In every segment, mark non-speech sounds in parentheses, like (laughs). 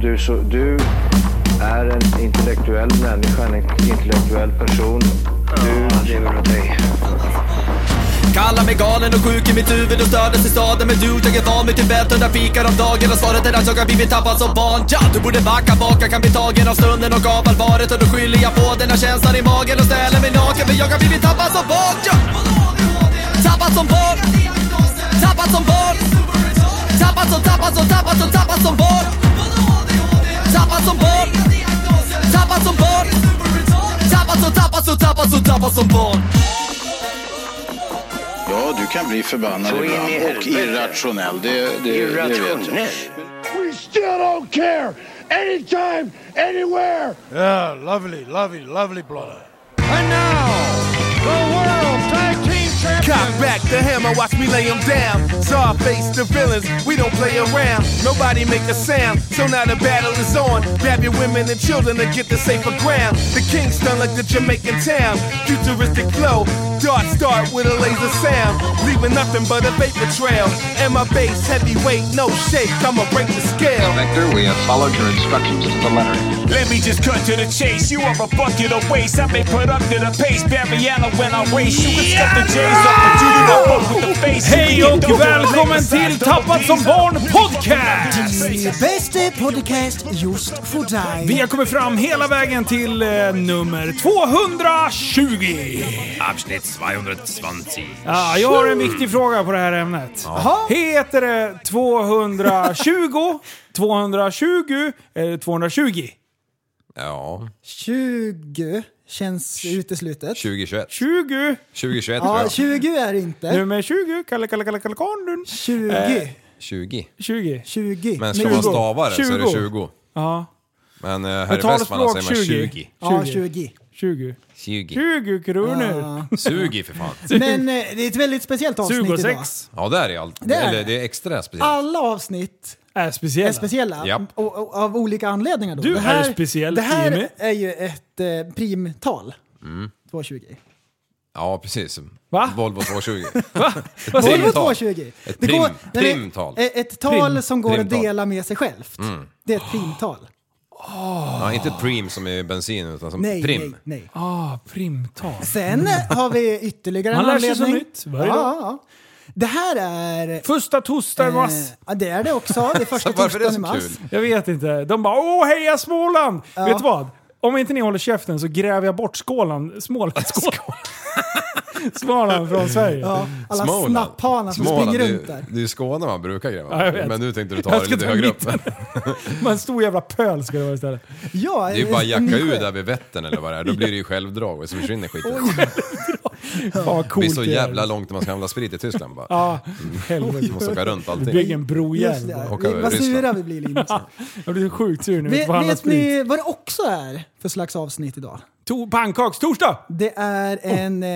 du, så, du är en intellektuell människa, en intellektuell person. Du lever av dig. Kallar mig galen och sjuk i mitt huvud och stördes i staden Men du, jag är van vid Tibet och där fikar om dagen Och svaret är att jag har blivit tappad som barn ja, Du borde backa bak, jag kan bli tagen av stunden och av allvaret Och då skyller jag på den här känslan i magen och ställer mig naken För jag har blivit tappad som barn ja. Tappad som barn Tappad som barn Tappad som, tappad som, tappad som, tappad som barn Tappad som barn Tappad som barn Tappad som, tappad som, tappad som, tappad som barn Ja, du kan bli förbannad Så in i ibland och helvete. irrationell. Det, det, det vet jag. Irrationell. We still don't care. Anytime, anywhere. Yeah, lovely, lovely, lovely brother. And now, the world tag team champions. Cock back the hammer, watch me lay 'em down. Saw face the villains, we don't play around. Nobody make a sound, so now the battle is on. Grab your women and children to get to safer ground. The Kingston like the Jamaican town. Futuristic flow, darts start with a laser sound. Leaving nothing but a vapor trail. And my bass heavyweight, no shake, I'ma break the scale. Vector, we have followed your instructions to the letter. Let me just cut to the chase. You are a bucket of waste. I've been put up to the pace. Barry Allen when I race. You can step the J's up, but you do not fuck with the face. Hej och välkommen till Tappad som barn podcast! Bästa podcast just för dig. Vi har kommit fram hela vägen till eh, nummer 220! Avsnitt 220. Ja, jag har en viktig fråga på det här ämnet. Heter det (laughs) 220, 220 eller 220? Ja, 20 känns uteslutet. 2021. 20? 2021 tror Ja, jag. 20 är det inte. Nummer 20? Kalle, Kalle, Kalle, Kalle, Kondun. 20. 20. 20. 20. Eh, Men slår 20. man stavar så är det 20. 20. Ja. Men eh, här i Västmanland Betalspråk säger man 20. 20. Ja, 20. 20. 20. 20 kronor. Ja. 20 för fan. Men eh, det är ett väldigt speciellt avsnitt idag. 26 Ja, där är allt. Det är Eller det. det är extra speciellt. Alla avsnitt är är speciella. speciella Japp. och, och, av olika anledningar. Då. Du det är speciell, Det här Jimmy. är ju ett eh, primtal. 220. Ja, precis. Va? Volvo 220. Vad säger Volvo Primtal. du? 220. Ett Det eh, prim- går- nej, nej, primtal. Ett, ett tal Prim- som går primtal. Mm. att dela med sig självt. Det är ett primtal. (gasps) Ja, inte prim som är bensin utan som Nej, prim. nej, nej. Ah, primtal. Sen har vi ytterligare en Man lär sig anledning. så nytt varje dag. ja, ja. Det här är... eh, Första torsdagens. ja, det är det också. Det är (laughs) första Så (laughs) varför är det torsdagen i så mars. kul? Jag vet inte. De bara åh heja Småland! Vet du vad? Om inte ni håller käften så gräver jag bort Skåland, (laughs) Småland, Skåland. Småland från Sverige. Ja, alla snapphanar som Småland, springer det är- runt där. Det är ju Skåne man brukar Ja, gräva. jag vet. Men nu tänkte (laughs) du ta Jag det ska lite ta högre upp. mitten. Men en stor jävla pöl ska det vara istället. Ja, Det är ju bara att en jacka sjö. ur där vid Vättern eller vad det är. Då blir det ju självdrag och så försvinner skiten. Fan vad Det coolt blir så är. jävla långt när man ska handla sprit i Tyskland bara. Ja, helvete. Måste åka runt allting. Bygg en Just brojävel. det. Åka Vi, över vad Ryssland. sura vi blir Linus. Jag blir så sjukt sur nu. vet, Vet, vet vet ni vad det också är för slags avsnitt idag? To- Pannkakstorsdag! Det är en, eh,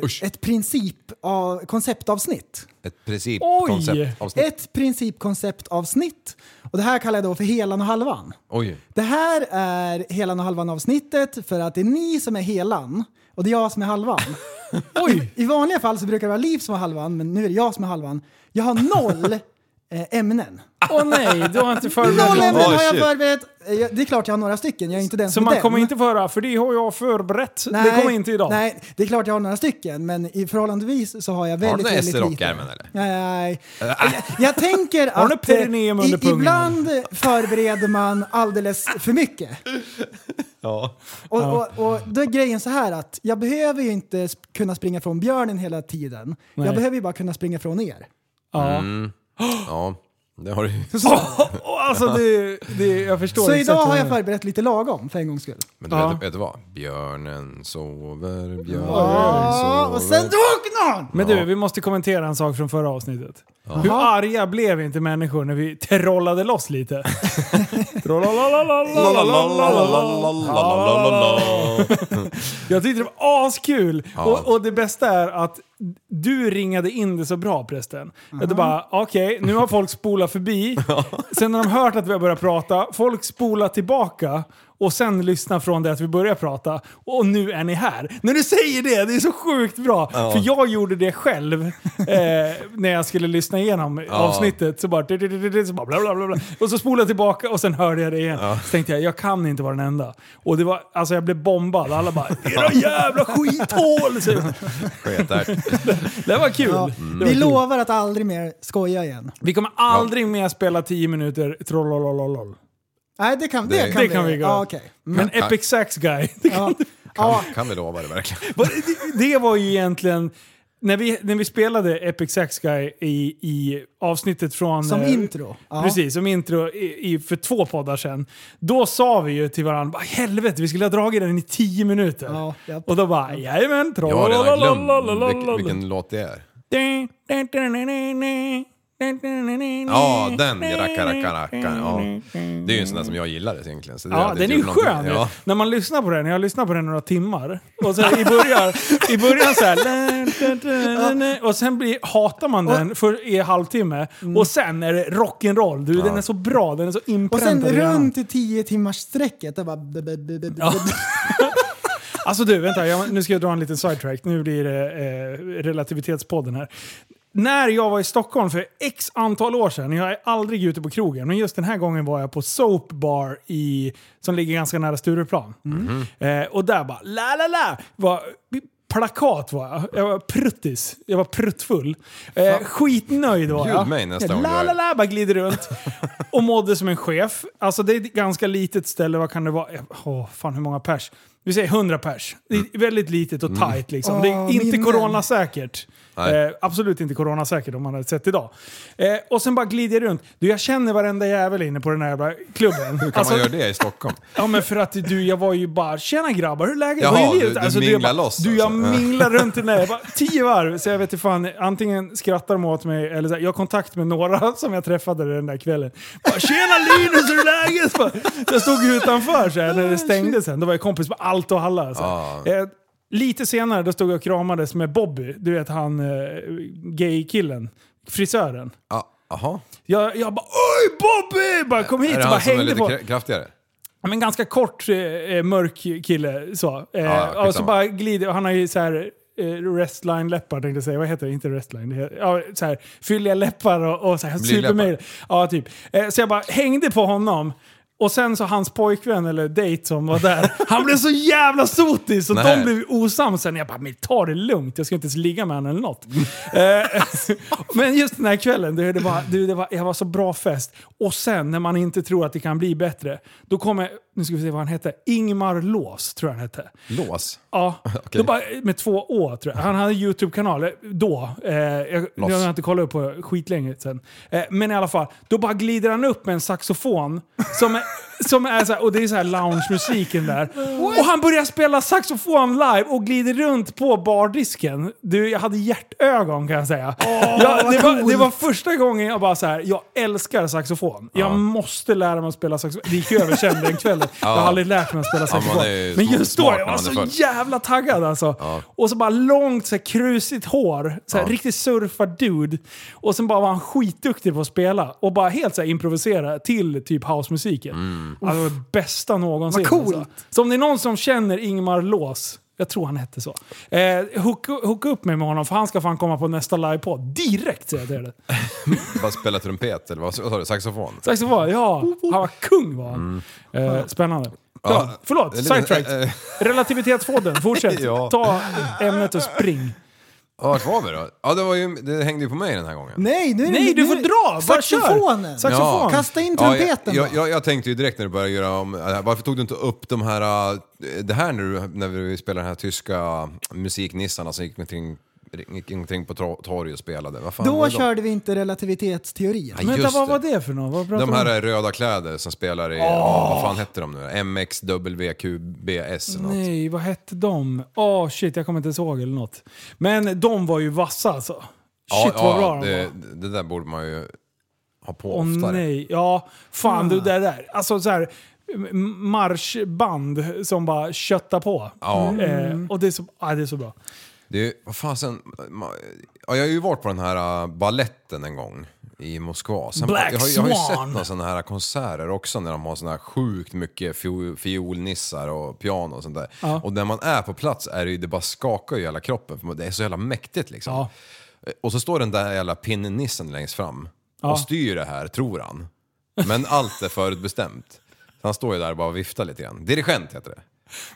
Oh. Usch. ett princip av, konceptavsnitt. Ett principkonceptavsnitt. Ett principkonceptavsnitt. Och det här kallar jag då för helan och halvan. Oj. Det här är helan och halvan avsnittet för att det är ni som är helan och det är jag som är halvan. (laughs) Oj! I vanliga fall så brukar det vara Liv som är halvan, men nu är det jag som är halvan. Jag har noll eh, ämnen. (laughs) Åh nej, du har inte Noll förberett ämnen något. Oj, har jag shit. förberett. Eh, jag- Det är klart jag har några stycken, jag är inte den Så som är man den. kommer inte få höra, för det har jag förberett. Nej, det kommer inte idag. Nej, det är klart jag har några stycken, men i förhållandevis så har jag Har du väldigt, några väldigt ester lite. i rockärmen eller? Äh. Nej. Jag, jag tänker Har du att perineum eh, under pungen? ibland förbereder man alldeles för mycket. Och, och, och då är grejen så här att jag behöver ju inte sp- kunna springa från björnen hela tiden. Nej. Jag behöver ju bara kunna springa från er. Ja. Mm. Ja, det har du ju. (laughs) Åh, alltså det, det, jag förstår Så exakt idag vad har du jag menar. förberett lite lagom för en gångs skull. Men du Ja. vet, vet du vad? Björnen sover, björnen Ja, sover. och sen drog någon! Men du, vi måste kommentera en sak från förra avsnittet. Hur arga blev inte människor när vi trollade loss lite? Lalalalalalalalalala. Jag tyckte det var askul! Ja. Och, och det bästa är att du ringade in det så bra prästen. Att du bara, okej, nu har folk spolat förbi. sen när de hört att vi har börjat prata, folk spolar tillbaka och sen lyssnar från det att vi börjar prata. Och nu är ni här. När du säger det, det är så sjukt bra. Ja. För jag gjorde det själv eh, när jag skulle lyssna igenom eh, Ja. avsnittet. Så bara, så bara bla, bla, bla, bla. Och så spolade jag tillbaka och sen hörde jag det igen. Så tänkte jag, jag kan inte vara den enda. Och det var, alltså jag blev bombad. Alla bara, era jävla skithål! säger de. Det var kul. Mm. Ja. Det Vi var kul. Mm. lovar att aldrig mer skoja igen. Vi kommer aldrig mer spela 10 minuter trollolololol. Nej, det kan, det Det, kan kan vi göra. Ja, okej. Men Mm. Epic Sax Guy, det kan, Ja. Kan vi lova det verkligen? Vad- det, det var ju egentligen... När vi, när vi spelade Epic Sax Guy i, i avsnittet från... Som eh, intro. Ja. Precis, som intro i, i, för två poddar sedan. Då sa vi ju till varandra, "Vad helvete vi skulle ha dragit den i tio minuter. Och då bara, jajamän, Jag har redan glömt vilken, trollololololol. vilken låt det är. Ja, Ja, den rackarackarackan. Ja. Det är ju en sån där som jag gillar egentligen. Så det Ja, hade den är inte ju gjort någonting. skön. Ja. När man lyssnar på den, jag har lyssnat på den några timmar. Och så i början, i början så här... Och sen blir, hatar man den för i en halvtimme. Och sen är det rock'n'roll. Du, den är så bra. Den är så Och sen inpräntad i hjärnan. runt i tio timmars sträcket det bara... Ja. Alltså du, vänta. Jag, nu ska jag dra en liten sidetrack. Nu blir det eh, relativitetspodden här. När jag var i Stockholm för x antal år sedan, jag är aldrig ute på krogen, men just den här gången var jag på Soap Bar i, som ligger ganska nära Stureplan. Mm. Eh, och där bara la la la! Var, plakat var jag. Jag var pruttis. Jag var pruttfull. Eh, skitnöjd var jag. Bjud mig nästa gång du La är- la la! Bara glider runt. och mådde som en chef. Alltså det är ett ganska litet ställe. Vad kan det vara? Åh, fan hur många pers? Vi säger 100 pers. Det Mm. är väldigt litet och tight liksom. det är Åh, inte minnen. coronasäkert. Nej. Eh, absolut inte coronasäkert om man hade sett idag. Eh, och sen bara glider jag runt. Du, jag känner varenda jävel inne på den här jävla klubben. Alltså, Hur kan man göra det i Stockholm? Ja men för att du, jag var ju bara “Tjena grabbar, hur är läget?” Jaha, Vad är livet?" du, du- du minglar jag bara, loss Du, jag alltså. Ja. minglar runt i (laughs) den där. Jag bara, Tio varv, så jag vet inte fan. Antingen skrattar de åt mig eller så här, jag har kontakt med några (laughs) som jag träffade den där kvällen. Bara, “Tjena Linus, hur är läget?” Bara, så Jag stod ju utanför så här, Ah, när det stängde sen. Då var jag kompis med allt och alla. Så här. eh, lite senare då stod jag och kramades med Bobby, du vet han eh, gay-killen. Frisören. Ja, aha. Jag, jag bara “Oj Bobby!” bara kom hit Är och det bara han som är hängde lite på. kra- kraftigare? Ja, men ganska kort, eh, eh, mörk kille. Så. Eh, ja, och så skitsamma. bara glider, och han har ju så här eh, restline-läppar tänkte jag säga. Vad heter det? Inte restline. Det heter, ja, så här, fylliga läppar och, och så här, Blyläppar. supermejl. Ja, typ. Eh, så jag bara hängde på honom. Och sen så hans pojkvän, eller dejt som var där, han blev så jävla sotis så Nej. de blev osams sen. Jag bara, men ta det lugnt, jag ska inte ens ligga med honom eller något. (laughs) Eh, men just den här kvällen, du, det, var, du, det var, jag var så bra fest. Och sen när man inte tror att det kan bli bättre, då kommer, nu ska vi se vad han hette, Ingmar Lås tror jag han hette. Lås? Ja, (laughs) då bara, med två å tror jag. Han hade en YouTube-kanal eh, då. Eh, jag, jag Loss. har inte kollat upp på skitlänge sedan. Eh, men i alla fall, då bara glider han upp med en saxofon. Som är, (laughs) som är så här, och det är så här lounge-musiken där. Och han börjar spela saxofon live och glider runt på bardisken. Du, jag hade hjärtögon kan jag säga. jag, vad det, var, det var coolt. första gången jag bara så här, jag älskar saxofon. Jag måste lära mig att spela saxofon. Det gick över sen den kvällen. Jag har Ja. aldrig lärt mig att spela Ja, man saxofon. alltså, men är ju smart just då, när jag var man är så full. jävla taggad alltså. Och så bara långt så här, krusigt hår. Så här, Riktigt surfar-dude. Och sen bara var han skitduktig på att spela. Och bara helt så här, improvisera till typ housemusiken. Mm. Alltså, det var det bästa någonsin. Vad coolt. Alltså. Så om det är någon som känner Ingmar Lås jag tror han hette så. Eh, hook, hook upp mig med honom för han ska fan komma på nästa livepodd. Direkt säger jag till dig. Bara spela trumpet eller vad vad sa du? Saxofon? Saxofon, ja. Han var kung var han. Eh, spännande. Mm. Ja. Ja, förlåt, En liten- sidetrack. eh, eh. Relativitetspodden, fortsätt. (laughs) Ja. Ta ämnet och (laughs) spring. Ja, vart var vi då? Ja, det, var ju, det hängde ju på mig den här gången. Nej, nu är det- Nej, du nu- får dra! Bara kör. Saxofonen! Ja. Kasta in Ja, trumpeten jag, jag, jag, jag tänkte ju direkt när du började göra om, äh, varför tog du inte upp de här, äh, det här när, du, när vi spelade den här tyska musiknissarna som gick omkring, gick omkring på tor- torg och spelade. Vad fan Då var det körde vi inte relativivitetsteorin. Ja, Vänta, just vad Vad var det för något? Vad pratar De här vi om? är röda kläder som spelar i, ja, vad fan hette de nu MXWQBS eller eh, något. Nej, vad hette de? Åh shit, jag kommer inte ens ihåg eller något. Men de var ju vassa alltså. Shit vad bra de var. det, det där borde man ju ha på Åh oftare. nej, ja. Fan du, det där. Alltså så här, m- marschband som bara köttar på. Ja. Eh, och det är, så, ah, det är så bra. Det är, vad fasen, man, ja, jag har ju varit på den här äh, balletten en gång i Moskva. Black jag, har- jag har ju Swan. sett några sådana här konserter också när de har sådana här sjukt mycket fio, fiolnissar och piano och sånt där. Ja. Och när man är på plats är det ju, det bara skakar ju hela kroppen för det är så jävla mäktigt liksom. Och så står den där jävla pinnnissen längst fram Ja. och styr det här, tror han. Men allt är förutbestämt. Så han står ju där och bara viftar lite grann. Dirigent heter det.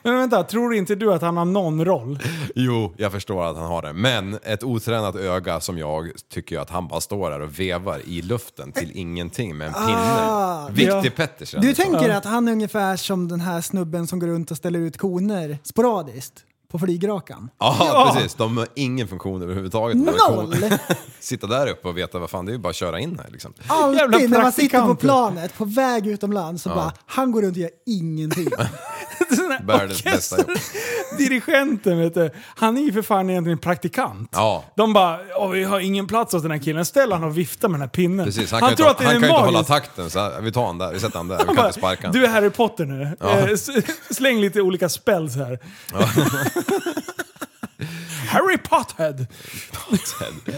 Men vänta, tror inte du att han har någon roll? Jo, jag förstår att han har det. Men ett otränat öga som jag tycker ju att han bara står där och vevar i luften till ingenting med en pinne. Ah, Viktig ja. Pettersen. liksom. Du tänker Ja. att han är ungefär som den här snubben som går runt och ställer ut koner sporadiskt på flygrakan? Ja, precis. De har ingen funktion överhuvudtaget. De är Noll! cool. (laughs) Sitta där uppe och veta vad fan, det är ju bara att köra in här liksom. Ah. Alltid när man sitter på praktikanter. planet på väg utomlands så Ja. bara, han går runt och gör (laughs) ingenting. Världens bästa jobb. Dirigenten vet du, han är ju för fan egentligen praktikant. Ja. De bara, "Åh, vi har ingen plats åt den här killen. Ställ han och vifta med den här pinnen. Precis, han, kan tror ju att inte, det är han en kan ju inte magisk... hålla takten så här, vi tar han där, vi sätter (laughs) han där, vi Han kan bara, inte sparka han. du är Harry Potter nu. Ja. Eh, s- (laughs) släng lite olika spells här. (laughs) Harry Potterhead!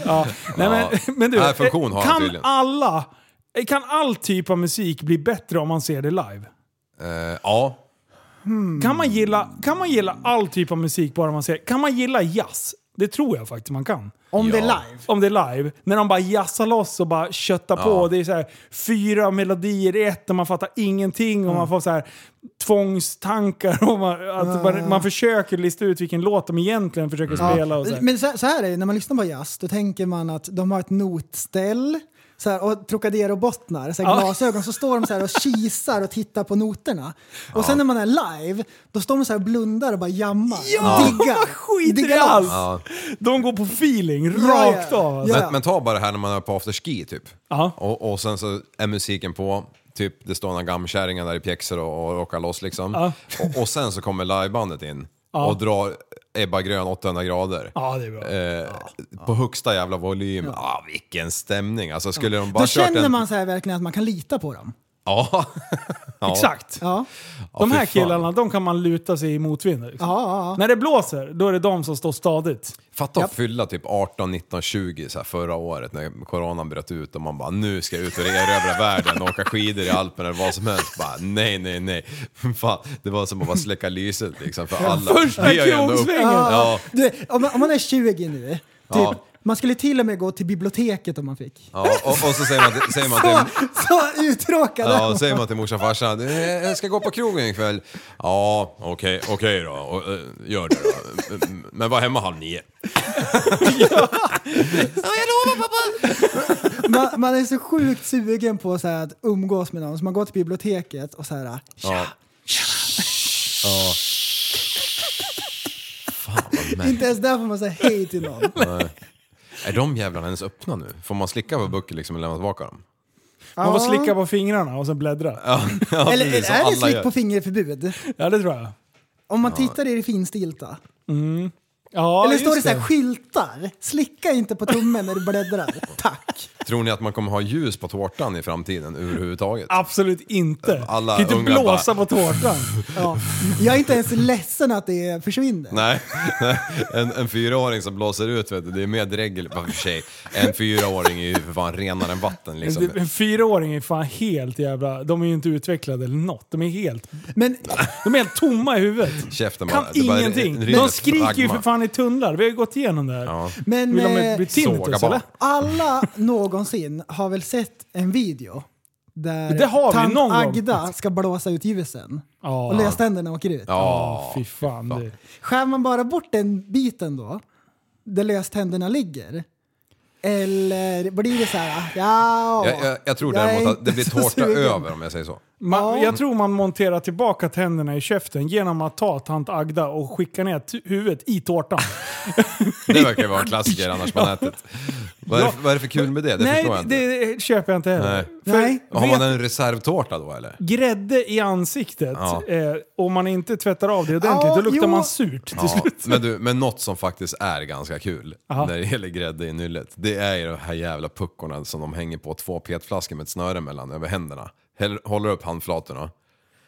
Ja. Nej, (laughs) men, men du, Nej, funktion har eh, han kan tydligen. alla... eh, Kan all typ av musik bli bättre om man ser det live? Eh, ja. Kan, man gilla, kan man gilla all typ av musik bara man ser? Kan man gilla jazz? Det tror jag faktiskt man kan. Om det är Ja. live? Om det är live. När de bara jazzar loss och bara köttar på. Ja. Och Det är så här, fyra melodier i ett och man fattar ingenting. Och man får så här, tvångstankar. Och man, att Mm. Ja. man, man försöker lista ut vilken låt de egentligen försöker Mm. spela. Och så här. Men så, så här är det, när man lyssnar på jazz då tänker man att de har ett notställ så här, och Trocadero-bottnar, så här Ja. glasögon, så står de så här och kisar och tittar på noterna. Och sen när man är live, då står de så här och blundar och bara jammar. Ja, och diggar. man skiter i Diggar loss. allt. Ja. De går på feeling, Ja, ja. rakt av. alltså. Men, men ta bara det här när man är på afterski typ. Och, och sen så är musiken på, typ det står några gammkärringar där i pjäxor och, och rockar loss liksom. Ja. Och, och sen så kommer livebandet in Ja. och drar Ebba Grön 800 grader. Ja, det är bra. Eh, På högsta jävla volym. Ah, vilken stämning! Alltså skulle de bara Då kört känner en... man så här verkligen att man kan lita på dem. Ja. (laughs) ja. Exakt. Ja. De Ja, här fy fan. killarna, de kan man luta sig i motvind. Liksom. Ja, ja. När det blåser, då är det de som står stadigt. Fatta att fylla typ 18, 19, 20 så här förra året när coronan bröt ut och man bara nu ska jag ut och erövra världen och åka skidor i Alperna eller vad som helst. Bara, nej, nej, nej. (laughs) Fan, det var som att bara släcka lyset liksom för alla. Första Vi har ju ändå upp- kronsvängen. Ja, Du, om, man, om man är 20 nu, typ, Ja. man skulle till och med gå till biblioteket om man fick. ja, och, och så säger man, säger man Så, till... (laughs) så uttråkad är Ja, man. och säger man till morsan och farsan, "Eh, jag ska gå på krogen ikväll. Ja, okej, okej då. Och, eh, gör det då. Mm, Men var hemma halv nio. (laughs) man, man är så sjukt sugen på så här, att umgås med någon så man går till biblioteket och så här... Ja. Ja. Fan vad märkligt. Inte ens där får man säga hej till någon. Nej. Är de jävlarna ens öppna nu? Får man slicka på böcker liksom och lämna tillbaka dem? Man får Ja. slicka liksom, på fingrarna och sen bläddra. Ja, ja, Eller precis, som är det alla slick gör. på fingerförbud? Ja, det tror jag. Om man Ja. tittar är det finstilta. Mm. Ja, Eller står det just så här skyltar? Slicka inte på tummen när du (laughs) bläddrar. Tack! Tror ni att man kommer ha ljus på tårtan i framtiden överhuvudtaget? Absolut inte. Alla kan inte ungar blåsa bara- på tårtan. Ja. Jag är inte ens ledsen att det försvinner. Nej, (laughs) en, en fyraåring som blåser ut vet du, det är mer dregel. Vad för sig, en fyraåring är ju för fan renare än vatten (laughs) liksom. En fyraåring är fan helt jävla... De är ju inte utvecklade eller något. De är helt... Men, de är helt tomma i huvudet. Käften Kan bara, det bara ingenting. rinner De skriker ju pragma. för fan i tunnlar. Vi har ju gått igenom det här. Men, Vill de eh, bli tinnitus såga eller? barn. Alla någonsin har väl sett en video där Det har vi tant någon gång. Agda ska blåsa ut ljusen Ja. och löständerna åker ut. Ja, fy fan. Det. Skär man bara bort den biten då, där löständerna ligger, eller blir det så här, ah, ja... Jag, jag, jag tror jag är däremot att det inte blir så tårta sugen. över om jag säger så. Man, Ja. Jag tror man monterar tillbaka tänderna i käften genom att ta tant Agda och skicka ner t- huvudet i tårtan. Det verkar ju vara en klassiker annars på (laughs) Ja. nätet. Vad är, det- Ja. vad är det för kul med (laughs) det? Det Nej, förstår jag inte. det köper jag inte heller. Nej. För Har vet- man en reservtårta då eller? Grädde i ansiktet, Ja. eh, om man inte tvättar av det ordentligt, då luktar jo. man surt till Ja, slut. men, du, men något som faktiskt är ganska kul Aha. när det gäller grädde i nyllet, det är ju de här jävla puckorna som de hänger på två petflaskor med ett snöre mellan över händerna. Häll- Håller upp handflatorna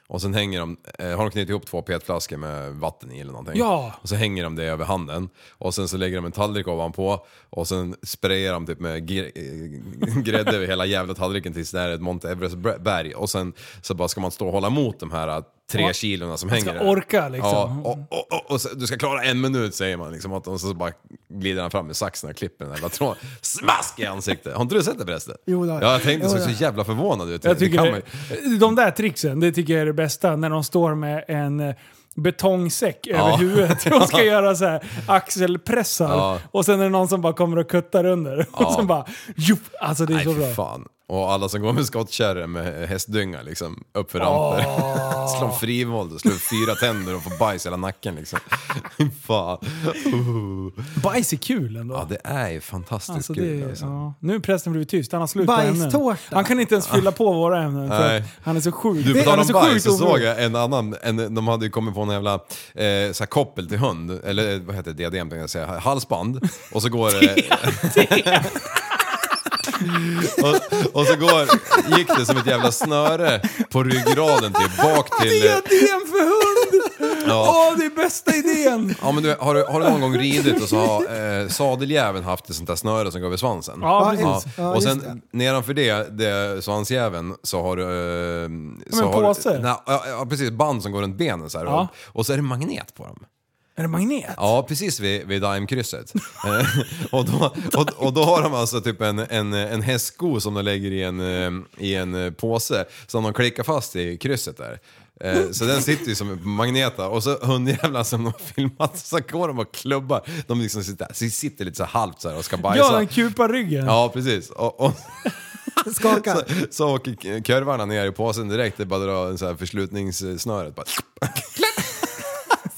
Och sen hänger de, eh, har de knutit ihop två petflaskor med vatten i eller någonting. Ja. Och så hänger de det över handen. Och sen så lägger de en tallrik ovanpå. Och sen sprayar de typ med gr- eh, grädde över hela jävla tallriken tills det är ett Monte Everest-berg. Och sen så bara ska man stå och hålla emot de här eh, tre Ja. kilorna som Man hänger ska där. orka, liksom. Ja, och, och, och, och så, du ska klara en minut säger man liksom. Och så bara glider han fram med saxen och klipper den där jävla tråden. Smask i ansiktet! Har inte du sett det förresten? Jo, det har ja, jag. jag tänkte Jo, såg det så har jag. jävla förvånad ut. Jag tycker det kan man det, ju- de där tricksen, det tycker jag är det bästa. När de står med en eh, betongsäck över huvudet och (laughs) ska göra så här axelpressar. Ja. Och sen är det någon som bara kommer och kuttar under. (laughs) Ja. Och sen bara... Jup, alltså det är Nej, så fy bra. fan. Och alla som går med skottkärror med hästdynga liksom, uppför ramper. (laughs) Slår om frivold och slår upp fyra tänder och får bajs i hela nacken liksom. (laughs) fan. Uh. Bajs är kul ändå. Ja, det är ju fantastiskt Alltså kul. det, alltså. ja. Nu är prästen blivit tyst, han har slut på ämnen. Bajstårta. Han kan inte ens fylla på våra ämnen. För Nej. att han är så sjuk. Du, på han tal är om bajs så såg omogen. jag en annan, en, de hade ju kommit på en jävla eh, så här koppel till hund, eller eh, vad heter det, diadem tänkte jag säga, halsband. Och så går det... (laughs) och, och så går, gick det som ett jävla snöre på ryggraden till bak till... eh, Diadem för hund! Ja. Åh, det är bästa (laughs) idén! Ja men du, har, du, har du någon gång ridit och så har eh, sadeljäveln haft ett sånt där snöre som går över svansen? Ja, precis. Ja, Och just sen det. nedanför det, det svansjäveln, så har du... Eh, så en har du- påse. Nej, ja, ja, precis. Band som går runt benen så här Ja. upp. Och så är det magnet på dem. Är det magnet? Ja, precis vid, (laughs) vid Daimkrysset. (laughs) Eh, och, då, och, och då har de alltså typ en, en, en hästsko som de lägger i en, eh, i en eh, påse som de klickar fast i krysset där. Eh, Så den sitter ju som magneta och så hundjävlar som de har filmat så går de och klubbar. De liksom sitter, sitter lite så här halvt så här och ska bajsa. Ja, den kupar ryggen. Ja, precis. (laughs) Och, och Skaka. så, så åker k- kurvarna ner i påsen direkt. Det är bara att dra en så här förslutningssnöret. Bara, Så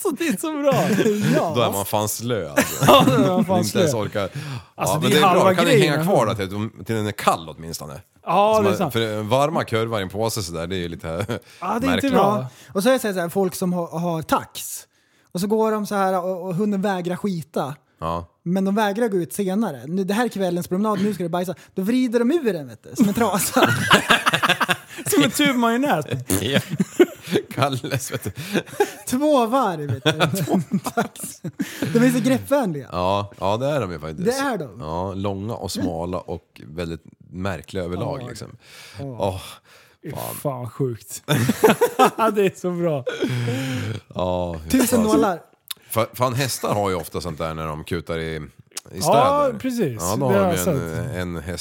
Alltså, det är så bra. Då är man fan slö alltså. Ja, då är man fan inte ens slö. orkar. Ja, Alltså, det men är det är bra, halva då kan den hänga grejen. kvar där till, till den är kall åtminstone. Ja, Så det är man- sant. För varma kurvar i en påse sådär, det är ju lite Ja, det är (laughs) inte märkligt. bra. Och så är det så här, så här, folk som har, har tax. Och så går de så här och, och hunden vägrar skita. Ja. Men de vägrar gå ut senare. Nu, det här är kvällens promenad, nu ska du bajsa. Då vrider de ur den vet du, som en (laughs) trasa. (laughs) Som en tub majonnäs. Ja. (laughs) Kalles vet du. Två varv vet du. Tax. (laughs) De är så greppvänliga. Ja, ja, det är de ju faktiskt. Det är de. Ja, långa och smala och väldigt märkliga överlag Ja. liksom. Ja. Åh, fan. Fan sjukt. (laughs) det är så bra. Ja, Tusen alltså. nålar. Fa- Fan hästar har ju ofta sånt där när de kutar i, i Ja, städer. precis. Ja, Det då har har de ju jag en, eh, en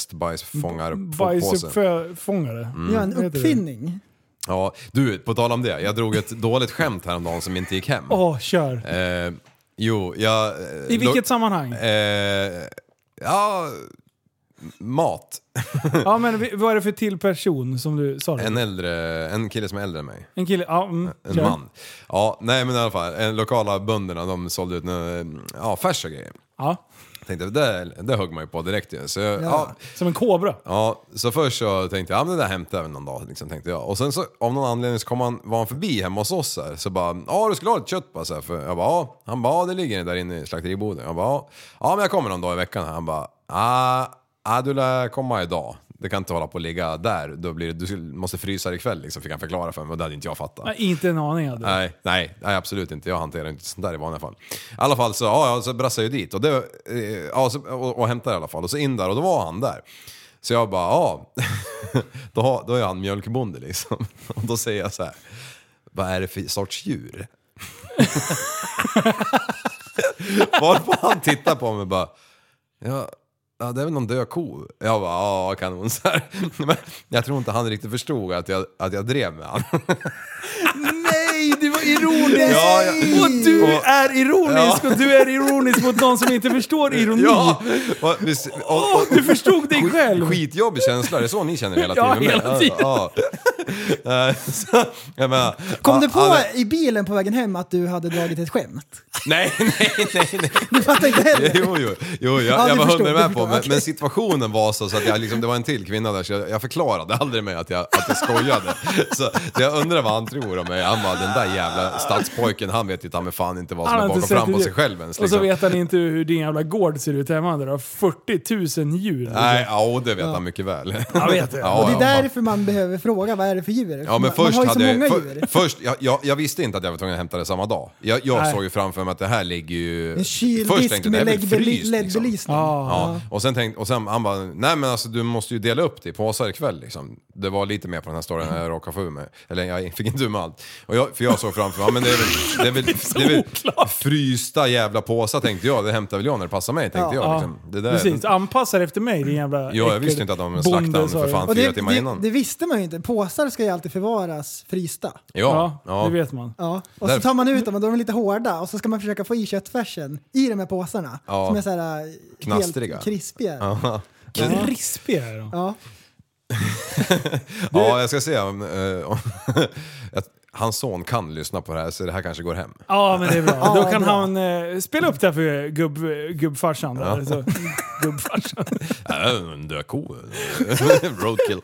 hästbajsfångarpåse. Bajsuppfångare. Mm. Ja, en Vad heter det? uppfinning. Ja, du, på tal om det. Jag drog ett dåligt skämt häromdagen som inte gick hem. Åh, kör. Eh, jo, jag... eh, I vilket lo- (laughs) sammanhang? Eh, ja... Mat. Ja, men vi- vad är det för till person som du sa? det? En äldre... En kille som är äldre än mig. en kille? Ja, mm, En kör. man. Ja, nej men i alla fall. eh, Lokala bönderna de sålde ut en, ja, färs och grejer. Ja. Tänkte, det, det högg man ju på direkt ju. Så, jag- ja, Som en kobra? Ja, så först så tänkte jag, ja men det där hämtar jag väl någon dag, liksom, tänkte jag. Och sen så av någon anledning så kom han, var han förbi hemma hos oss här, så bara, ja du skulle ha lite kött bara så här, för jag bara, ja. Han bara, ja det ligger där inne i slakteriboden. Jag bara, ja. ja men jag kommer någon dag i veckan här. Han bara, ja, ja du lär komma idag. Det kan inte hålla på att ligga där, då blir det, du skulle- måste frysa det ikväll liksom, fick han förklara för mig och det hade inte jag fattat. Nej, inte en aning hade jag. Nej, nej, nej, absolut inte. Jag hanterar inte sånt där i vanliga fall. I alla fall så, ja, ja, så brassade jag dit och, det, eh, ja, så, och, och hämtade i alla fall. Och så in där och då var han där. Så jag bara, ja, (laughs) då, har- då är han mjölkbonde liksom. Och då säger jag så här, vad är det för sorts djur? (laughs) Varpå han tittar på mig och bara, ja, ja det är väl någon död ko? Jag bara, ja kanon så här. (laughs) Men jag tror inte han riktigt förstod att jag, att jag drev med han. (laughs) Nej, det var ironiskt! Ja, ja. Och du Och- är ironisk Ja. och du är ironisk mot någon som inte förstår ironi. Ja! Och, visst- och, och, Åh, du förstod dig själv! skitjobbig känsla, det är så ni känner hela tiden Ja, med. hela tiden. Ja, ja. Eh, (laughs) så, jag menar, Kom ja, du på alla- i bilen på vägen hem att du hade dragit ett skämt? (laughs) Nej, nej, nej, nej. Du fattar inte heller? Jo, jo, jo jag, Ja, jag du var förstod, hundra du med förstod, på, men, okej. men situationen var så, så att jag liksom, det var en till kvinna där, så jag, jag förklarade aldrig mig att jag, att jag skojade. Så, så jag undrar vad han tror om mig. Han bara, den där jävla stadspojken, han vet ju ta mig fan inte vad som har inte är bakom sett fram på det. sig själv ens. Och så Liksom. vet han inte hur din jävla gård ser ut hemma där du har 40 000 djur. Nej, ja, det vet han mycket väl. Jag vet det. Ja, Och det ja, är därför man behöver fråga vad är det det för djur? Ja, men man, först man har ju så hade jag, många ju- djur. för, först, jag, jag, jag visste inte att jag var tvungen att hämta det samma dag. Jag, jag Nej. såg ju framför mig att det här ligger ju... En först kyldisk tänkte jag, med det här är väl LED-beli- fryst, liksom. LED-belysning. Ja. Och sen tänkte, och sen han bara, nej men alltså du måste ju dela upp det i påsar ikväll liksom. Det var lite mer på den här storyn när jag råkade få ur mig. Eller jag fick inte ur mig allt. Och jag, för jag såg framför mig, ja, men det är väl, det är väl, (laughs) det är väl, frysta jävla påsar tänkte jag. Det hämtar väl jag när det passar mig tänkte jag. Liksom. Det där, Precis, anpassar efter mig din jävla Ja, jag äckel- visste inte att de bonde, slaktade han sa för du. fan Och fyra det, timmar det, innan. det visste man ju inte. Påsar ska ju alltid förvaras frysta. Ja, Ja, det vet man. Ja. Och Där- så tar man ut dem och då är de lite hårda och så ska man försöka få i köttfärsen i de här påsarna. Ja. Som är så här äh, Knastriga. helt krispiga. Ja. Krispiga är de. Ja. Ja, jag ska se om... eh, om (laughs) att hans son kan lyssna på det här, så det här kanske går hem. Ja, men det är bra. (laughs) Ja, Då kan bra. han eh, spela upp det här för gubb, gubbfarsan. Där, Ja. (laughs) så. Gubbfarsan. Äh, en död ko. (laughs) Roadkill.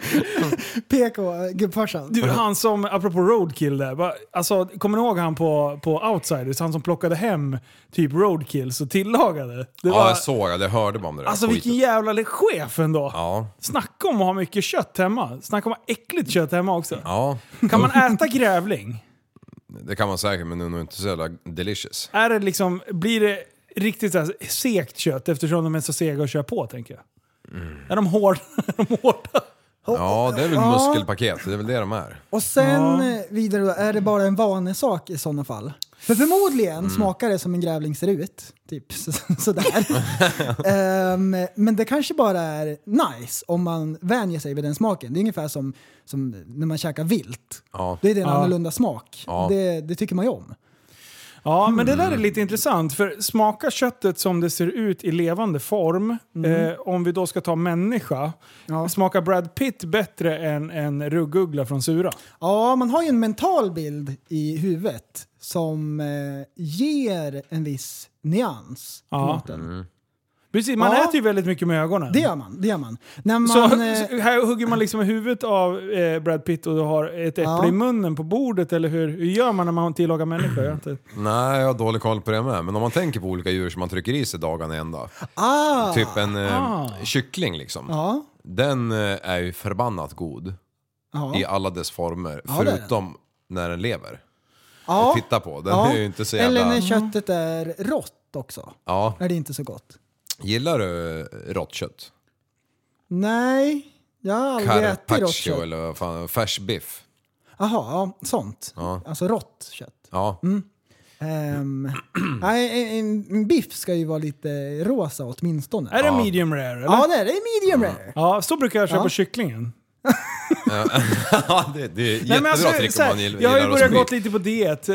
PK, äh, gubbfarsan. Du, han som, apropå roadkill där, va, alltså, kommer ni ihåg han på, på Outsiders? Han som plockade hem typ roadkills och tillagade. Det Ja, var- jag såg det. Jag hörde bara om det där Alltså skiten. vilken jävla chef ändå. Ja. Snacka om att ha mycket kött hemma. Snacka om att ha äckligt kött hemma också. ja, Kan man äta grävling? det kan man säkert, men det är nog inte så jävla delicious. Är det liksom, blir det riktigt så här segt kött eftersom de är så sega att köra på tänker jag? Är de hårda? (laughs) Ja, det är väl Ja. muskelpaket. Det är väl det de är. Och sen eh, vidare då, är det bara en vanesak i sådana fall. För förmodligen Mm. smakar det som en grävling ser ut. Typ (laughs) så, sådär. Ehm, men det kanske bara är nice om man vänjer sig vid den smaken. Det är ungefär som, som när man käkar vilt. Ja. Det är en Ja. annorlunda smak. Ja. Det, det tycker man ju om. Ja, men det där är lite intressant. För smaka köttet som det ser ut i levande form, Mm. eh, om vi då ska ta människa, smakar Brad Pitt bättre än en ruggugla från Sura? Ja, man har ju en mental bild i huvudet som eh, ger en viss nyans. till Ja. maten. Precis, man Ja. äter ju väldigt mycket med ögonen. Det gör man. Det gör man. När man så, eh, så här hugger man liksom i huvudet av eh, Brad Pitt och du har ett äpple Ja. i munnen på bordet, eller hur, hur gör man när man tillagar människa? Jag vet inte. Nej, jag har dålig koll på det med. Men om man tänker på olika djur som man trycker i sig dagarna i ända. Ah. Typ en eh, Ah. kyckling liksom. Ja. Den eh, är ju förbannat god. Ja. I alla dess former. Ja, det är den. förutom när den lever. Ja. Och titta på. Den Ja. är ju inte så jävla... Eller när köttet är rått också. Ja. Är det inte så gott? Gillar du eh, rått kött? Nej, jag har aldrig ätit rått Carpaccio kött. eller vad fan, färs biff. Jaha, ja, sånt. Ja. Alltså rått kött. Ja. (laughs) Ehm, (clears throat) nej, en, en biff ska ju vara lite rosa åtminstone. Är det medium rare? Eller? Ja, det är det. Det är medium rare. Ja, så brukar jag köpa Ja. kycklingen. ja, det, det Nej, är men jättebra alltså, trick så om här, man gill- jag har ju gillar börjat Mm. rostbiff. gått lite på diet eh,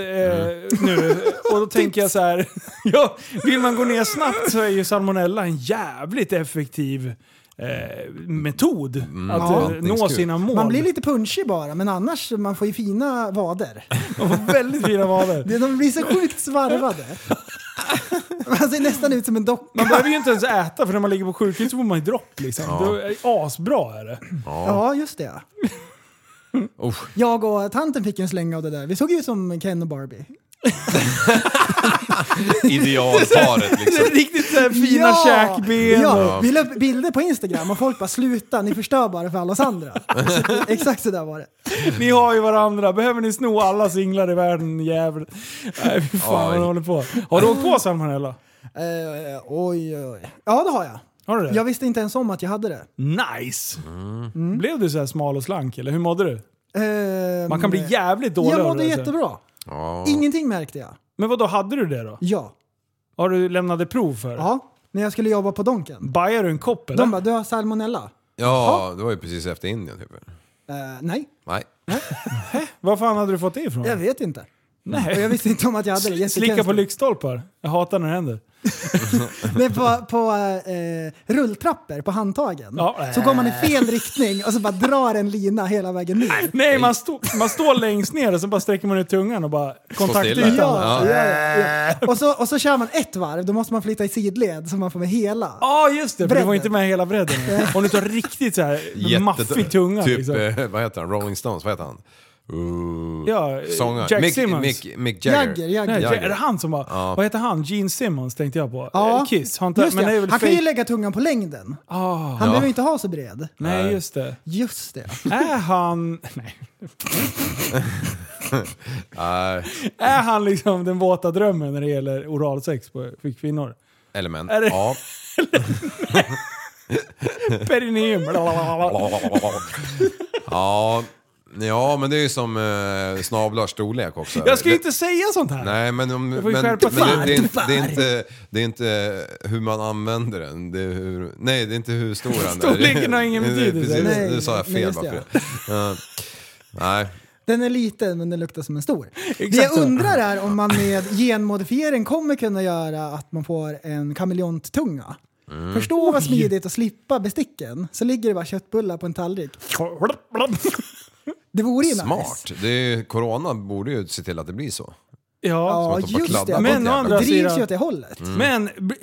nu (laughs) och då tänker jag så här. (laughs) ja, vill man gå ner snabbt så är ju salmonella en jävligt effektiv eh, metod Mm. att eh, nå sina mål. Man blir lite punchig bara, men annars man får ju fina vader. Man får väldigt fina vader. Det- De blir så sjukt svarvade. (laughs) Man ser nästan ut som en docka. Man behöver ju inte ens äta för när man ligger på sjukhus så får man ju dropp liksom. Ja. Då är asbra är det. Ja, just det. ja. Jag och tanten fick ju en släng av det där. Vi såg ju ut som Ken och Barbie. Idealparet liksom. (laughs) Det är riktigt så eh, här fina käkben. Ja, och- vi la upp bilder på Instagram och folk bara sluta, ni förstör bara för alla oss (laughs) andra. Så det- Exakt så där var det. Ni har ju varandra. Behöver ni sno alla singlar i världen jävel? Nej fy fan vad Oj. de håller på. Har du åkt på salmonella? Eh, oj, oj, oj. Ja, det har jag. Har du det? Jag visste inte ens om att jag hade det. Nice! Mm. Blev du så här smal och slank eller hur mådde du? Ehm, Man kan bli jävligt dålig Jag av mådde det, alltså. jättebra. Ingenting märkte jag. Men vad då hade du det då? Ja. Har du lämnade prov för? Ja, när jag skulle jobba på Donken. Bajade du en kopp eller? De bara, du har salmonella. Ja, det var ju precis efter Indien typ. Eh, nej, Nej. Var fan hade du fått det ifrån? jag vet inte. Nej. Och jag visste inte om att jag hade det. (laughs) Slicka Jättekonstigt. på lyktstolpar. Jag hatar när det händer. Nej, på, på eh, rulltrappor på handtagen. Ja. Så går man i fel riktning och så bara drar en lina hela vägen ner. Nej, man, stå, man står längst ner och så bara sträcker man ut tungan och bara Ja, kontaktytan. ja, ja, ja. Och, så, och så kör man ett varv, då måste man flytta i sidled så man får med hela. Ja, just det. För du var Bredden. inte med hela bredden. (laughs) Om du tar riktigt så här maffig tunga. Typ, liksom. eh, vad heter han? Rolling Stones, vad heter han? Ooh. Ja, Sångare. Jack Mick, Simmons. Mick, Mick Jagger. Nej, Jagger. Är det han som bara... Ja. Vad heter han? Gene Simmons tänkte jag på. Ja, Eh, Kiss. Har inte, Just men det är det. väl Han kan fake- ju lägga tungan på längden. Han Ja. behöver inte ha så bred. Nej, just det. Just det. Är han... Nej. Nej. är han liksom den våta drömmen när det gäller oralsex på- för (laughs) kvinnor? Element. Är det- Ja. Perineum. blablabla. ja. Ja, men det är ju som eh, snablars storlek också. Jag ska ju Det- inte säga sånt här. Nej, men, Jag om, men, får ju men skärpa sig. det, det, är inte, Tyvärr. det, är inte, det är inte hur man använder den. Det är hur, nej, det är inte hur stor den är. Storleken har ingen (laughs) Det är betydelse. Precis, Nej, nu sa jag nej, fel just bara det, för det. Ja. Nej. Den är liten men den luktar som en (laughs) stor. det Exakt jag så. undrar är om man med genmodifiering kommer kunna göra att man får en kameleonttunga. Mm. Förstå vad smidigt att slippa besticken. Så ligger det bara köttbullar på en tallrik. Det vore ju nice. Smart. Det är, ju- corona borde ju se till att det blir så. Ja, Som att de får kladda på ett Men å jävla- andra Det drivs sidan, ju åt det hållet. Mm. Men b-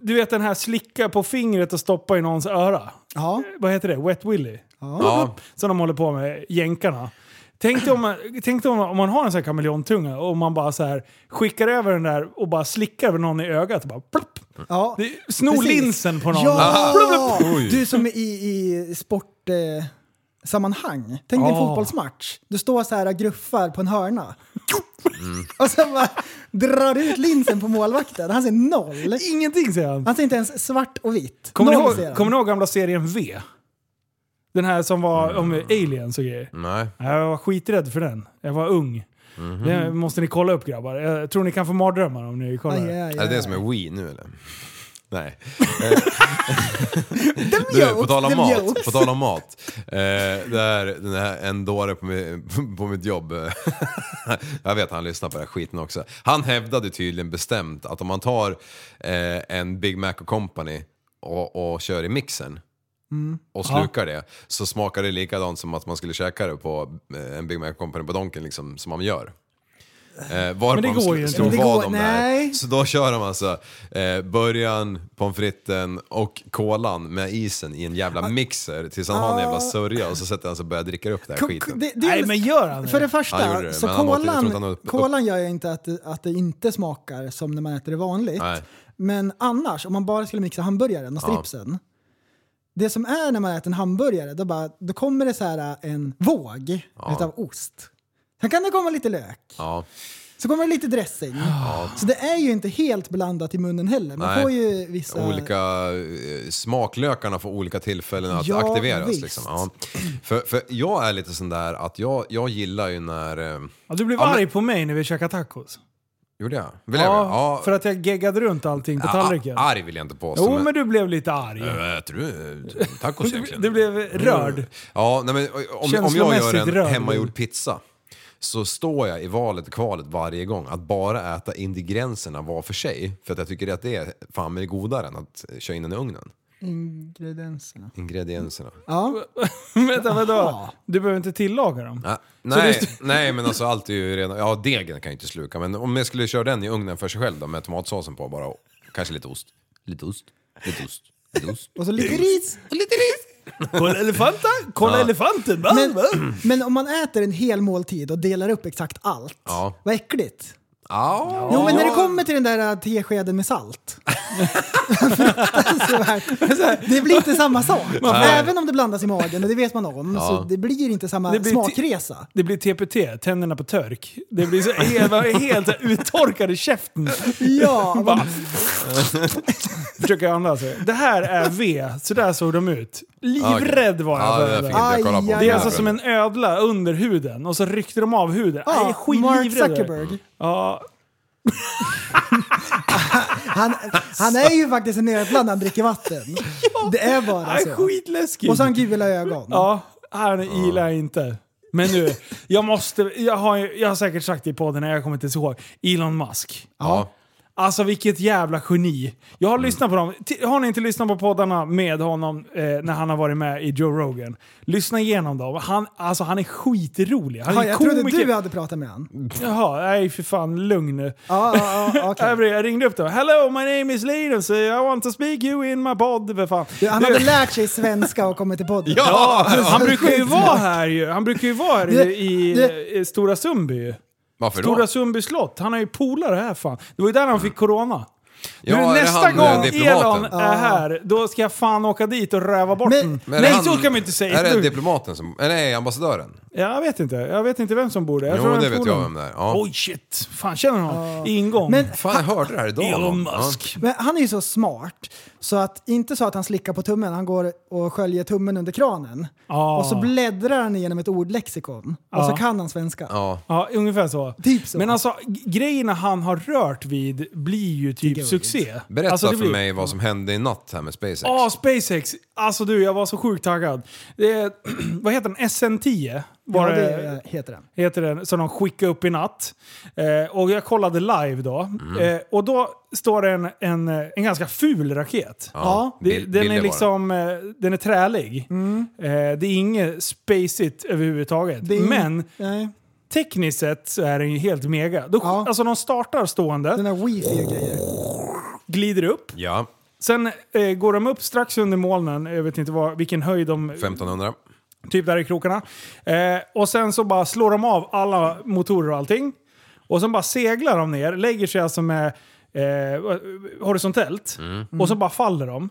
du vet den här slicka på fingret och stoppa i någons öra. Ja. Vad heter det? Wet Willy? Ja. Som de håller på med, jänkarna. Tänk dig om man, tänk dig om man, om man har en sån här kameleontunga och man bara så här skickar över den där och bara slickar över någon i ögat. Bara, plupp. Ja, det, snor precis. linsen på någon. Ah! Ja! Plupp, plupp. Du som är i, i sport... Eh, sammanhang. Tänk dig en Ja. fotbollsmatch. Du står så här och gruffar på en hörna. (laughs) Och sen bara drar ut linsen på målvakten. Han säger noll. Ingenting säger han. Han säger inte ens svart och vitt. Kommer ni, Alltså, noll säger ihåg, han. kommer ni ihåg gamla serien V? Den här som var om Mm. aliens och grejer. Nej. Jag var skiträdd för den. Jag var ung. Mhm. Det måste ni kolla upp grabbar. Jag tror ni kan få mardrömmar om ni kollar. Aj, aj, aj. Är det det som är Wii nu eller? (laughs) Nej. Eh, du, på jokes, tal om dem mat. jokes. På tal om mat. Eh, där, den här, en dåre på, mi- (laughs) på mitt jobb. eh, jag vet han lyssnar på den här skiten också. Han hävdade tydligen bestämt att om man tar eh, en Big Mac och Company och, och kör i mixen Mm. och slukar det så smakar det likadant som att man skulle käka det på eh, en Big Mac Company på Donken liksom, som man gör. Eh, varpå Men det de går slog- ju inte. slog Men det vad går- om det här. nej. Så då kör de alltså eh, början, pommes fritesen och kolan med isen i en Ah. jävla mixer tills han har en jävla sörja och så sätter han sig och börjar dricka upp den här skiten. Det- det- För det Han första, gjorde det, så men han åt- jag tror inte kolan, han åt- upp- kolan gör ju inte att, det- att det inte smakar som när man äter det vanligt. Nej. Men annars, om man bara skulle mixa hamburgaren och Ja. stripsen. Det som är när man äter en hamburgare, då, bara, då kommer det så här äh, en våg Ja. utav ost. Sen kan det komma lite lök, Ja. så kommer det lite dressing. Ja. Så det är ju inte helt blandat i munnen heller. Man Nej. får ju vissa... Olika eh, smaklökarna får olika tillfällen att Ja, aktiveras. visst. Liksom. Ja. För, för jag är lite sån där att jag, jag gillar ju när... eh, Ja, du blev Ja, men- arg på mig när vi käkade tacos. Gjorde jag? Vill jag göra? ja, För att jag geggade runt allting på Ja, tallriken. Arg vill jag inte påstå. jo, men du blev lite arg. Äh, Äter du eh, (laughs) tacos egentligen? Mm. Du blev rörd. Ja, nej, men om, om jag Känslomässigt gör en rörd. hemmagjord pizza så står jag i valet och kvalet varje gång att bara äta ingredienserna var för sig. För att jag tycker att det är fan mig godare än att eh, köra in den i ugnen. Ingredienserna. Ingredienserna. Mm. Ja. (laughs) Vänta, vadå? Jaha. Du behöver inte tillaga dem. Ja, (laughs) Så nej, det- nej, men alltså allt är ju redan... Ja, degen kan jag inte sluka. Men om jag skulle köra den i ugnen för sig själv då med tomatsåsen på bara. Och kanske lite ost. Lite ost. Lite ost. (laughs) Lite ost. Och så lite ris. Och lite ris. Kolla elefanten! Kolla Ja. elefanten! Va? Men, Va? men om man äter en hel måltid och delar upp exakt allt, Ja. vad äckligt. Ja. Jo men när det kommer till den där äh, teskeden med salt. (laughs) Fruktansvärt. det blir inte samma sak. Nej. Även om det blandas i magen och det vet man om. Ja. Så det blir inte samma Det blir ti- smakresa. Det blir TPT, tänderna på törk. Det blir så (laughs) helt, var helt så här uttorkad i käften. (laughs) Ja, Bara, (laughs) försöker andas. Det här är V, så där såg de ut. Livrädd var jag. Ja, för det. det där fick inte jag kolla på. Det är alltså som en ödla under huden och så ryckte de av huden. Ja, Jag är Mark skitlivrädd. Zuckerberg. Ja, Han, han är ju faktiskt en ödla när han dricker vatten. Det är bara han är så. skitläskig. Och så har han gula ögon. Ja, han gillar jag inte. Men nu, jag måste, jag har, ju- jag har säkert sagt det i podden, jag kommer inte ens ihåg. Elon Musk. Ja. Alltså vilket jävla geni. Jag Mm. har lyssnat på dem. T- Har ni inte lyssnat på poddarna med honom eh, när han har varit med i Joe Rogan? Lyssna igenom dem. Han, alltså, han är skitrolig. Han är Ja, jag trodde komiker. du hade pratat med han. Jaha, nej för fan, lugn nu. Ja, ja, okay. (laughs) Jag ringde upp dem. Hello, my name is Linus. I want to speak you in my pod. För fan. Han Du- hade lärt sig svenska och kommit till podden. Ja, han brukar ju vara här ju. Han brukar ju vara här i, i, i Stora Sundby ju. Varför då? Stora Sundby slott. Han är ju polare här fan. Det var ju där han fick corona. Ja, är du, det nästa han, eh, gång Elon diplomaten? är här, då ska jag fan åka dit och röva bort den. Men är Nej, det han- så kan man inte säga. Är det Du- diplomaten som... eller Nej, ambassadören. Jag vet inte. Jag vet inte vem som bor där. Jag Jo, tror men han det vet bor jag där. vem det är. Ja. Oj shit. Fan, känner honom. Ingång. Fan, jag hörde det här idag. Elon någon. Ja. Musk. Men han är ju så smart, så att inte så att han slickar på tummen, han går och sköljer tummen under kranen. Ja. Och så bläddrar han igenom ett ordlexikon. Och Ja. så kan han svenska. Ja. Ja, ungefär så. Typ så. Men alltså, g- grejerna han har rört vid blir ju typ succé. Berätta alltså, det för blir- mig vad som hände i natt här med SpaceX. Ja, SpaceX. Alltså du, jag var så sjukt taggad. Det är, (clears throat) vad heter den? SN10? Var ja, det, det heter den. heter den, som de skickade upp i natt. Eh, och jag kollade live då. Mm. Eh, och då står det en, en, eh, en ganska ful raket. Ja, det, bil- den billig är var liksom eh, den är trälig. Eh, det är inget spacigt överhuvudtaget. Det är- Men Nej. tekniskt sett så är den ju helt mega. Då, Alltså de startar stående. Den här wifi och grejer. Glider upp. Ja, Sen eh, går de upp strax under molnen, jag vet inte vad, vilken höjd de... 1500. Typ där i krokarna. Eh, och sen så bara slår de av alla motorer och allting. Och sen bara seglar de ner, lägger sig alltså med eh, horisontellt. Mm. Och så bara faller de.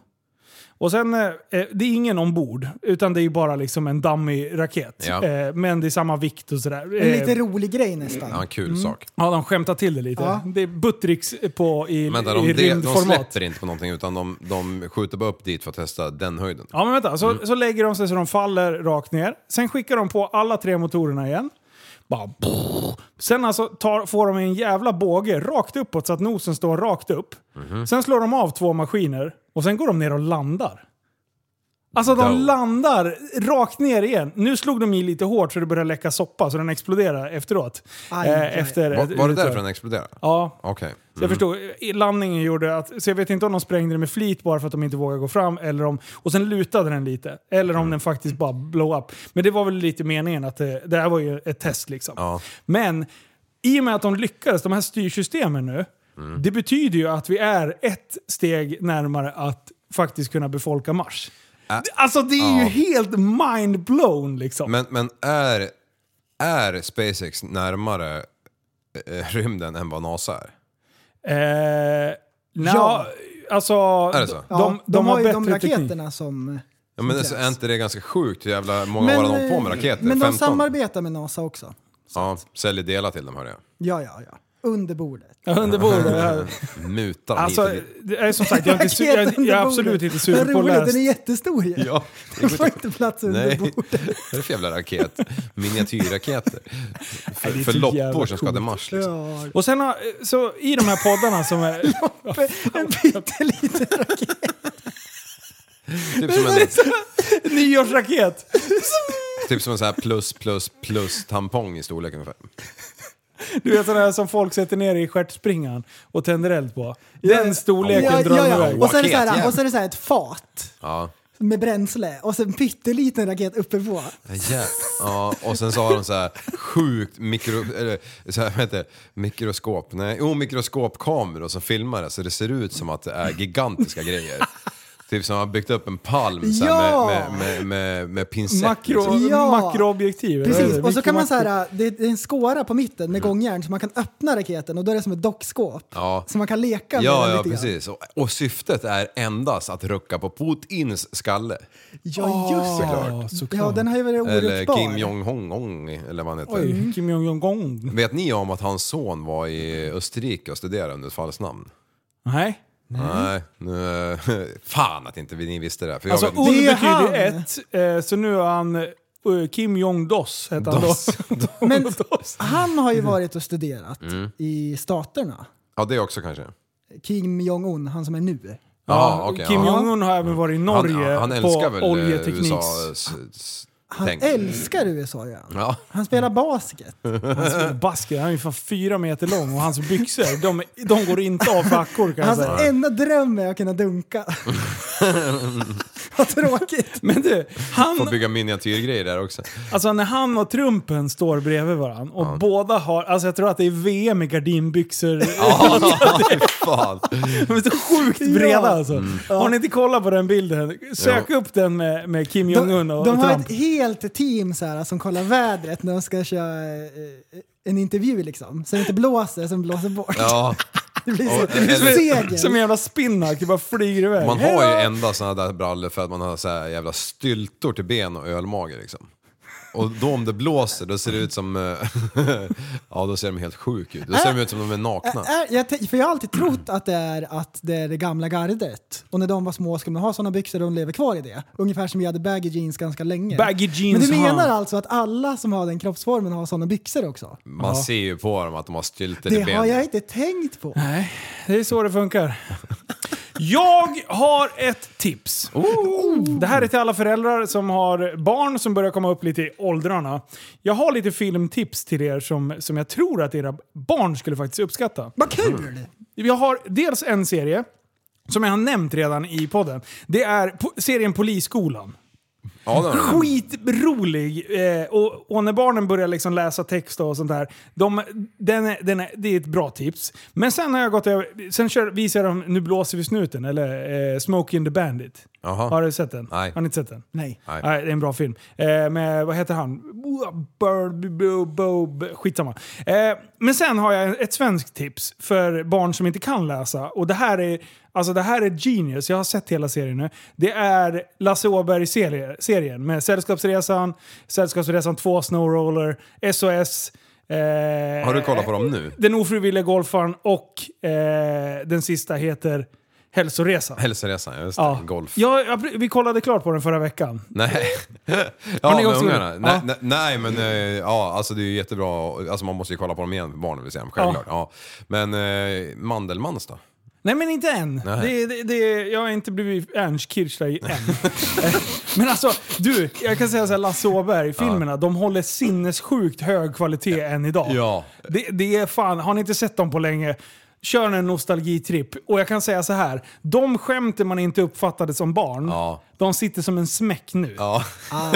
Och sen, eh, det är ingen ombord, utan det är ju bara liksom en dummy-raket. Ja. Eh, men det är samma vikt och sådär. En Eh, lite rolig grej nästan. Ja, en kul Mm. sak. Ja, de skämtar till det lite. Ja. Det är Buttricks på i, Vänta, i de, de, de rymdformat. släpper inte på någonting utan de, de skjuter bara upp dit för att testa den höjden. Ja men vänta, så, Mm. så lägger de sig så de faller rakt ner. Sen skickar de på alla tre motorerna igen. Bara, sen alltså tar, får de en jävla båge rakt uppåt så att nosen står rakt upp. Mhm. Sen slår de av två maskiner och sen går de ner och landar. Alltså de Dope. landar rakt ner igen. Nu slog de i lite hårt så det började läcka soppa så den exploderar efteråt. Aj, Eh, aj. Var, var det därför den exploderade? Ja. Okej. Så jag förstod, i- landningen gjorde att, så jag vet inte om de sprängde den med flit bara för att de inte vågade gå fram, eller om, och sen lutade den lite. Eller om Mm. den faktiskt bara blow up. Men det var väl lite meningen att eh, det, det här var ju ett test liksom. Men i och med att de lyckades, de här styrsystemen nu, Mm. det betyder ju att vi är ett steg närmare att faktiskt kunna befolka Mars. Alltså det är ju Ja. helt mind-blown liksom. Men, men är, är SpaceX närmare eh, rymden än vad NASA är? Eh, ja. Ja. Alltså, Är det så? Ja, de, de, har, har ju bättre de teknik. raketerna som... Ja, men det, är inte det ganska sjukt hur jävla många år de har på med eh, raketer? Men de 15? samarbetar med NASA också. Ja, säljer delar till dem hörde jag. Ja, ja, ja. Under bordet. Ja, under bordet, ja. (laughs) Mutar dem Alltså, hit och dit. det är som sagt, jag är, inte (laughs) su- jag är, jag är absolut inte Vad sugen på att roligt, läsa. Den är jättestor ju. Ja, Den (laughs) får inte plats under Nej, bordet. (laughs) vad är det för jävla raket? Miniatyrraketer. För, det är för typ så jävla loppor som ska till Mars liksom. Ja. Och sen har- så i de här poddarna som (laughs) är... En pytteliten Typ som en, (laughs) Nyårsraket! typ som en sån här plus plus plus tampong i storlek ungefär. Du vet sådana här som folk sätter ner i stjärtspringan och tänder eld på. Den storleken Ja, drar ja, de ja. iväg. Och så är det så här, och så är det så här ett fat Ja. med bränsle och sen pytteliten raket uppe på. Ja, ja, och sen så har de så här sjukt mikro, eller, så här, vad heter det? mikroskop, nej, oh, mikroskopkameror som filmar det så det ser ut som att det är gigantiska grejer. Typ som har byggt upp en palm så här, Ja! med, med, med, med, med pincett. Makro, liksom. Ja. Makroobjektiv. eller vad är Precis, det? och så kan man så Mikromakro- här, det är en skåra på mitten med gångjärn så man kan öppna raketen och då är det som ett dockskåp. Mm. Ja. Så man kan leka med Ja, den ja lite grann. precis. Och, och syftet är endast att rucka på Putins skalle. Ja, just Såklart. det. Ja, den har ju varit Eller oruppbar. Kim Jong-Hong, eller vad han heter. Oj, Kim Jong-Jong. Vet ni om att hans son var i Österrike och studerade under ett falskt namn? Nej. Nej, nu, eh, (laughs) fan att inte vi- ni visste det. här, För jag Alltså, vet- Ol Det är betyder han. ett, eh, så nu är han eh, Kim Jong-Dos, heter han då. (laughs) Dos. Men han har ju varit och studerat Mm. i staterna. Ja, det också kanske. Kim Jong-Un, han som är nu. Ja, okej, Kim ja. Jong-Un har även varit i Norge han, han på älskar väl eh, oljetekniks... USAs Han Tänk. älskar USA gör han. Ja. Han spelar Mm. basket. Han spelar basket, han är ju fan fyra meter lång och hans byxor, de, de går inte av fackor kan jag Hans säga. enda dröm är att kunna (laughs) dunka. Vad tråkigt. Men du, han Får bygga miniatyrgrejer där också. Alltså när han och Trumpen står bredvid varandra och båda har, alltså jag tror att det är VM i gardinbyxor. (laughs) Ja, fy fan. De är så sjukt breda Ja. alltså. Mm. Har ni inte kollat på den bilden? Sök upp den med, med Kim Jong-Un och, De och har Trump. ett helt team så här, som kollar vädret när de ska köra eh, eh, en intervju liksom. Så det inte blåser, som blåser bort. Ja. (laughs) Det blir Och- så, det blir som eller- segel. Som en jävla spinnack, det bara flyger iväg. Man har ju enda sådana där brallor för att man har så här jävla styltor till ben och ölmage liksom. Och då om det blåser, då ser det ut som... eh, (laughs) ja, då ser de helt sjuka ut. Då ser de ut som de är nakna. Ä- är- jag, te- för jag har alltid trott att det är, att det, är det gamla gardet. Och när de var små skulle man ha sådana byxor och de lever kvar i det. Ungefär som vi hade baggy jeans ganska länge. Baggy jeans, Men du menar ha. alltså att alla som har den kroppsformen har sådana byxor också? Man ser ju på dem att de har Det styltor till har jag ben. inte tänkt på. Nej, det är så det funkar. Jag har ett tips. Det här är till alla föräldrar som har barn som börjar komma upp lite i åldrarna. Jag har lite filmtips till er som, som jag tror att era barn skulle faktiskt uppskatta. Vad Mm. kul! Jag har dels en serie som jag har nämnt redan i podden. Det är po- serien Polisskolan. Ja, det har de. Skitrolig! Eh, och, och när barnen börjar liksom läsa text och sånt där, de, den är, den är, det är ett bra tips. Men sen har jag gått över, sen kör, visar de Nu blåser vi snuten, eller eh, Smokey and the Bandit. Jaha. Har du sett den? Nej. Har ni inte sett den? Nej. Nej. Nej, det är en bra film. Eh, med, vad heter han? Bird, bo, bo, bo, skitsamma. Eh, men sen har jag ett svenskt tips för barn som inte kan läsa. Och det här är, alltså det här är genius. Jag har sett hela serien nu. Det är Lasse Åberg-serien med Sällskapsresan, Sällskapsresan 2, Snowroller, SOS. eh, Har du kollat på dem nu? Den ofrivilliga golfaren och eh, den sista heter Hälsoresan. Hälsoresan, just det. Ja. Golf. Ja, ja, vi kollade klart på den förra veckan. (laughs) Nej. Har Ja, ni med också ungarna. gjort? Nej, Ja. nej, nej, men eh, ja, alltså det är ju jättebra. Alltså man måste ju kolla på dem igen, barnen vill se dem, självklart. Ja. Men eh, Mandelmanns då? Nej men inte än. Nej. Det, det, det, jag har inte blivit Ernst Kirchsteiger än. (laughs) Eh, men alltså, du, jag kan säga såhär, Lasse Åberg-filmerna, de håller sinnessjukt hög kvalitet än idag. Ja. Det, det är fan, har ni inte sett dem på länge, kör en nostalgitripp. Och jag kan säga så här, de skämten man inte uppfattade som barn, Ja. de sitter som en smäck nu. Ja.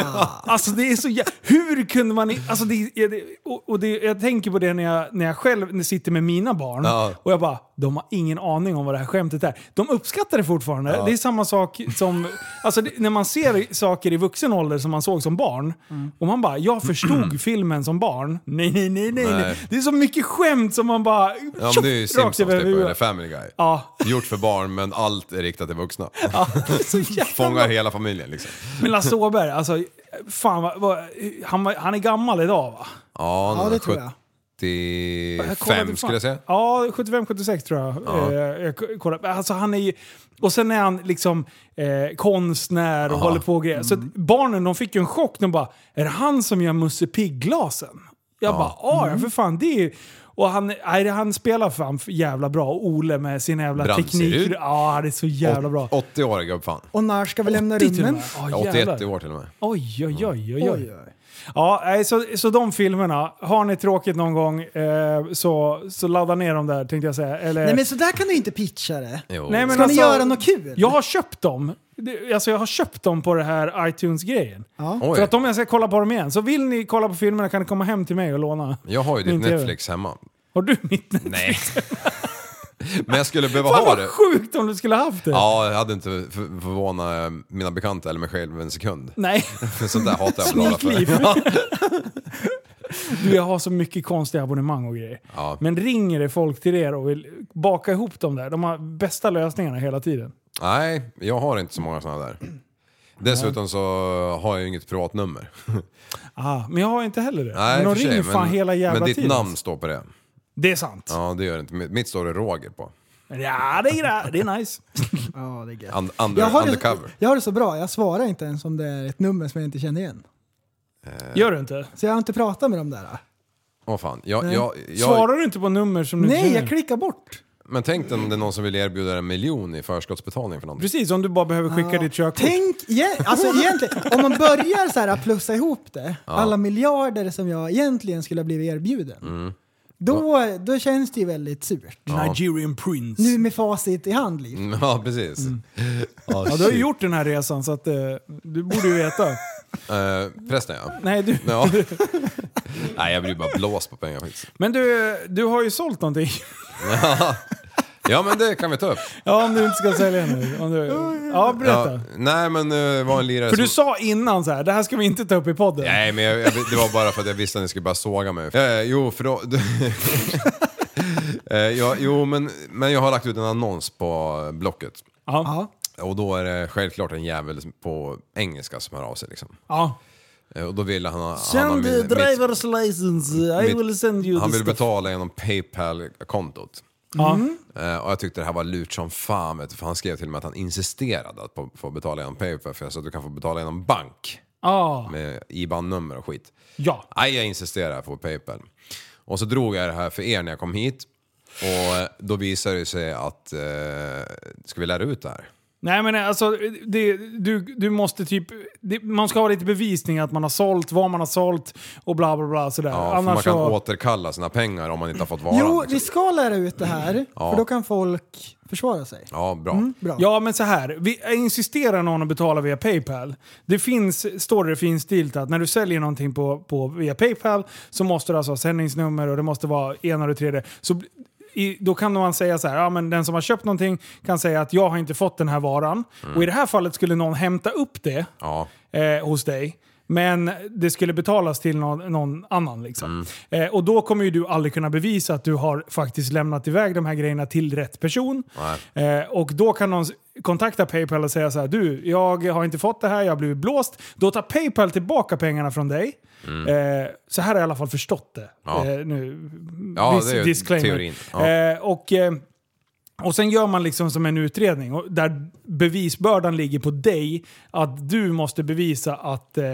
Alltså det är så jä- Hur kunde man... i- Alltså det, är- det, och och det, jag tänker på det när jag, när jag själv sitter med mina barn. Ja. Och jag bara, de har ingen aning om vad det här skämtet är. De uppskattar det fortfarande. Det är samma sak som... Alltså det, när man ser saker i vuxen ålder som man såg som barn. Och man bara, jag förstod filmen som barn. Nej, nej, nej, nej, nej. Mm. Nej. Det är så mycket skämt som man bara... ja men tjoff, det är ju rakt Simpsons över typ, huvudet. eller Family Guy. Ja. Gjort för barn, men allt är riktat till vuxna. (laughs) ja, det är så jävla Fångar hela familjen liksom. Men Lasse Åberg, alltså... Fan, vad, vad, han, var- han är gammal idag va? Ja, Ja, den det är tror jag. Jag kollade 75 fan- skulle jag säga. Ja, 75-76 tror jag. Eh, jag k- kollade. Alltså han är ju, och sen är han liksom eh, konstnär och håller på och grejer. Så att barnen de fick ju en chock. De bara, är det han som gör Musse Pigg-glasen? Jag bara, ja ja, för fan. Det är ju... Och han, nej, det- han spelar fan för jävla bra. Och Ole med sin jävla Bramserud. teknik. Ja, han är så jävla bra. 80-årig gubbfan. Och när ska vi lämna 80 till och rummen? med. Ja, Ja, jävlar. 81 i år till och med. Oj, oj, oj, oj, Oj, oj. oj. Ja, nej, så, så de filmerna. Har ni tråkigt någon gång eh, så, så ladda ner dem där tänkte jag säga. Eller, Nej men sådär kan du inte pitcha det. Jo. Nej, men Ska ni alltså- göra något kul? Jag har köpt dem. Det- Alltså jag har köpt dem på det här iTunes-grejen. Ja. Oj, För att om jag ska kolla på dem igen. Så vill ni kolla på filmerna kan ni komma hem till mig och låna. jag har ju ditt min TV. Netflix hemma. Har du mitt Netflix? (laughs) Nej. (laughs) men jag skulle behöva Fan ha vad det. sjukt om du skulle ha haft det! Ja, jag hade inte för- förvånat eh, mina bekanta eller mig själv en sekund. Nej, Sånt där hatar jag betala snikliv. för. du, jag har så mycket konstiga abonnemang och grejer. Ja. Men ringer det folk till er och vill baka ihop dem där? De har bästa lösningarna hela tiden. Nej, jag har inte så många såna där. Dessutom så har jag ju inget privatnummer. Ah, men jag har inte heller det. Nej, men för de sig, ringer fan men, hela jävla Men ditt tiden. namn står på det. Det är sant. Ja, Ja, det gör det inte. Mitt mitt står det Roger på. det, är, gra- det är nice. Ja, det är gött. Und, under, jag, har det, undercover. jag har det så bra, jag svarar inte ens om det är ett nummer som jag inte känner igen. Gör du inte? Så jag har inte pratat med dem där. Åh fan. Jag, Nej. jag, jag, Svarar du inte på nummer som du Nej, känner? jag klickar bort. Men tänk dig om det är någon som vill erbjuda en miljon i förskottsbetalning för någonting. Precis, om du bara behöver skicka Ja. ditt körkort. Tänk, yeah, alltså egentligen, om man börjar så här plussa ihop det, Ja. alla miljarder som jag egentligen skulle ha blivit erbjuden, Mm. då, då känns det ju väldigt surt. Ja. Nigerian prince. Nu med facit i hand, Liv. Mm, (laughs) Ja, precis. Ja, Ja, du har ju gjort den här resan så att eh, du borde ju (laughs) veta. Eh, prästen ja. Nej, du- Ja. Nej, jag blir bara blåst på (laughs) pengar faktiskt. Men du, du har ju sålt någonting. (laughs) Ja. ja, men det kan vi ta upp. Ja, om du inte ska sälja nu. Om du, ja, berätta. Ja, nej, men eh, det var en lirare För du som... sa innan så här, det här ska vi inte ta upp i podden. Nej, men jag, jag, det var bara för att jag visste att ni skulle bara såga mig. Eh, jo, för då... (laughs) eh, ja, jo, men, men jag har lagt ut en annons på eh, Blocket. Ja. Och då är det självklart en jävel på engelska som hör av sig liksom. Ja. Eh, Och då ville han... ha- han ha Send min- the mitt- driver's license, I mitt- will send you Han the ville stuff. betala genom Paypal-kontot. Ja. Eh, och jag tyckte det här var lurt som fan vet du, för han skrev till och med att han insisterade att få- få betala genom Paypal för jag sa att du kan få betala genom bank Ja. med IBAN-nummer och skit. Ja. Nej, jag insisterar på Paypal. Och så drog jag det här för er när jag kom hit och eh, då visade det sig att, eh, ska vi lära ut det här? Nej men alltså, det, du, du måste typ... Det, man ska ha lite bevisning att man har sålt, vad man har sålt och bla bla bla sådär. Ja, för man kan återkalla sina pengar om man inte har fått varan. Jo, liksom. vi ska lära ut det här, Ja. för då kan folk försvara sig. Ja, bra. Mm. Ja, men så här. Vi insisterar någon att betala via Paypal. Det finns, står det finstilt att när du säljer någonting på, på, via Paypal så måste du alltså ha sändningsnummer och det måste vara ena och det tredje. Så bl- i, då kan man säga så här, ja, men den som har köpt någonting kan säga att jag har inte fått den här varan. Och i det här fallet skulle någon hämta upp det Ja. eh, hos dig. Men det skulle betalas till någon, någon annan. Liksom. Eh, och då kommer ju du aldrig kunna bevisa att du har faktiskt lämnat iväg de här grejerna till rätt person. Eh, och då kan någon s- kontakta Paypal och säga så här, du, jag har inte fått det här, jag har blivit blåst. Då tar Paypal tillbaka pengarna från dig. Eh, så här har jag i alla fall förstått det. Ja. Eh, nu, Ja, dis- det är ju teorin. Ja. Eh, och, eh, och sen gör man liksom som en utredning och där bevisbördan ligger på dig. Att du måste bevisa att, eh,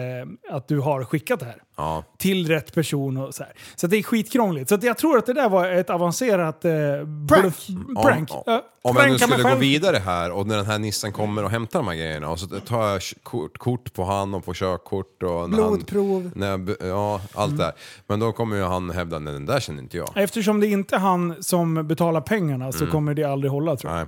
att du har skickat det här. Ja. Till rätt person och så här. Så att det är skitkrångligt. Så att jag tror att det där var ett avancerat... Eh, bluff- prank. Ja, Ja, Om jag nu pranka mig skulle gå själv. vidare här och när den här nissen kommer och hämtar de här grejerna och så tar jag kort, kort på han och på körkort och... när han- Blodprov. När jag, b- ja, allt Mm. det här. Men då kommer ju han hävda, nej den där känner inte jag. Eftersom det inte är han som betalar pengarna så Mm. kommer det aldrig hålla tror jag. Nej.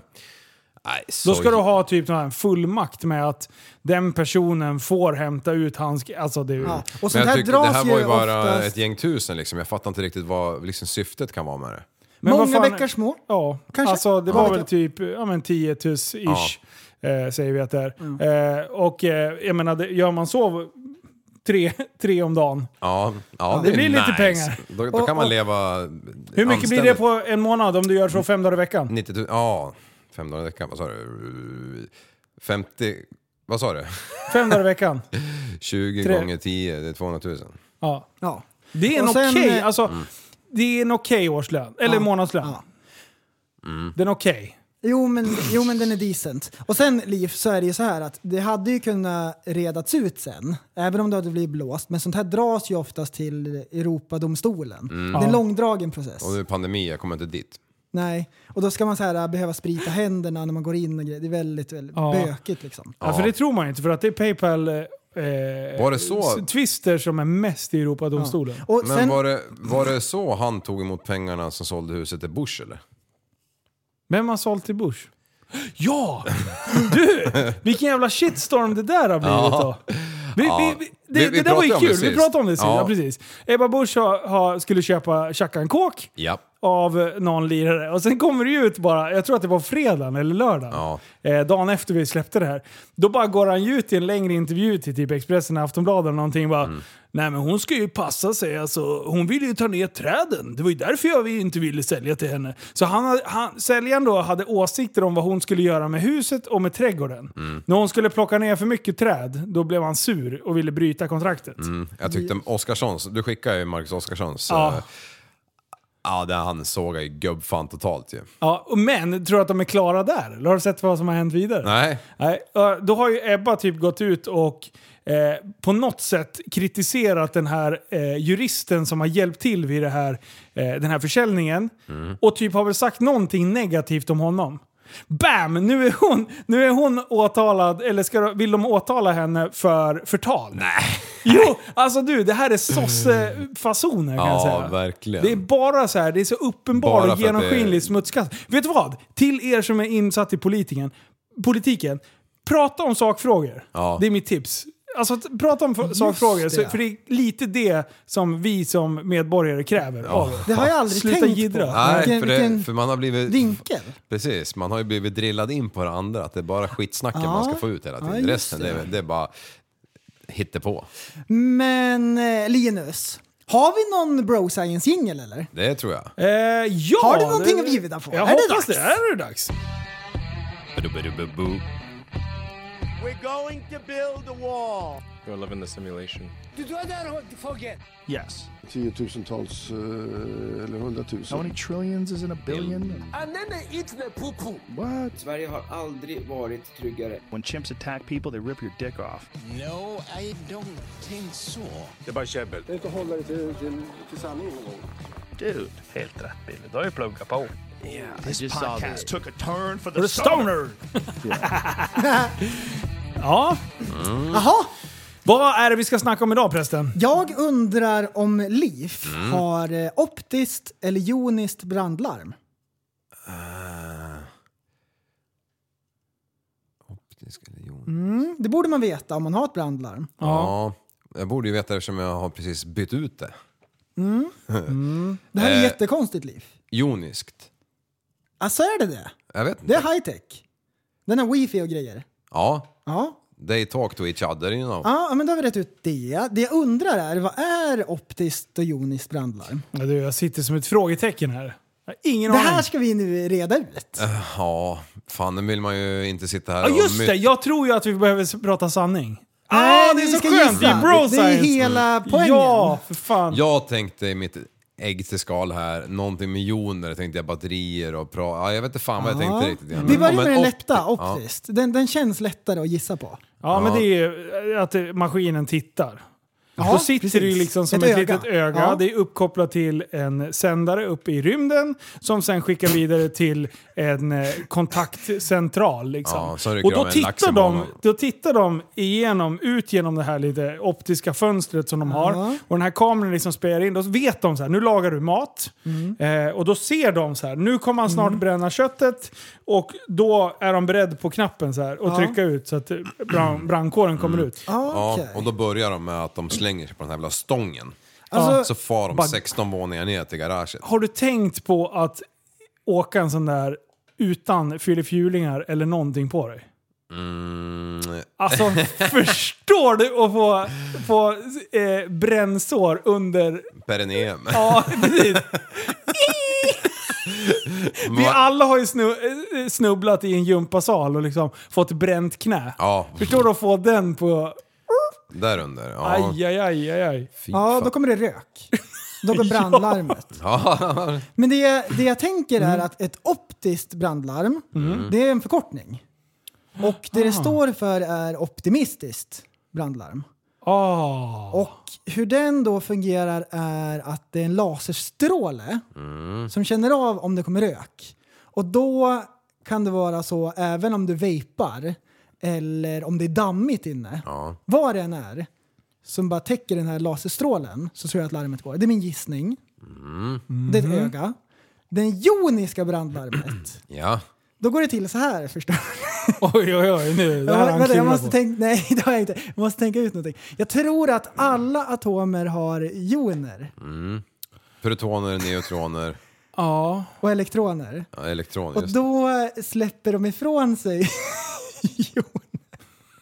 Nej, Då så- ska du ha typ en fullmakt med att den personen får hämta ut hans... Alltså det är ju... Men jag tycker- det här var ju bara ett gäng tusen liksom. Jag fattar inte riktigt vad liksom, syftet kan vara med det. vad fan- små. Ja, Kanske. alltså det Ja, var vet väl jag. typ ja, men 10 tus ish eh, säger vi att det är. Mm. Eh, och eh, jag menar, det- gör man så tre, tre om dagen. Ja, ja, Det är blir lite nice. pengar. Då, då Och- kan man och- leva Hur mycket blir det anständigt. på en månad om du Mm. gör så fem dagar i veckan? 90 000, ja, fem dagar i veckan, vad sa du? 50, vad sa du? (laughs) Fem dagar i (laughs) veckan? 20 Tre. gånger 10, det är 200 000. Ja. Det är en Och sen, okej eh, alltså, det är en okej årslön, eller Ja. Mm. månadslön. Den är okej. Jo men, jo men den är decent. Och sen Liv, så är det ju så här att det hade ju kunnat redats ut sen, även om det hade blivit blåst. Men sånt här dras ju oftast till Europadomstolen. Mm. Det är en Ja. långdragen process. Och nu är det pandemi, jag kommer inte dit. Nej, och då ska man så här, behöva sprita händerna när man går in och grejer. Det är väldigt, väldigt Ja. bökigt liksom. Ja. för det tror man ju inte för att det är Paypal eh, Var det så? s- twister som är mest i Europadomstolen. Men var, det, var det så han tog emot pengarna som sålde huset till Bush eller? Vem har sålt till Bush? Ja! Du! Vilken jävla shitstorm det där har blivit Ja. då. Vi, Ja. vi, vi, det, Vi- vi det där var ju pratade om det kul, vi sist. pratade om det sist. Ja. Ja. precis. Ebba Busch har, har, skulle köpa Chackan Kåk Ja. av eh, någon lirare. Och sen kommer det ju ut bara, jag tror att det var fredagen eller lördagen, eh, dagen efter vi släppte det här. Då bara går han ju ut i en längre intervju till typ Expressen, Aftonbladet eller någonting bara Mm. Nej men hon ska ju passa sig, alltså, hon ville ju ta ner träden. Det var ju därför jag inte ville sälja till henne. Så han, hade- han, säljaren då hade åsikter om vad hon skulle göra med huset och med trädgården. När hon skulle plocka ner för mycket träd, då blev han sur och ville bryta kontraktet. Mm. Jag tyckte Oscarssons, du skickade ju Marcus Oscarssons. Ja. Ja. Ja, där han sågar ju gubbfan totalt ju. Ja, och men tror du att de är klara där? Eller har du sett vad som har hänt vidare? Nej. Nej, eh, då har ju Ebba typ gått ut och eh, på något sätt kritiserat den här eh, juristen som har hjälpt till vid det här, eh, den här försäljningen. Mm. Och typ har väl sagt någonting negativt om honom. Bam! Nu är hon, nu är hon åtalad, eller ska, de- vill de åtala henne för förtal. Nej. Jo, alltså du, det här är sossefasoner kan jag säga. Ja, verkligen. Det är bara så här, det är så uppenbar Bara och för att det- genomskinlig smutskast. Vet du vad? Till er som är insatt i politiken, politiken prata om sakfrågor. Ja. Det är mitt tips. Alltså att prata om f- sakfrågor, så, det. för det är lite det som vi som medborgare kräver av er. Det har jag aldrig Sluta tänkt jiddra. på. Nej, Vilken- för, det, vilken för man har blivit... vinkel. Precis, man har ju blivit drillad in på det andra, att det är bara skitsnacken Ja. man ska få ut hela Ja, tiden. just Resten, det. är- det är bara hittepå. Men eh, Linus, har vi någon bro science jingle eller? Mm. Det tror jag. Eh, ja, Har du någonting att bjuda på? Jag Är det hoppas dags? det. Är det dags? We're going to build a wall. You're living the simulation. Du dödar folket. Yes. Tiotusentals eh, eller hundratusen. How many trillions is in a billion? Anene itne pupu. What? Sverige har aldrig varit tryggare. When chimps attack people, they rip your dick off. No, I don't think so. Det är bara käbbel. Det är inte att hålla det till, till, till sanningen någon gång. Dude, helt rätt Billy. Du har ju pluggat på. Yeah, This podcast took a turn for the The stoner. Ja. Jaha, Vad är det vi ska snacka om idag prästen? jag undrar om Liv Mm. har eh, optiskt eller joniskt brandlarm? Mm, det borde man veta om man har ett brandlarm. Ja. Jag borde ju veta det eftersom jag har precis bytt ut det. Mm. Det här är Eh. jättekonstigt Liv. Joniskt. Alltså är det det? Jag vet Det inte. är high tech. Den har wifi och grejer. Ja. Ja. They talk to each other, you know. Ja, men då har vi rätt ut det. Det jag undrar är, vad är optiskt och joniskt brandlarm? Ja, du, jag sitter som ett frågetecken här. Jag har ingen det aning. här ska vi nu reda ut. Eh, Ja, fan nu vill man ju inte sitta här Ja och just my- det, jag tror ju att vi behöver s- prata sanning. ah, det är vi så ska skönt! Det gissa. är bro Det är science. hela Mm. poängen. Ja, för fan. Jag tänkte i mitt ägg till skal här, någonting med joner, tänkte jag batterier och pra... Ja, jag vet inte fan vad jag Ja. tänkte riktigt. Vi börjar Men med den opti- lätta, Ja. optiskt. Den, den känns lättare att gissa på. Ja, men det är ju eh, att eh, maskinen tittar. Ja, Då sitter det ju precis. liksom som ett, Ett öga. litet öga. Ja. Det är uppkopplat till en sändare uppe i rymden som sen skickar vidare till en eh, kontaktcentral. Liksom. Ja, så rycker och då de en lax i tittar, de, månaden. då tittar de igenom, ut genom det här lite optiska fönstret som de har. Ja. Och den här kameran liksom spelar in. Då vet de så här, nu lagar du mat. Mm. Eh, och då ser de så här, nu kommer han snart bränna köttet. Och då är de beredda på knappen så här och Ja. Mm. trycka ut så att eh, (clears throat) brand, brandkåren kommer ut. Ja, och då börjar de med att de slänger sig på den här jävla stången. Alltså- så far de Bara- 16 våningar ner till garaget. Har du tänkt på att åka en sån där utan fyllefjulingar eller någonting på dig? Mm. (laughs) Alltså förstår du att få, få eh, brännsår (laughs) under... Perineum. Ja, precis. (laughs) Vi alla har ju snu, eh, snubblat i en gympasal och liksom fått bränt knä. Ja, Förstår du att få den på... där under. Ja. Aj, aj, aj, aj, aj. Ja, då kommer det rök. Då (laughs) går brandlarmet. Ja. Men det, det jag tänker är att ett optiskt brandlarm, Mm. det är en förkortning. Och det det står för är optimistiskt brandlarm. Ah. Och hur den då fungerar är att det är en laserstråle Mm. som känner av om det kommer rök. Och då kan det vara så även om du vejpar eller om det är dammigt inne. Ja. Vad det än är som bara täcker den här laserstrålen så tror jag att larmet går. Det är min gissning. Mm. Det är ett öga. Den joniska brandlarmet. (laughs) Ja. Då går det till så här förstår Oj, oj, oj. Nu, det här har han Vänta, jag klurat måste på. tänka, Nej, (laughs) det har jag inte. Jag måste tänka ut någonting. Jag tror att alla atomer har joner Mm. Protoner, neutroner, ja. och elektroner. ja, elektroner. Och Just. då släpper de ifrån sig... (laughs)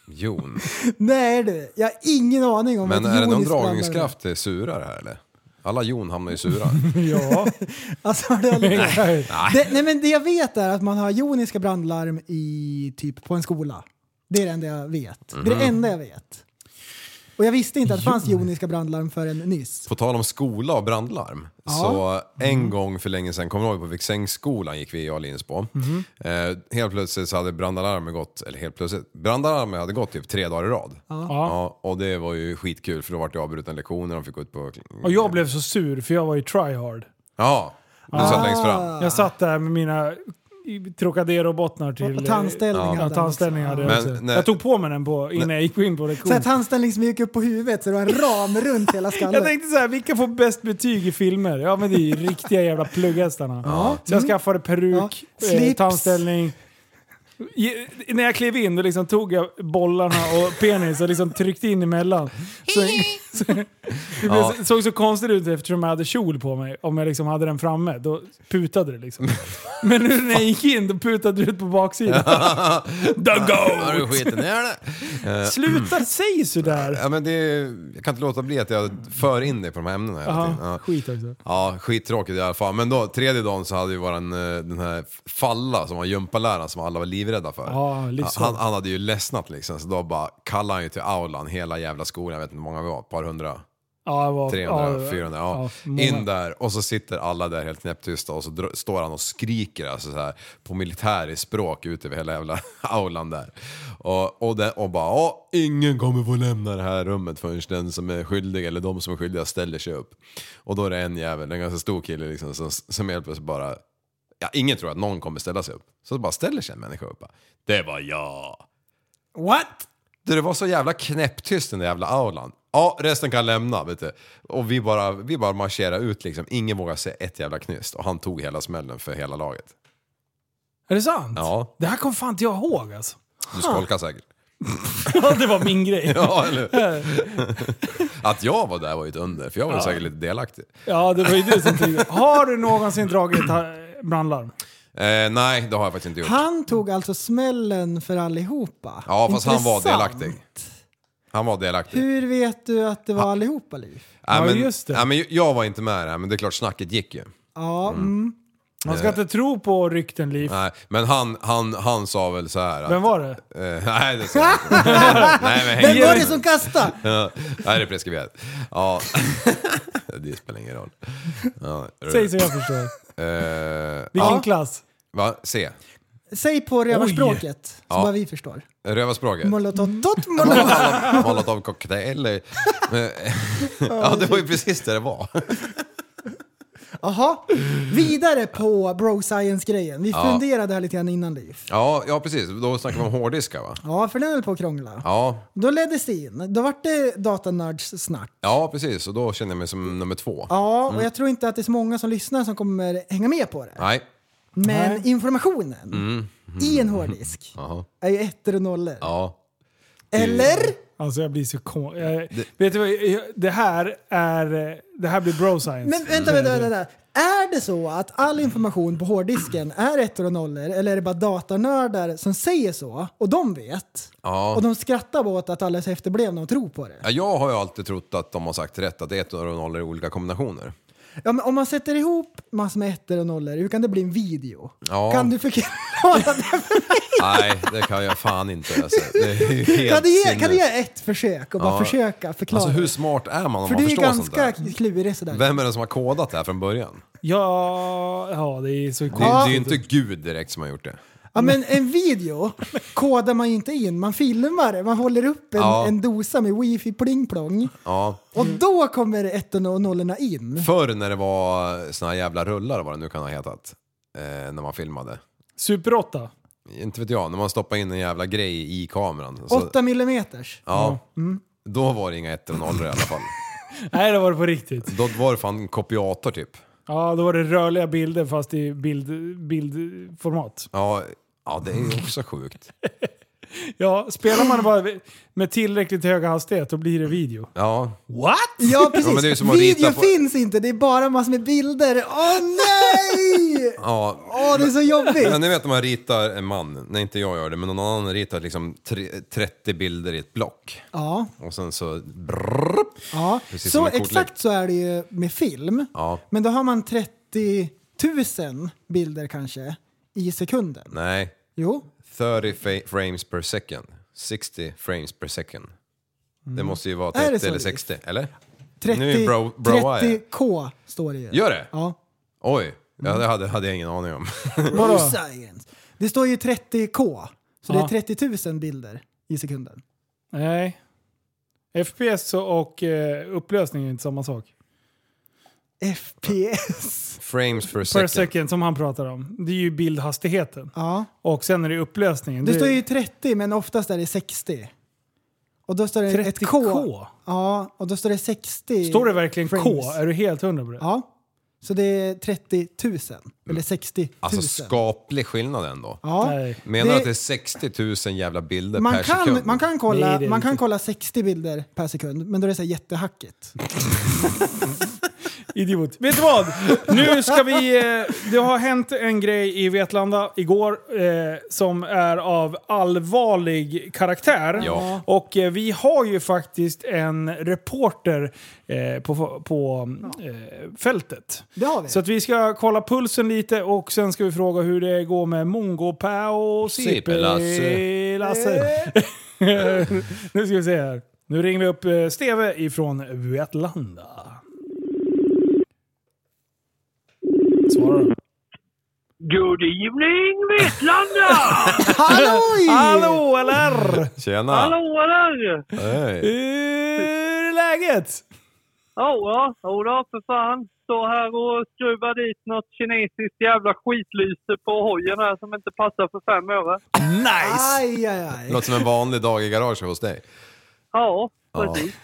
Jon. Nej du, jag har ingen aning (laughs) om Men vad ett är det någon joniskt brandlarm dragningskraft till surar här eller? Alla jon hamnar ju i sura. Ja. (laughs) alltså, har du (laughs) aldrig- Nej. Det, nej men det jag vet är att man har joniska brandlarm i typ på en skola. Det är det enda jag vet. Det är Mhm. det enda jag vet. Och jag visste inte att det fanns joniska brandlarm förrän nyss. På tal om skola och brandlarm. Ja. Mm. Så en gång för länge sedan, kommer du ihåg på Viksängsskolan gick vi jag och Linus på. Mm-hmm. Mhm. Eh, helt plötsligt så hade brandalarmet gått, eller helt plötsligt, brandalarmet hade gått typ tre dagar i rad. Ja. och det var ju skitkul för då vart det avbrutna lektioner, de fick gå ut på... Och jag blev så sur för jag var ju tryhard. Ja, du Ah. satt längst (laughs) fram. (laughs) Jag satt där med mina i- Trocadero-bottnar till... Och tandställningar Ja, hade han tandställningar också. hade jag Men också. när- Jag tog på mig den på, innan jag gick in Så på här lektion. tandställningsmyk liksom upp på huvudet så det var en ram (laughs) runt hela skallen. Jag tänkte så här, vilka får bäst betyg i filmer? Ja men det är ju riktiga jävla plugghästarna. Ja. Mm. Så jag skaffade peruk, Ja. eh, Slips. tandställning. I, när jag klev in då liksom tog jag bollarna och penis och liksom tryckte in emellan. (laughs) Så, så, det blev- Ja. såg så konstigt ut eftersom jag hade kjol på mig. Om jag liksom hade den framme, då putade det liksom. Men nu när jag gick in, då putade det ut på baksidan. The Har du skiten goat! ner det? Eh, Sluta säg sådär! Ja, men det, jag kan inte låta bli att jag för in dig på de här ämnena hela tiden. Jaha, skit också. Ja, skittråkigt i alla fall. Men då, tredje dagen så hade vi våran, eh, den här Falla som var gympaläraren som alla var livrädda för. Ja, livsfarlig. han, han hade ju ledsnat liksom, så då bara kallade han ju till aulan hela jävla skolan, jag vet inte hur många vi var, ett par hundra. Ja, det var, 300, ja, 400, ja. många. In där och så sitter alla där helt knäpptysta och så dr- står han och skriker alltså så här, på militäriskt språk ut över hela jävla (laughs) aulan där. Och, och, det, och bara "Ja, ingen kommer få lämna det här rummet förrän den som är skyldig eller de som är skyldiga ställer sig upp. Och då är det en jävel, en ganska stor kille liksom, som, som helt plötsligt bara Ja, ingen tror att någon kommer ställa sig upp. Så bara ställer sig en människa upp. bara, Det var jag. What? Du, det var så jävla knäpptyst den där jävla aulan. Ja, resten kan lämna, vet du. Och vi bara, vi bara marscherade ut liksom. Ingen vågade säga ett jävla knyst. Och han tog hela smällen för hela laget. Är det sant? Ja, Det här kom fan inte jag ihåg (laughs) alltså. du skolkar säkert. (laughs) Ja, det var min grej. Ja, eller (laughs) Att jag var där var ju ett under, för jag var ju Ja. säkert lite delaktig. (laughs) Ja, det var ju du som tyckte. Har du någonsin dragit ta- brandlarm? Eh, nej, det har jag faktiskt inte gjort. Han tog alltså smällen för allihopa. Ja, fast han var Intressant. delaktig. Han var delaktig. Hur vet du att det var allihopa, Liv? Ja, men, Ja, men jag var inte med där, men det är klart snacket gick ju. Ja, mm. Man ska Eh. inte tro på rykten, Liv. Nej, men han, han, han sa väl så här. att- Vem var det? Eh, (laughs) nej, det sa jag (laughs) inte. nej, men häng Vem var med. det som kastade? ja, nej, det är preskriberat. Ja. (laughs) det spelar ingen roll. Ja. Säg så jag förstår. Eh, Vilken ja. klass? Va? C? Säg på rövarspråket, så Ja. bara vi förstår. Rövarspråket? Molotov, dot, (laughs) molotov. Molotovcocktail? Eh, ja, det var ju precis det det var. Jaha, vidare på bro science-grejen. Vi Ja. funderade här lite grann innan Liv. Ja, ja precis. Då snackade vi om hårddiskar va? Ja, för den höll på att krångla. Ja, Då leddes det in. Då vart det datanörds snack. ja precis. Och då känner jag mig som nummer två. Ja, och Mm. jag tror inte att det är så många som lyssnar som kommer hänga med på det. Nej. Men informationen Mm. i en hårddisk Jaha. är ju ettor och nollor. Ja. Eller? Alltså jag blir så kom... Jag, vet du vad? Jag, det här är... eh, Det här blir bro science. Men vänta, vänta, vänta, vänta. Är det så att all information på hårddisken är ettor och nollor eller är det bara datanördar som säger så och de vet? Ja. Och de skrattar åt att alla är så efterblivna och tror på det. Ja, jag har ju alltid trott att de har sagt rätt, att det är ettor och nollor i (laughs) olika kombinationer. Ja, men om man sätter ihop massor med ettor och nollor, hur kan det bli en video? Ja. Kan du (laughs) förklara det? Nej, det kan jag fan inte. Alltså. Det är ju helt Kan du ge, sinnes. kan du ge ett försök och bara Ja. försöka förklara? Alltså hur smart är man om För man du är förstår sånt ganska där? klurig sådär. Vem är det som har kodat det här från början? Ja, ja, det är så Det, det är ju inte Gud direkt som har gjort det. Ja men en video kodar man ju inte in, man filmar det, man håller upp en, Ja. en dosa med wifi pling plong Ja. och då kommer ettorna och nollorna in. Förr när det var såna här jävla rullar, vad det nu kan ha hetat, eh, när man filmade. Super 8? Inte vet jag, när man stoppade in en jävla grej i kameran. Så, 8 millimeters. ja, Mm. då var det inga ettor och nollor i alla fall. Nej, det var det på riktigt. Då var det fan en kopiator typ. Ja, då var det rörliga bilder fast i bild, bildformat. Ja, ja det är ju också sjukt. Ja, spelar man bara med tillräckligt hög hastighet då blir det video. Ja. What? Ja precis, Ja, men det är ju som att video rita på- finns inte, det är bara massor med bilder. Åh nej! Ja. Åh det är så (laughs) Men jobbigt. ni vet när man ritar en man, nej inte jag gör det, men någon annan ritar liksom tre- 30 bilder i ett block. Ja, Och sen så... Brrrr, ja. Precis som så en kortlek. exakt så är det ju med film. ja, Men då har man 30 000 bilder kanske i sekunden. nej. Jo, 30 fa- frames per second. 60 frames per second. Det måste ju vara Mm. Är det 30 så, eller Liv? 60, eller? Nu är 30, ju bro, broa jag. 30K står det ju. Gör det? Ja. Mm. Oj, ja, det hade, hade jag ingen aning om. (laughs) Vadå? Science. Det står ju 30K. Så Ja. det är 30 000 bilder i sekunden. Nej. FPS och eh, upplösning är inte samma sak. (laughs) FPS? Frames per Per second. second som han pratar om. Det är ju bildhastigheten. Och sen är det upplösningen. Det Det- står ju 30 men oftast är det 60. Och då står det ett K. 30K? Ja, och då står det 60 Står det verkligen K? frames. Är du helt hundra på det? Ja. Så det är 30 000. Eller 60 000. Alltså skaplig skillnad ändå. Ja. Nej. Menar du Det- att det är 60 000 jävla bilder man, per kan, sekund? man, kan kolla, Nej, det är man inte. kan kolla 60 bilder per sekund, men då är det så här jättehackigt. Idiot. Vet du vad? Nu ska vi... Eh, det har hänt en grej i Vetlanda igår eh, som är av allvarlig karaktär. Ja. Och eh, vi har ju faktiskt en reporter eh, på, på eh, fältet. Det har vi. Så att vi ska kolla pulsen lite och sen ska vi fråga hur det går med Mongo, Pää och Sipe-Lasse. Sipe Lasse. Eh. (laughs) nu ska vi se här. Nu ringer vi upp eh, Steve ifrån Vetlanda. Svara då. Good evening Vetlanda! Halloj! Hallå eller? Tjena! Hallå eller? Hej! Hur är läget? Ja, ja, jo då för fan. Står här och skruvar dit något kinesiskt jävla skitlyse på hojen här som inte passar för fem öre. Nice! Aj, aj, aj. Låter som en vanlig dag i garaget hos dig. Ja, Ja. precis.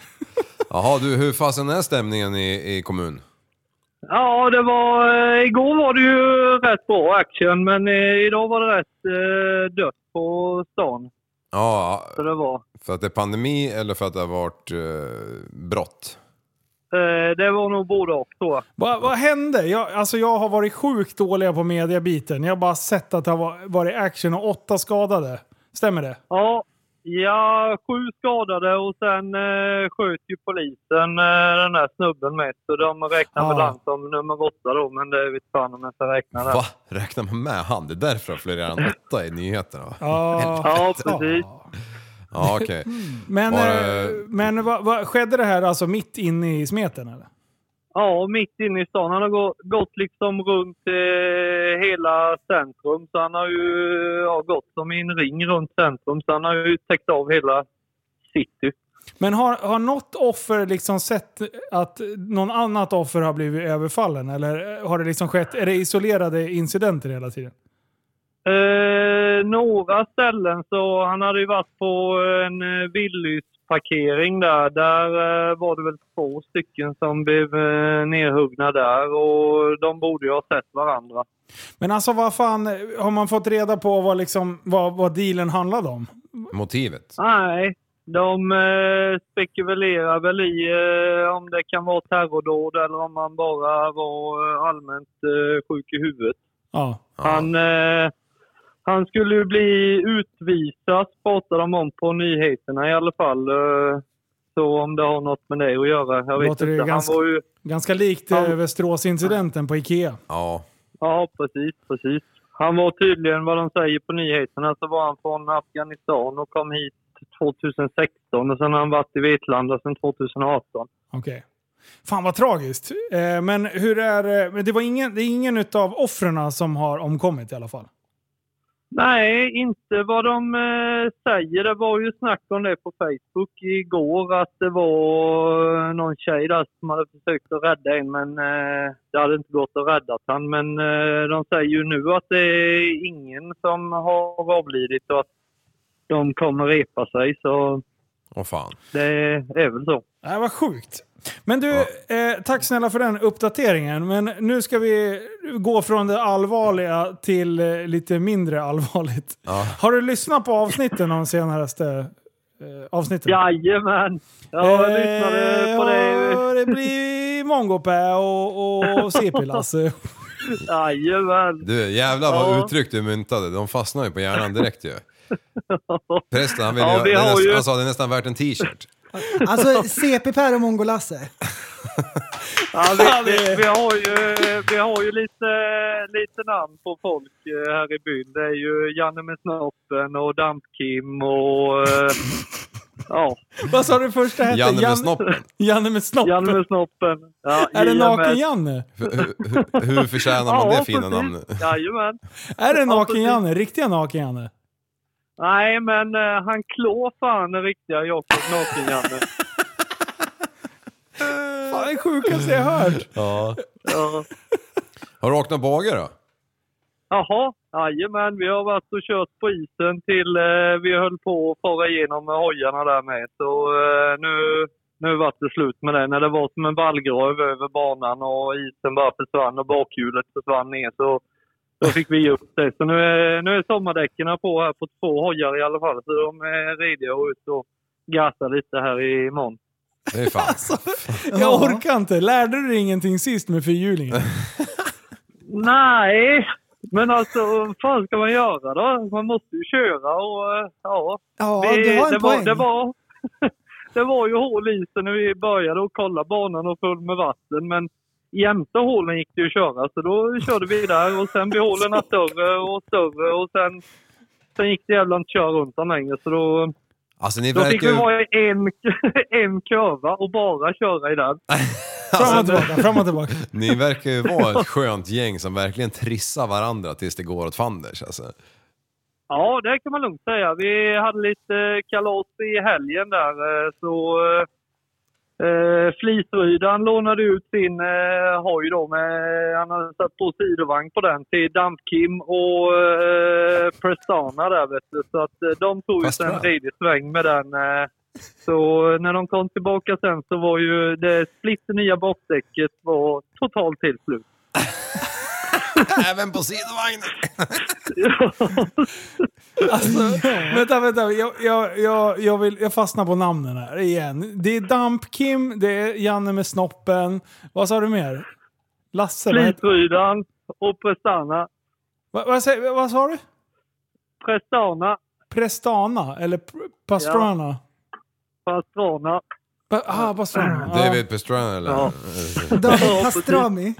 Jaha, du, hur fasen är stämningen i, i kommun? Ja, det var... Eh, igår var det ju rätt bra action, men eh, idag var det rätt eh, dött på stan. Ja, Så det var. för att det är pandemi eller för att det har varit eh, brott? Eh, det var nog både och, tror jag. Vad, vad hände? Jag, alltså jag har varit sjukt dålig på mediabiten. Jag har bara sett att det har va- varit action och åtta skadade. Stämmer det? Ja, ja sju skadade och sen eh, sköt ju polisen eh, den där snubben med. Så de räknar Ah. väl han som nummer åtta då, men det vet fan om jag ska räkna det. Va? Räknar man med han? Det är därför han florerar en åtta i nyheterna va? Ja. ja, precis. Ja, okej. Men, Var eh, det- men vad, vad, skedde det här alltså mitt inne i smeten? Eller? Ja, och mitt inne i stan. Han har gå- gått liksom runt eh, hela centrum. Så han har ju ja, gått som i en ring runt centrum. Så han har ju täckt av hela city. Men har, har något offer liksom sett att någon annat offer har blivit överfallen? Eller har det liksom skett, är det isolerade incidenter hela tiden? Eh, några ställen så han hade ju varit på en eh, Willys parkering där. Där eh, var det väl två stycken som blev eh, nerhuggna där och de borde ju ha sett varandra. Men alltså vad fan, har man fått reda på vad, liksom, vad, vad dealen handlade om? Motivet? Nej, de eh, spekulerar väl i eh, om det kan vara terrordåd eller om han bara var eh, allmänt eh, sjuk i huvudet. Ja. Han, eh, han skulle ju bli utvisad, pratade de om på nyheterna i alla fall. Eh, så om det har något med det att göra, jag vet Låter det inte. ganska- Han var ju... Ganska likt eh, Västerås-incidenten på Ikea. Ja. Ja, precis, precis. Han var tydligen, vad de säger på nyheterna, så var han från Afghanistan och kom hit 2016 och sen har han varit i Vetlanda sedan 2018. Okej. Fan vad tragiskt. Eh, men hur är eh, men det? Var ingen, det är ingen av offren som har omkommit i alla fall. Nej, inte vad de eh, säger. Det var ju snack om det på Facebook igår att det var eh, någon tjej där som hade försökt att rädda en men eh, det hade inte gått att rädda han. Men eh, de säger ju nu att det är ingen som har avlidit och att de kommer repa sig. Så Åh fan. det är väl så. Nej, vad sjukt. Men du, eh, tack snälla för den uppdateringen. Men nu ska vi gå från det allvarliga till eh, lite mindre allvarligt. Ja. Har du lyssnat på avsnitten de senaste eh, avsnitten? Jajamän! Jag Eh, lyssnade på det. och det blir Mongopä och, och (laughs) CP-Lasse. Jajamän! Du, jävlar vad Ja. uttryck du myntade. De fastnar ju på hjärnan (laughs) direkt ju. Prästen, han, vill Ja, ju, vi det är har nästan, ju- han sa det är nästan värt en t-shirt. Alltså CP-Per och Mongo-Lasse. Ja, vi, vi, vi, har ju, vi har ju lite, lite namn på folk eh, här i byn. Det är ju Janne med snoppen och Damp-Kim och eh, Ja. Vad sa du första hette? Janne med snoppen. Janne med snoppen. Janne med snoppen. Ja, är det jajamän. Naken-Janne? Hur, hur, hur förtjänar man Ja, det fina precis. namnet? Jajamän. Är det Ja, precis. Naken-Janne? Riktiga Naken-Janne? Nej, men eh, han klår fan den riktiga Jakob Naken-Janne. Fan, det är sjukaste jag hört. Ja. Ja. Har du åkt bagare då? Jaha, jajamän. Vi har varit och kört på isen till eh, vi höll på att fara igenom med hojarna där med. Så eh, nu, nu var det slut med det. När det var som en vallgrav över banan och isen bara försvann och bakhjulet försvann ner så då fick vi ge upp det. Så nu är, nu är sommardäcken på här på två hojar i alla fall. Så de är rediga och ut och gasar lite här i morgon. Det är fan. Alltså, Jag orkar inte. Lärde du dig ingenting sist (laughs) med fyrhjulingen? Nej, men alltså vad fan ska man göra då? Man måste ju köra och eh, ja. Ja, du har en det, poäng. var, det, var, (laughs) det var ju hål i isen när vi började och kolla banan och full med vatten. Men jämte hålen gick det ju att köra så då körde vi där och sen blev (laughs) hålen större och större och sen, sen gick det jävla inte att köra runt dem längre. Så då, Alltså ni då fick verkar vi ju... (laughs) vara i en, (laughs) en kurva och bara köra i den. Fram Alltså, och tillbaka, fram (laughs) och tillbaka. alltså, Ni verkar ju vara ett skönt gäng som verkligen trissar varandra tills det går åt fanders alltså. Ja, det kan man lugnt säga. Vi hade lite eh, kalas i helgen där. eh, Så eh, eh, Flisrydan lånade ut sin eh, hoj då. Med, han hade satt på sidovagn på den till Dampkim och eh, Prestana där vet du. Så att eh, de tog ju Fast sen bra. redig sväng med den. eh. Så eh, när de kom tillbaka sen så var ju det splitternya bakdäcket var totalt till slut. Även på sidovagnen! Alltså, (laughs) vänta, vänta. Jag, jag, jag, jag, vill, jag fastnar på namnen här igen. Det är Damp-Kim, det är Janne med snoppen. Vad sa du mer? Lasse? Vad, heter- Flisrydan och Prestana. vad, vad, säger- vad sa du? Prestana. Prestana? Eller pr- Pastrana? Pastrana. Pa, ah, Pastrana. (laughs) David Pastrana eller? Ja. David Pastrami.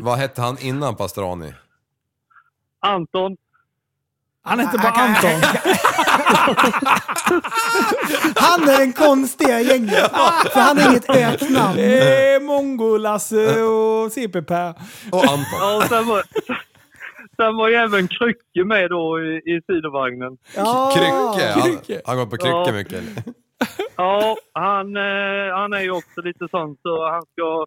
Vad hette han innan Pastrani? Anton. Han heter bara Anton. Han är den konstiga i gänget. För han är inget öknamn. Det är Mongo, Lasse och CP-Per. Och Anton. Ja, och sen var, sen var ju även Krycke med då i, i sidovagnen. Ja. Krycke? Han, Krycke. han går på krycke Ja. mycket eller? Ja, han, eh, han är ju också lite sån så han ska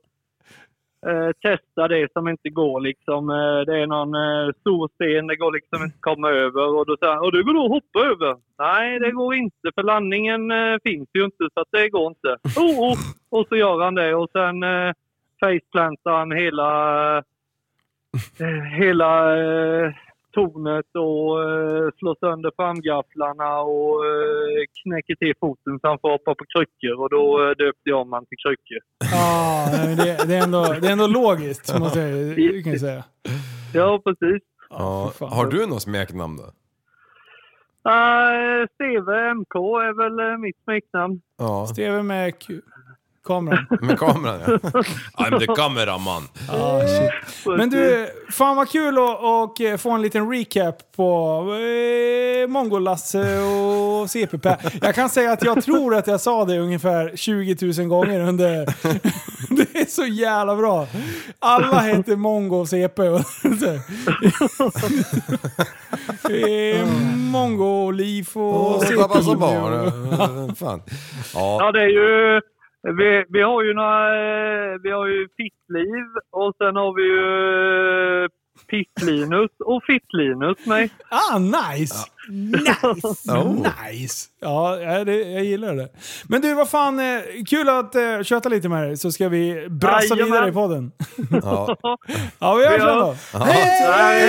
eh, testa det som inte går liksom. Eh, det är någon eh, stor sten, det går liksom inte att komma över. Och då säger han, och det går nog att hoppa över. Nej, det går inte för landningen eh, finns ju inte så att det går inte. Oh, oh. Och så gör han det och sen eh, faceplantar han hela eh, hela eh, tornet och eh, slår sönder framgafflarna och eh, knäcker till foten så han får hoppa på kryckor och då eh, döpte jag om han till kryckor. Ja, men det, det, är ändå, det är ändå logiskt, måste jag ju kan jag säga. Ja, precis. Ja. Har du något smeknamn då? Uh, Steve MK är väl eh, mitt smeknamn. Ja. Steve med Q. kameran. Med kameran ja. (laughs) I'm the cameraman. Ja, Ah, shit. Alltså, Men du, fan vad kul att och eh, få en liten recap på eh, Mongo-Lasse och CPP. Jag kan säga att jag tror att jag sa det ungefär 20 000 gånger under... (laughs) Det är så jävla bra! Alla heter Mongo och CP. och (laughs) så här. Eh, Mongo, och Liv och Och CP. pappa som barn. Fan. Ja. Ja, det är ju... Vi, vi har ju några... eh, Vi har ju Fittliv och sen har vi ju eh, Pitt-Linus och Fitt-Linus med. Ah, nice! (laughs) Nice! Oh. Nice! Ja, ja, det, jag gillar det. Men du, vad fan, eh, kul att eh, köta lite med dig så ska vi brassa Jajamän. vidare i podden. Ja. ja, vi hörs sen då. Hej!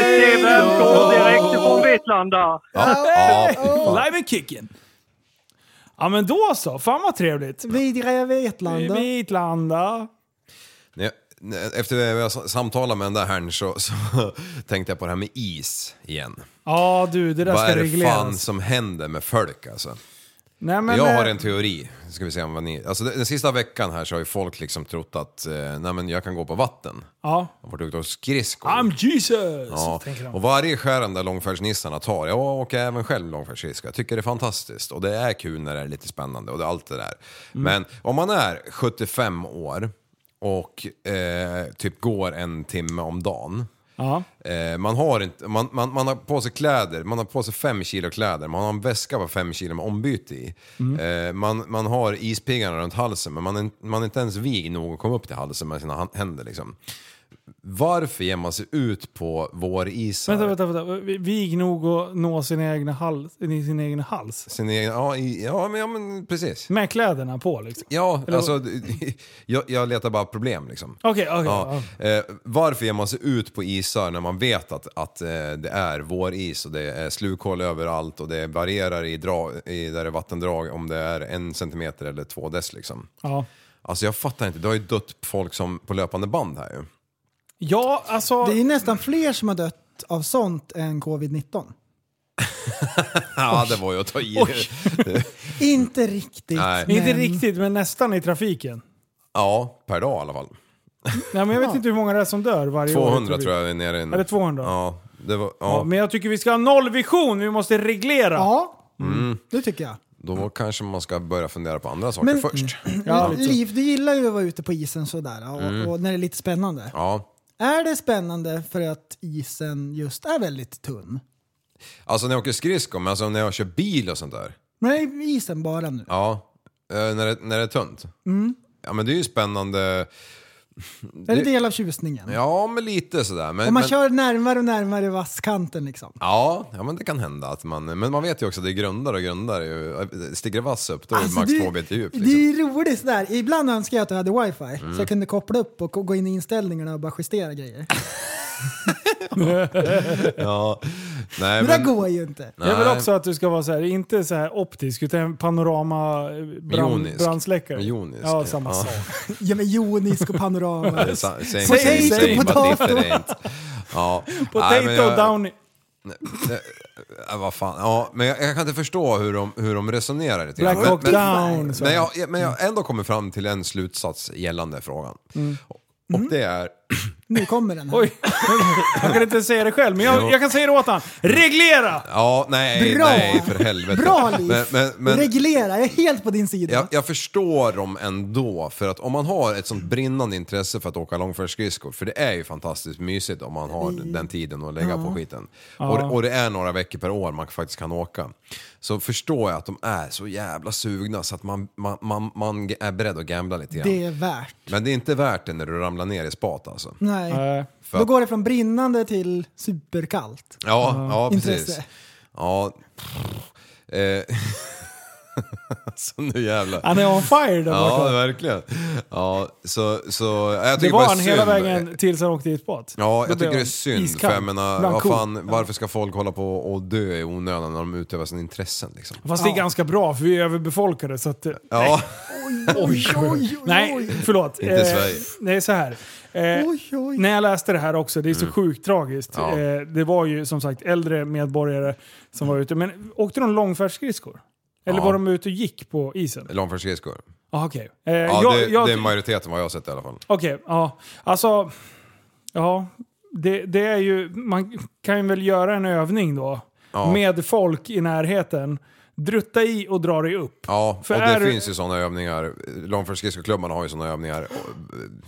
Steven går direkt ifrån Vetlanda. Hej! Live and kicking! Ja men då så, fan vad trevligt. Vidare Vetlanda. Vitlanda. Nej, nej, Efter jag samtalade med den där herrn så, så (laughs) tänkte jag på det här med is igen. Ja du, det där Vad ska är det fan regleras. som händer med folk alltså? Nej, men, jag eh, har en teori, ska vi se om vad ni... Alltså den den sista veckan här så har ju folk liksom trott att, eh, nej men jag kan gå på vatten. Ja. Jag har varit ute och skridskor. I'm Jesus! Ja, tänker de. och varje skär den där långfärdsnissarna tar, jag åker även själv långfärdsskridskor, jag tycker det är fantastiskt och det är kul när det är lite spännande och det, allt det där. Mm. Men om man är 75 år och eh, typ går en timme om dagen, Ja. Eh, man, har inte, man, man, man har på sig kläder, man har på sig fem kilo kläder, man har en väska på fem kilo med ombyte i. Mm. Eh, man, man har ispiggarna runt halsen men man är, in- man är inte ens vig nog att komma upp till halsen med sina han- händer liksom. Varför ger man sig ut på vårisar? Vänta, vänta, vänta. Vi- Vig nog att nå sin egna hals. i Sin egen hals. Sin egen, ja, i, ja, men, ja, men precis. Med kläderna på liksom. Ja, Eller- alltså (laughs) jag, jag letar bara problem liksom. Okej, okej, Eh, varför ger man sig ut på isar när man vet att, att eh, det är vår is och det är slukhål överallt och det varierar i, dra, i där det är vattendrag om det är en centimeter eller två dess liksom. Ja. Alltså jag fattar inte, det har ju dött folk som på löpande band här ju. Ja, alltså... Det är nästan fler som har dött av sånt än covid-19. ja, det var ju att ta i. Inte riktigt. Nej. Inte riktigt, men nästan i trafiken. (laughs) ja, per dag i alla fall. Nej, men jag vet inte hur många det är som dör varje år. i 200 trafiken. tror jag är nere i nu. Är det 200? Ja, det var, Ja. ja. men jag tycker vi ska ha nollvision. Vi måste reglera. Ja, Mm. det tycker jag. Då kanske man ska börja fundera på andra saker först. Liv, du gillar ju att vara ute på isen sådär och, Mm. och när det är lite spännande. Ja. Är det spännande för att isen just är väldigt tunn? Alltså när jag åker skridskor, men alltså när jag kör bil och sånt där. Nej, isen bara nu. Ja. Eh, när, det, när det är tunt. Mm. Ja men det är ju spännande. Är det del av tjusningen? Ja men lite sådär. Men, Om man men, kör närmare och närmare vasskanten liksom. Ja, ja, men det kan hända. Att man, men man vet ju också att det grundar och grundar. ju. Sticker det vass upp då är det Alltså, max det- två meter djup. Det är Liksom. ju roligt sådär. Ibland önskar jag att jag hade wifi Mm. så jag kunde koppla upp och gå in i inställningarna och bara justera grejer. ja. Nej, men, det går ju inte. Jag vill också att du ska vara så här, inte så här optisk utan panorama eh, brand, Jonisk. brandsläckare. Jonisk, Ja, ja. samma Ja. sak. Ja men jonisk och panorama. (laughs) Det är sa- same, Potato, same, same, but potato. different. Ja. Nej, Potato men jag- downy. (laughs) Nej, nej, äh, vad fan. Ja, men jag, jag kan inte förstå hur de, hur de resonerar. lite grann. Black Hawk men, Down, Men, så. men, jag, jag- men jag har ändå kommer fram till en slutsats gällande frågan. Mm. Och det är... Nu kommer den här. Oj, (laughs) jag kan inte säga det själv men Jo. jag, jag kan säga det åt han. Reglera! Ja, nej, Bra. nej, för helvete. Bra, Liv. Men, men, men, Reglera, jag är helt på din sida. jag, jag förstår dem ändå, för att om man har ett sånt brinnande intresse för att åka långfärdsskridskor, för det är ju fantastiskt mysigt om man har den tiden att lägga på Ja. skiten. Ja. Och, och det är några veckor per år man faktiskt kan åka. Så förstår jag att de är så jävla sugna så att man, man, man, man är beredd att gambla lite grann. Det är värt. Men det är inte värt det när du ramlar ner i spat alltså. Nej. Eh, För Då att, går det från brinnande till superkallt. ja, ja, precis. Intresse. Ja, (laughs) eh, alltså nu jävlar. Han är on fire där Ja, borta. verkligen. Ja, så, så, jag Det tycker var bara han hela synd. vägen tills han åkte i ett bad. Ja, Då jag blev tycker det är han synd. iskall För jag menar, bland vad kor. fan, varför ska folk hålla på och dö i onödan när de utövar sina intressen? Liksom? Fast det är ganska bra för vi är överbefolkade så att... eh, Ja. (laughs) Nej. Oj, (laughs) oj, oj. Nej, förlåt. Inte Eh, Sverige. Det är så här. Eh, När jag läste det här också, det är så sjukt tragiskt. Mm. Eh, Ja. det var ju som sagt äldre medborgare som var ute. Men åkte de långfärdsskridskor? Eller Ja. var de ute och gick på isen? Långfärdsskridskor. Ah, Okej, Eh, ja, jag- det, jag- det är majoriteten vad jag har sett i alla fall. Okej, ja. Alltså, ja. Det, det är ju, man kan ju väl göra en övning då. Ja. Med folk i närheten. Drutta i och dra dig upp. Ja, För och det är- finns ju sådana övningar. Långfärdsskridskoklubbarna har ju sådana övningar eh,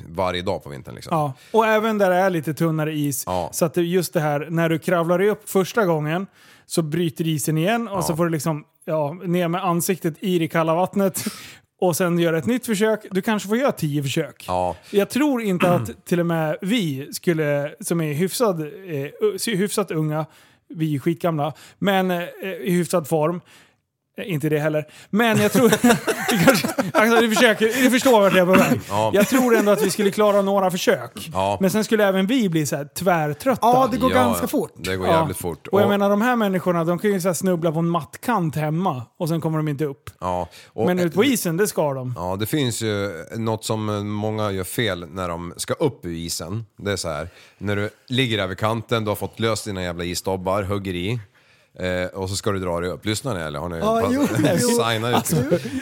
varje dag på vintern. Liksom. Ja, och även där det är lite tunnare is. Så att det, just det här, när du kravlar dig upp första gången så bryter isen igen och Ja. så får du liksom ja, ner med ansiktet i det kalla vattnet. (laughs) Och sen göra ett nytt försök. Du kanske får göra tio försök. Ja. Jag tror inte att till och med vi skulle, som är hyfsad, eh, u- hyfsat unga, vi är skitgamla, men eh, i hyfsad form, Eh, Inte det heller. Men jag tror... (laughs) vi kanske, alltså, du, försöker, du förstår vart jag är på väg. Ja. Jag tror ändå att vi skulle klara några försök. Ja. Men sen skulle även vi bli så här tvärtrötta. Ja, det går Ja, ganska fort. (laughs) det går Ja. jävligt fort. Och jag Och- menar de här människorna, de kan ju så här snubbla på en mattkant hemma och sen kommer de inte upp. Ja, och- Men ut på isen, det ska de. Ja, det finns ju något som eh, många gör fel när de ska upp ur isen. Det är så här, när du ligger där vid kanten, du har fått löst dina jävla isdobbar, hugger i. Eh, och så ska du dra dig upp. Lyssnar ni eller har ni Ja, (laughs) jo, jo. signar ut? Alltså,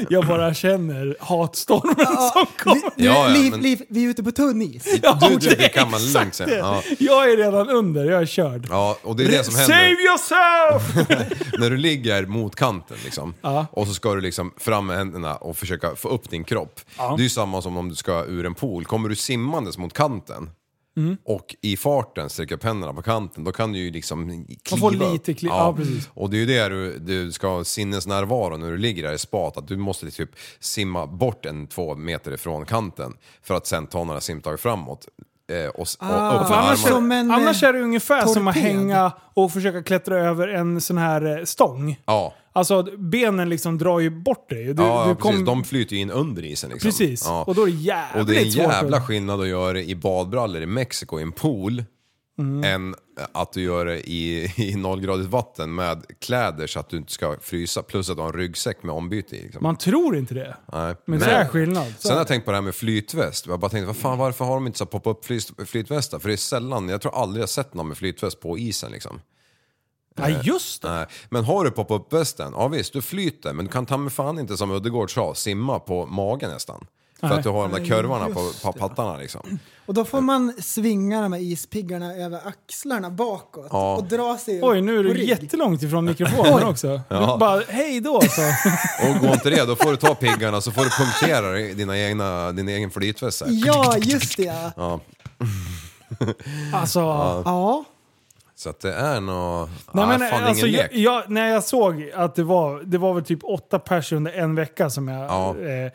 jag bara känner hatstormen som kommer. Ja, ja, liv, men- liv, vi är ute på tunn is. (laughs) Ja, Du- du- det det är kan man exakt lugnt säga. det. Ja. Jag är redan under, jag är körd. Ja, och det är det som Save händer yourself! när du ligger mot kanten liksom. Ja. Och så ska du liksom fram med händerna och försöka få upp din kropp. Ja. Det är ju samma som om du ska ur en pool. Kommer du simmandes mot kanten Mm. och i farten sträcker upp händerna på kanten, då kan du ju liksom kliva Man får upp. lite kli- ja, precis. Och det är ju det du, du ska ha sinnesnärvaro när du ligger där i spat, att du måste typ simma bort en två meter ifrån kanten för att sen ta några simtag framåt. eh, Och, s- och Ah. upp För med annars, armarna. annars är det ungefär som att eh, torped. hänga och försöka klättra över en sån här eh, stång. Ja. Alltså benen liksom drar ju bort dig. Du, ja, du precis. kom- De flyter ju in under isen liksom. Precis. Ja. Och då är det jävligt Och det är en svårt. jävla skillnad att göra det i badbrallor i Mexiko i en pool Mm. än att du gör det i, i nollgradigt vatten med kläder så att du inte ska frysa. Plus att du har en ryggsäck med ombyte i. Liksom. Man tror inte det. Nej. Men så är skillnad. Så är Sen har det. jag tänkt på det här med flytväst. Jag bara tänkte, vad fan, varför har de inte så här pop-up flyt, flytvästar? För det är sällan, jag tror aldrig jag sett någon med flytväst på isen liksom. Ja, Eh, just det. Men har du pop-up västen, ja visst, du flyter, men du kan ta med fan inte som Uddegård sa, simma på magen nästan. För Nej. att du har de där Nej, kurvorna på, just på pattarna liksom. Och då får man svinga de här ispiggarna över axlarna bakåt Ja. och dra sig upp Oj, nu på är du rygg. jättelångt (laughs) ifrån mikrofonen också. Ja. Du (laughs) bara, hej då alltså. (laughs) så. Och går inte det, då får du ta piggarna så får du punktera dina egna, din egen flytväst. så här. Ja, just det (laughs) ja. ja. Alltså, ja. Så att det är nå... Nej, men, fan, alltså, ingen jag, lek. jag, när jag såg att det var, det var väl typ åtta personer under en vecka som jag... Ja. Eh,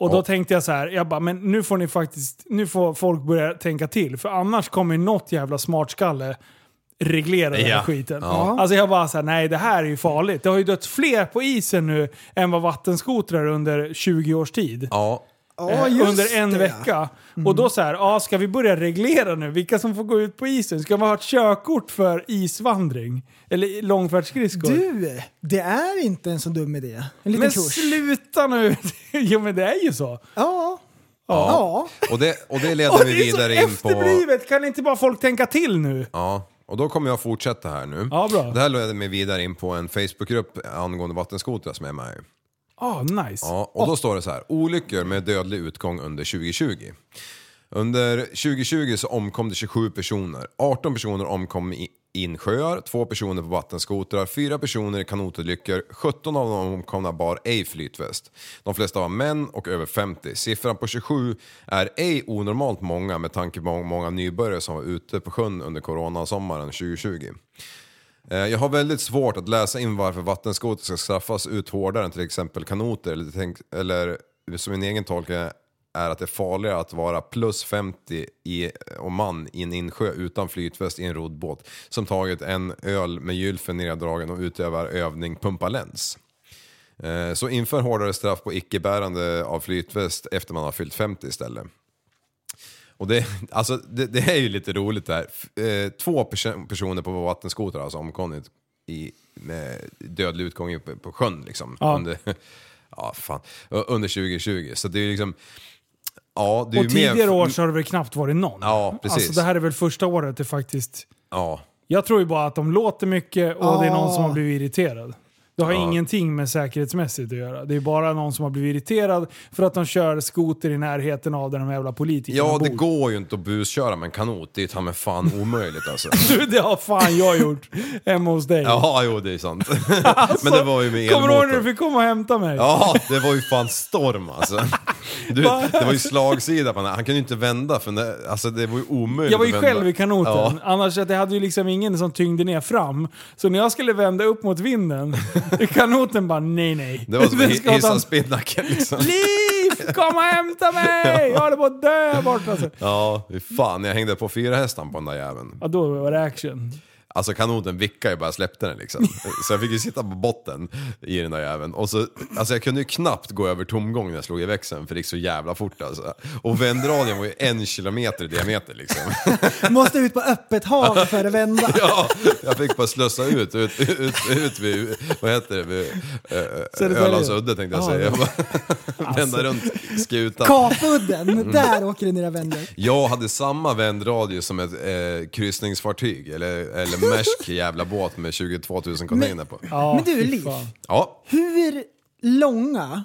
och då Ja. tänkte jag så här, jag bara, men nu får ni faktiskt, nu får folk börja tänka till. För annars kommer ju något jävla smartskalle reglera den här Ja. skiten. Ja. Alltså jag bara såhär, nej det här är ju farligt. Det har ju dött fler på isen nu än vad vattenskotrar under 20 års tid. Ja. Eh, Ja, just under en det. Mm. vecka. Och då så här, ja, ska vi börja reglera nu vilka som får gå ut på isen? Ska man ha ett körkort för isvandring? Eller långfärdsskridskor? Du, det är inte en så dum idé. En liten men kurs. sluta nu! (laughs) jo men det är ju så. Ja. Ja. Och det, och (laughs) det leder Och mig det är så vidare in på... efterblivet! Kan inte bara folk tänka till nu? Ja, och då kommer jag fortsätta här nu. Ja, bra. Det här leder mig vidare in på en Facebookgrupp angående vattenskotrar som jag är med i. Ah, nice. Ja, och då står det så här, olyckor med dödlig utgång under 2020. Under 2020 så omkom det 27 personer. 18 personer omkom i insjöar, 2 personer på vattenskotrar, 4 personer i kanotolyckor. 17 av de omkomna bar ej flytväst. De flesta var män och över 50. Siffran på 27 är ej onormalt många med tanke på hur många nybörjare som var ute på sjön under coronasommaren 2020. Eh, Jag har väldigt svårt att läsa in varför vattenskoter ska straffas ut hårdare än till exempel kanoter eller, tänk, eller som min egen tolkning är att det är farligare att vara plus 50 i, och man i en insjö utan flytväst i en rodd båt som tagit en öl med gylfen neddragen och utövar övning pumpa läns. Eh, Så inför hårdare straff på icke-bärande av flytväst efter man har fyllt 50 istället. Och det, (laughs) alltså, det, det är ju lite roligt där. F- Eh, två perso- personer på vattenskotrar alltså omkommit i, med dödlig utgång i- på, på sjön liksom. Ja. Under, (laughs) ja, fan. U- Under 2020. Så det är ju liksom... Ja, det är Och ju mer- tidigare år så har det väl knappt varit någon. Ja, precis. Alltså det här är väl första året det faktiskt... Ja. Jag tror ju bara att de låter mycket och det är någon som har blivit irriterad. Det har Ja. ingenting med säkerhetsmässigt att göra. Det är bara någon som har blivit irriterad för att de kör skoter i närheten av där de jävla politikerna Ja, bor. det går ju inte att busköra med en kanot. Det är ju ta mig fan omöjligt (laughs) alltså. (laughs) Du, det har fan jag gjort hemma hos dig. Ja, jo det är sant. (laughs) Men det var ju med Alltså, Kommer du ihåg när elmotor. du fick komma och hämta mig? Ja, det var ju fan storm alltså. Du, det var ju slagsida på den. här. Han kunde ju inte vända för det, alltså, det var ju omöjligt Jag var ju att vända. själv i kanoten, Ja. annars att det hade ju liksom ingen som tyngde ner fram. Så när jag skulle vända upp mot vinden, kanoten bara nej nej. Det var som Den att ska ta- hissa spinnacken liksom. Liv! Kom och hämta (laughs) mig! Jag håller på att dö här borta. Alltså. Ja, fy fan. Jag hängde på fyra hästan på den där jäveln. Ja, då var det action. Alltså kanoten vickade ju bara jag släppte den liksom. Så jag fick ju sitta på botten i den där jäveln. Och så, alltså jag kunde ju knappt gå över tomgång när jag slog i växeln för det gick så jävla fort alltså. Och vändradien var ju en kilometer i diameter liksom. Måste ut på öppet (laughs) hav för att vända. Ja, jag fick bara slösa ut, ut, ut, ut vid, vad heter det, vid eh, Södertälje. Ölands udde tänkte jag Ja, säga. Jag det- bara, Alltså. (laughs) vända runt skutan. Kapudden, Mm. där åker det dina vänner. Jag hade samma vändradie som ett eh, kryssningsfartyg eller, eller märsk jävla båt med 22 000 container på. Men du, Liv. Ja, Hur långa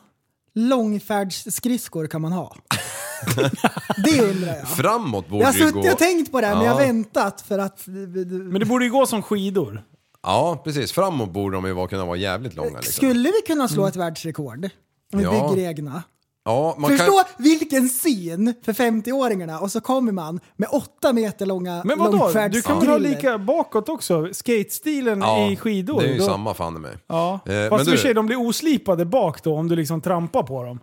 långfärdsskridskor kan man (laughs) ha? det undrar jag. framåt borde Jag har det ju gå. suttit och tänkt på det här, men jag har Ja. väntat för att... Men det borde ju gå som skidor. Ja, precis. Framåt borde de ju vara- kunna vara jävligt långa. Liksom. Skulle vi kunna slå ett världsrekord? Om vi Ja. bygger egna. Ja, man Förstå kan... vilken syn för 50-åringarna och så kommer man med åtta meter långa Men vadå? Du kan väl ha långfärdsgriller. lika bakåt också? Skatestilen Ja, i skidor? Det är ju då- samma fan i mig. Ja, Eh, fast i men och för sig du, de blir oslipade bak då om du liksom trampar på dem.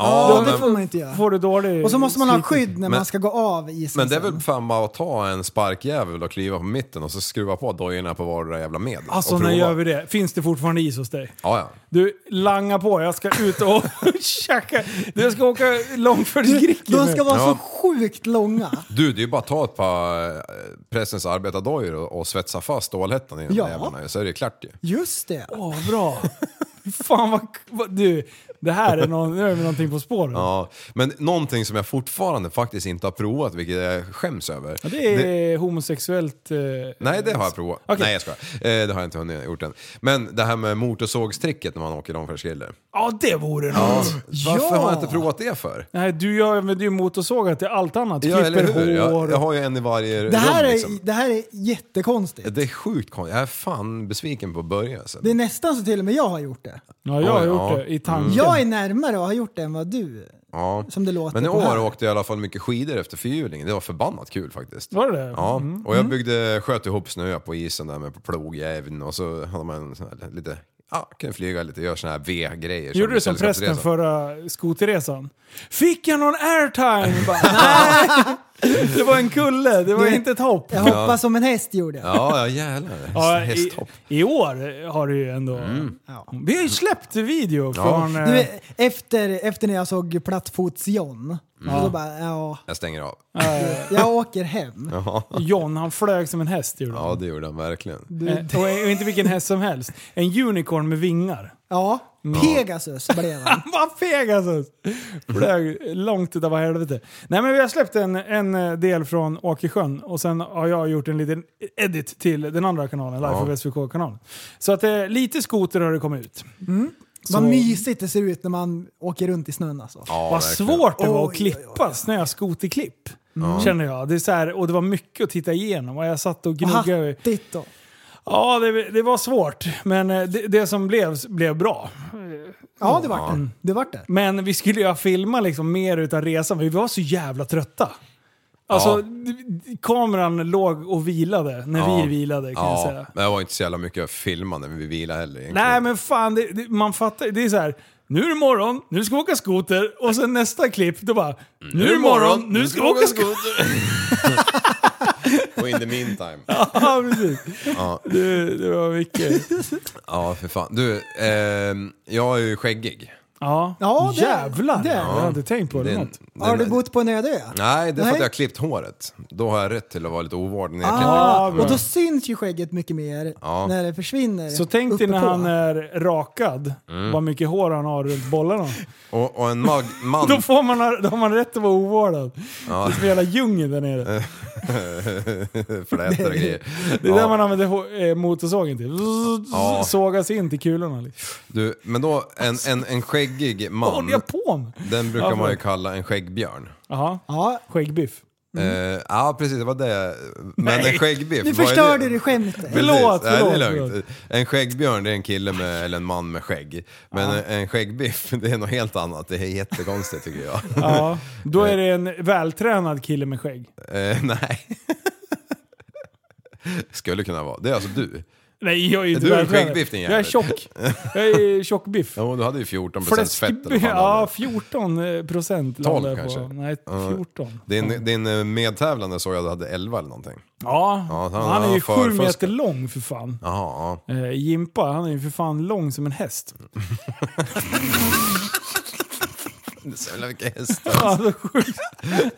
Ja, Då- men- då det får man inte göra. Får du dålig Och så måste man ha slipning. skydd när Men- man ska gå av isen. men det är väl fan bara att ta en sparkjävel och kliva på mitten och så skruva på dojorna på vardera jävla medel. Alltså och när prova. gör vi det? Finns det fortfarande is hos dig? Ja, ja. Du, langa på. Jag ska ut och (laughs) tjacka. Du, jag ska åka långfärdsgricke De ska vara Ja. så sjukt långa. Du, det är ju bara att ta ett par eh, pressens arbetardojor och, och svetsa fast stålhättan i de Ja. där jävlarna ju, så är det ju klart ju. Just det. Åh, bra. Fan vad, vad... Du, det här är, någon, nu är vi någonting på spåren. Ja, men någonting som jag fortfarande faktiskt inte har provat, vilket jag skäms över. Ja, det är homosexuellt... eh, Nej, det har jag provat. Okej. Nej, jag skojar. Eh, det har jag inte hunnit gjort än. Men det här med motorsågstricket när man åker långfärdsgriller. Ja, det vore något. Varför har jag inte provat det för? Nej, du använder ju motorsågar till allt annat. Ja, eller Klipper hur? hår. Jag, jag har ju en i varje Det här, rum är, liksom. det här är jättekonstigt. Det är sjukt konstigt. Jag är fan besviken på att börja. Alltså. Det är nästan så till och med jag har gjort det. Ja, jag har Oj, gjort Mm. ja. det i tanken. Jag är närmare och har gjort det än vad du. (laughs) Ja. Som det låter Men i på här. år åkte jag i alla fall mycket skidor efter fyrhjulingen. Det var förbannat kul faktiskt. Var det det? Ja, Mm. och jag byggde, sköt ihop snö på isen där med plogjäveln och så hade man en sån här lite, ja, kunde flyga lite, göra såna här V-grejer. Gjorde du som prästen sällskapsresa. förra skoterresan? Fick jag någon airtime? Bara, Nej! Det var en kulle, det var Du- inte ett hopp. Jag hoppade som en häst gjorde jag. Ja, ja jävlar. Ja, i, Hästhopp. Mm. I år har du ju ändå... Vi har ju släppt video från... eh, Du, efter, efter när jag såg Plattfots-John, Mm. så bara ja, Jag stänger av. Eh, jag åker hem. (laughs) Ja. John, han flög som en häst gjorde han. ja, det gjorde han verkligen. Eh, och, och inte vilken häst som helst. En unicorn med vingar. Ja, Mm. Pegasus blev han. Vad Pegasus! Flög långt utav helvete. Nej men vi har släppt en, en del från Åkersjön och sen har jag gjort en liten edit till den andra kanalen, Life Ja. of SVK-kanalen. Så att eh, lite skoter har det kommit ut. Vad (laughs) Så- mysigt det ser ut när man åker runt i snön alltså. Ja, Vad verkligen. svårt det var Oj, att klippa snöskoterklipp. Ja. Känner jag. Det är så här, och det var mycket att titta igenom och jag satt och Och gnuggade. hattigt då. Ja, det, det var svårt. Men eh, det, det som blev, blev bra. Ja, det vart det. Det vart det. Mm. Men vi skulle ju ha filmat liksom mer utav resan, för vi var så jävla trötta. Alltså, Ja. d- d- kameran låg och vilade när Ja. vi vilade kan jag säga. Men det var inte så jävla mycket att filma när vi vilade heller egentligen. Nej men fan, det, det, man fattar ju. Det är så här. Nu är det morgon, nu ska vi åka skoter och sen nästa klipp då bara Mm. Nu är det morgon, nu ska vi åka skoter. (laughs) Och in the meantime. (laughs) Ja precis. Ja. Det, det var mycket. Ja, för fan. Du, ehm, jag är ju skäggig. Ja, Ja, det- jävlar. det- jag hade inte tänkt på det. Den- något. den- Har du bott på en öde ö? Nej, det är för att Nej. jag har klippt håret. Då har jag rätt till att vara lite ovård. när jag Ah, klipper. och då syns ju skägget mycket mer Ja. när det försvinner. Så tänk dig när uppepå. han eh, är rakad, Mm. vad mycket hår han har runt bollarna. och, och en mag, (laughs) man... Då, får man, då har man rätt att vara ovårdad. Ja. Det är som hela djungeln där nere. (laughs) Flätor och grejer. Det är där Ja. man använder hå- eh, motorsågen till. Zzz, Ja. Sågas in till kulorna. Liksom. Du, men då, en, en, en skäggig Vad håller man, jag på med? den brukar Ja, man ju förlåt. kalla en skäggbjörn. Jaha. Ja. Skäggbiff. Eh, ja, precis, det var det. Men Mm. Nej. en skäggbiff, Nu vad är förstörde det? du skämtet. Precis. Förlåt, Nej, förlåt, det är lugnt. En skäggbjörn det är en kille med, eller en man med skägg. Men en- en skäggbiff (laughs) det är något helt annat. Det är jättekonstigt tycker jag. (laughs) Ja. Då är det en vältränad kille med skägg. Eh, nej. (laughs) Skulle kunna vara. Det är alltså du. Nej, jag är ju inte Du är en vältränad. skäggbiff, din Jag är jävel. (laughs) tjock. Jag är tjockbiff. Jo, du hade ju 14% fett eller vad Fläskbiff. fan det var. (laughs) Ja, 14 procent 12 landade jag kanske? på. Nej, Ja. 14. Din, din eh, medtävlande såg jag att du hade 11 eller någonting. Ja, Ja, han- han är ju han sju förfuskar. meter lång för fan. Jaha, ja. Eh, Jimpa, han är ju för fan lång som en (laughs) häst. (laughs) Det är så jävla mycket hästar. Alltså sjukt.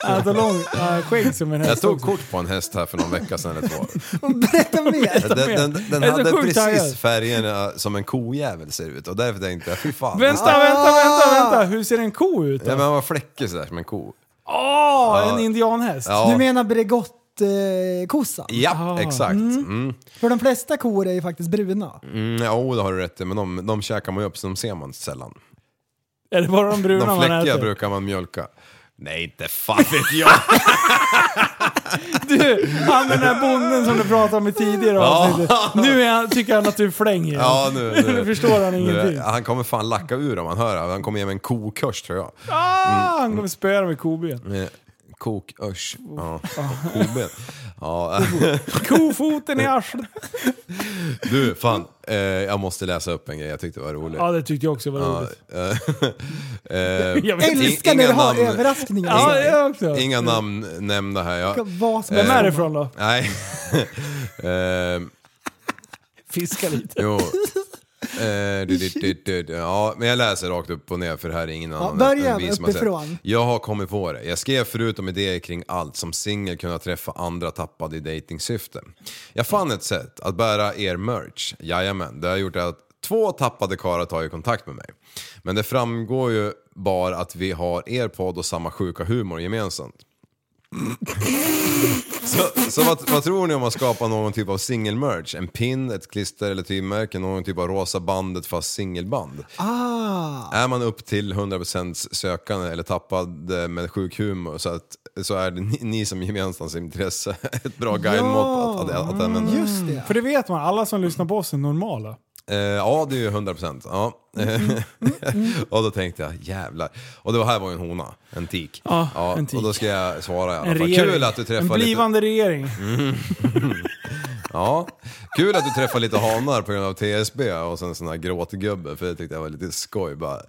Alltså lång, eh, skägg som en häst. Jag tog också. kort på en häst här för någon vecka sedan (laughs) eller två. (laughs) Berätta mer. Den, den, den Jag är så hade sjukt precis taggad. färgerna som en kojävel ser ut och därför tänkte jag fy fan. Vänta, vänta, vänta, Ah! vänta! Hur ser en ko ut Ja, då? men han var fläckig sådär som en ko. Åh, Ja. en indianhäst! Ja. Du menar Bregott? mjölkkossa. Ja, Ah. exakt. Mm. Mm. För de flesta kor är ju faktiskt bruna. Mm, ja, oh, det har du rätt i, men de, de käkar man ju upp så de ser man sällan. Är det bara de bruna de man fläckiga äter? brukar man mjölka. Nej, inte fan (laughs) vet jag. Du, (laughs) han den där bonden som du pratade om i tidigare Ja. avsnittet. Nu är han, tycker han att du flänger. ja, nu, (laughs) nu. förstår han nu- ingenting. han kommer fan lacka ur om han hör det. Han kommer ge mig en kokurs tror jag. Ah, Mm. han kommer spöa dig med koben. Eh, Kokurs. Ja. Oh. Koben. (laughs) Ja. Kofoten i Mm. arslet. (laughs) Du, fan. Eh, jag måste läsa upp en grej jag tyckte var Eh, rolig. Ja, det tyckte jag också var roligt. (laughs) Jag jag älskar när du har överraskningar. Ja, jag också. Inga namn nämnda här. Jag, Vad som- Vem är det ifrån då? Nej. (laughs) eh, Fiska lite. jo. Eh, du, du, du, du, du. Ja, men jag läser rakt upp och ner för det här är ingen annan börja än vi som har sett. uppifrån. Jag har kommit på det. Jag skrev förut om idéer kring allt som singel kunna träffa andra tappade i dejtingsyfte. Jag fann ett sätt att bära er merch. Jajamän, det har gjort att två tappade karlar tagit kontakt med mig. Men det framgår ju bara att vi har er podd och samma sjuka humor gemensamt. Så, så vad, vad tror ni om att skapa någon typ av singelmerch? En pin, ett klister eller tygmärke, någon typ av rosa bandet fast singelband. Ah. Är man upp till 100% sökande eller tappad eh, med sjuk humor så, att, så är det ni, ni som gemensamt intresse (laughs) ett bra guidemått att, att, att använda. Just det. För det vet man, alla som lyssnar på oss är normala. Eh, ja, det är ju 100%. Ja. Mm-hmm. (laughs) och då tänkte jag jävlar. Och det här var ju en hona, en tik. Ja, en tik. Och då ska jag svara i alla En fall. regering. Kul att du en träffar lite... blivande regering. Mm. Ja, kul att du träffar lite hanar på grund av TSB och sen sån här gråtgubbe för det tyckte jag var lite skoj. Bara, eh,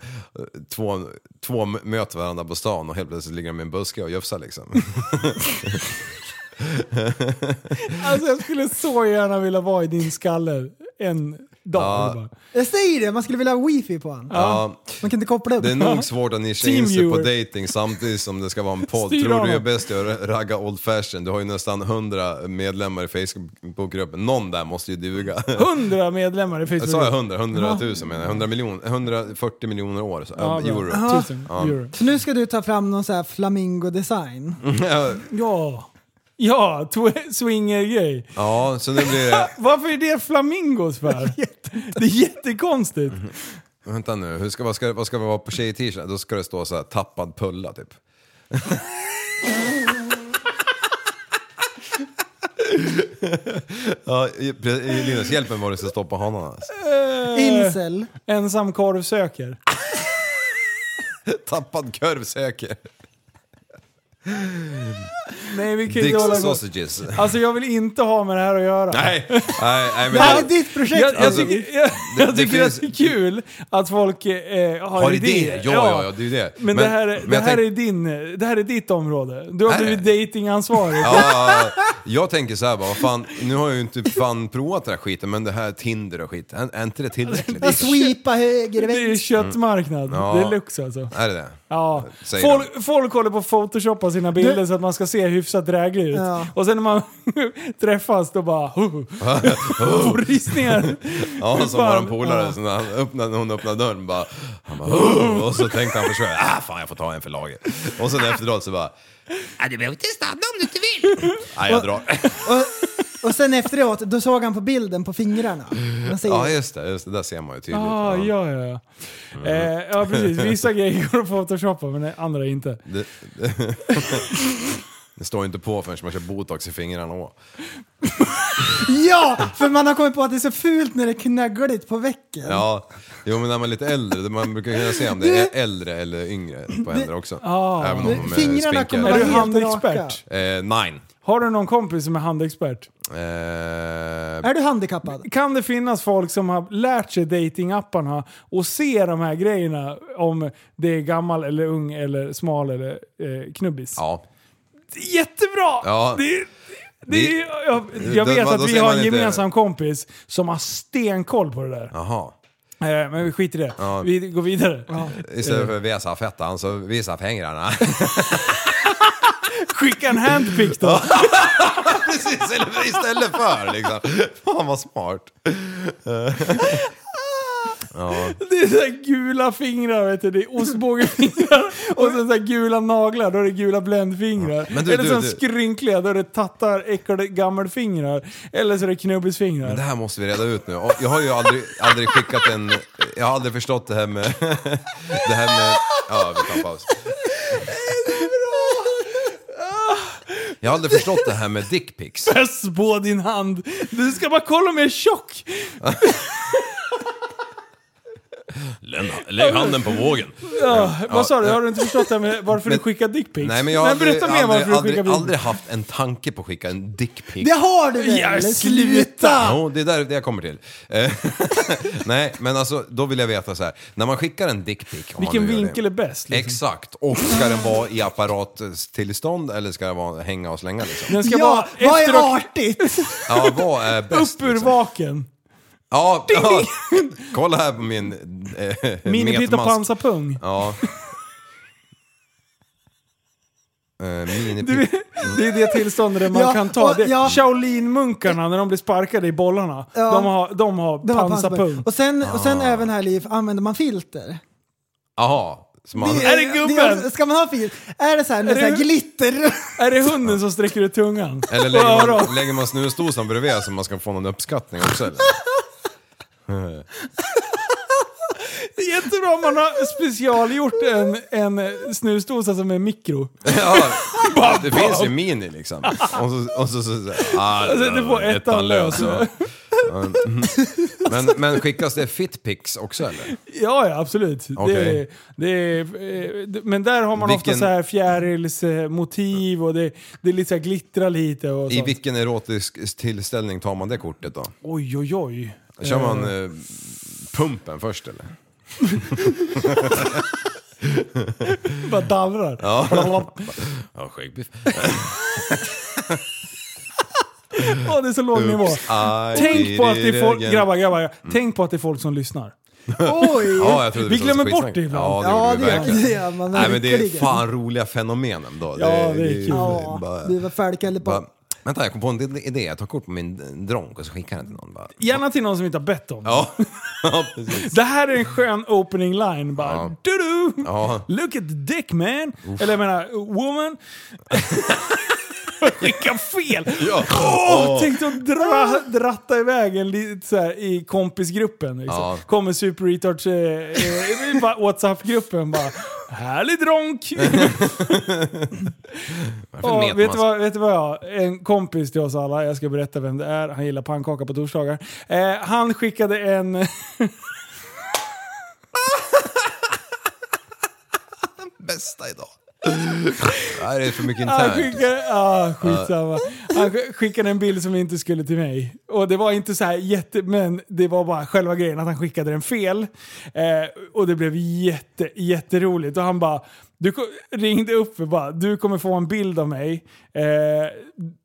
två, två m- möter varandra på stan och helt plötsligt ligger de i en buske och (laughs) jufsar liksom. Alltså jag skulle så gärna vilja vara i din skalle en dag. Ja. bara. Jag säger det, man skulle vilja ha wifi på honom. Ja. Man kan inte koppla upp. Det är nog svårt att nischa in sig på Teamviewer. dating samtidigt som det ska vara en podd. Styr Tror du är honom. bäst i att ragga old fashion? Du har ju nästan 100 medlemmar i Facebookgruppen. Någon där måste ju duga. 100 medlemmar i Facebook. Jag (laughs) sa jag 100? 100 000 menar jag. 100 miljoner, 140 miljoner år. Så, Ja, eh, bra. euro. Ja. Ja. Så nu ska du ta fram någon sån här flamingo-design. Mm. Ja. Ja. Ja, tw- swinger-grej. (laughs) Ja, så nu blir det... Varför är det flamingos för? Det är jättekonstigt. Mm-hmm. Vänta nu, hur ska, vad, ska, vad ska vi vara på tjej t Då ska det stå så här, tappad pulla typ. (laughs) ja, i- pre- Linus, hjälp mig vad det ska stå på hanarna. alltså. Eh, Incel. Ensam korv söker. Tappad korv söker. Nej, vi kan Dick inte hålla på. sausages. Alltså jag vill inte ha med det här att göra. Nej, nej, nej men... Det här är ditt projekt! Jag, jag, Alltså, tycker, jag, det- jag det tycker finns- att det är kul att folk eh, har, Har idéer. idéer? Ja, ja, ja, det är ju det. Men, Men- det, här, men jag det, här tänk- är din, det här är ditt område. Du har Är blivit datingansvarig. Ja, jag tänker så här bara, vad fan, nu har jag ju inte fan provat den här skiten, men det här Tinder och skit, är, är inte det tillräckligt? Bara sweepa höger Det är vänster. köttmarknad. Mm. Ja. Det är lux alltså. Är det det? Ja. Säger Folk, folk håller på att photoshoppa sina bilder så att man ska se hyfsat dräglig ut. Ja. Och sen när man (laughs) träffas då bara... (laughs) Får rysningar. Ja, som Fan. våran polare, så när han öppnade, när hon öppnade dörren bara, han bara (laughs) "Åh!" och så tänkte han försöka, ah fan jag får ta en för laget. Och sen efteråt så bara, "Ah, du behöver inte stanna om du inte (laughs) vill. Nej jag drar. Och, och sen efteråt, då såg han på bilden på fingrarna. Mm. Man säger, (laughs) Ja just det, just det, där ser man ju tydligt. Ah, ja, ja, ja. Mm. Eh, ja, precis. Vissa grejer går att photoshoppa men andra inte. Det, det, det står ju inte på förrän man kör botox i fingrarna och. ja! För man har kommit på att det är så fult när det är knaggligt på väcken. Ja, jo men när man är lite äldre, man brukar kunna se om det är äldre eller yngre på händer också. Ah. Även om de är Fingrarna spinkiga. kommer vara Är du helt handexpert? raka. Eh, nein. Har du någon kompis som är handexpert? Eh, Är du handikappad? Kan det finnas folk som har lärt sig datingapparna och ser de här grejerna om det är gammal eller ung eller smal eller eh, knubbis? Ja. Jättebra! Ja. Det är, det är, jag jag Då- vet då att vi ser har man en inte- gemensam kompis som har stenkoll på det där. Jaha. Eh, Men vi skiter i det. Ja. Vi går vidare. Istället för att visa fettan så visa fingrarna. Skicka en handpick då. (laughs) Precis, eller istället för liksom. Fan vad smart. Eh, Ja. Det är så här gula fingrar, vet du. Det är (laughs) ostbågefingrar och sen så här gula naglar, då är det gula bländfingrar. Men du, Eller du, så här du. skrynkliga, då är det tattar, äckel, gammelfingrar. Eller så är det knubbisfingrar. Men det här måste vi reda ut nu. Och Jag har ju aldrig, aldrig skickat en... Jag har aldrig förstått det här med... Det här med... Ja, vi tar paus. Jag har aldrig förstått det här med dickpics. Fäst på din hand. Du ska bara kolla om jag är tjock. Lägg handen på vågen. Ja, Ja, vad sa du? ja. Har du inte förstått det här med varför Men- du skickar dickpics? Nej men jag har aldrig, berätta mer varför aldrig, du skickar dickpics. aldrig, aldrig haft en tanke på att skicka en dickpic. Det har du väl? Ja, sluta! Jo, det är där det jag kommer till. Eh, (laughs) Nej, men alltså då vill jag veta så här. När man skickar en dickpic. om man Vilken nu gör det. vinkel är bäst? Liksom? Exakt, och ska den vara i apparattillstånd eller ska den vara hänga och slänga liksom? Den ska ja, vara vad efter och- är artigt? Ja, vad är bäst? liksom? Upp ur vaken. Ja, ja. kolla här på min eh, Minipitt och metmask. pansarpung. (laughs) Ja. Eh, Du minipitt. vet, Det är det tillståndet där man Ja, kan ta och- det. ja. Shaolin-munkarna när de blir sparkade i bollarna, Ja. de har, de har Det var pansarpung. pansarpung. Och sen, och Ah. sen även här Liv, använder man filter? Jaha. Så man... Är det gubben? ska man ha filter? Är det så här med Är så här det- (laughs) glitter? Är det hunden som sträcker (laughs) ut tungan? Eller Och lägger öron? man, lägger man snusdosan bredvid så man ska få någon uppskattning också eller? Eh, Det är jättebra om man har specialgjort en, en snusdosa som är mikro. ja, det finns ju mini liksom. Och så, och så, så, så ah, Jag sätter på Alltså, ettan lös. Ja. Mm. Men, men skickas det fitpics också eller? Ja, ja absolut. Det, är- Okej. det, är- eh, det, men där har man Vilken- ofta så här fjärilsmotiv och det, det lite så här glittrar lite och I sånt. vilken erotisk tillställning tar man det kortet då? Oj, oj, oj. Kör Eh, man eh, pumpen först eller? Bara dallrar. (laughs) Ja. ja, skäggbiff. Åh, det är så låg nivå. Oops, Mm. I Tänk på att det did är it folk, again. grabbar, grabbar, tänk på att det är folk som lyssnar. Oj! Ja, jag trodde Vi vi pratade glömmer skitsnack. bort det Ja, ibland. det, ja, det, Ja, det gör man. Det gör gör man Nej, men det är verkligen. fan roliga fenomen ändå. Ja, det är kul. det Ja, är bara- Du var färdig bara, på. vänta, jag kom på en idé. Jag tar kort på min dronk och så skickar jag den till någon. Bara. Gärna till någon som inte har bett om det. Ja, (laughs) ja precis. Det här är en skön opening line. Bara, Ja. du Ja. Look at the dick man. Eller jag menar, (laughs) woman. (laughs) Skicka fel! Ja. Åh, Åh. Ah. Tänk att dra, dratta iväg en lite så här, i kompisgruppen. Liksom. Ja. Kommer Super Retards eh, eh, i bara Whatsapp-gruppen bara Härlig (laughs) dronk! (laughs) Varför Åh, meter vet, du man så? vad, vet du vad jag, en kompis till oss alla, jag ska berätta vem det är, han gillar pannkaka på torsdagar. Eh, han skickade en... (laughs) Bästa idag. Det här är för mycket Han internt. skickade, ah, skitsamma. Han sk- skickade en bild som inte skulle till mig. Och det var inte så här jätte... Men det var bara själva grejen att han skickade den fel. Eh, och det blev jätte, jätteroligt. Och han bara... Du ko- ringde upp och bara du kommer få en bild av mig. Eh,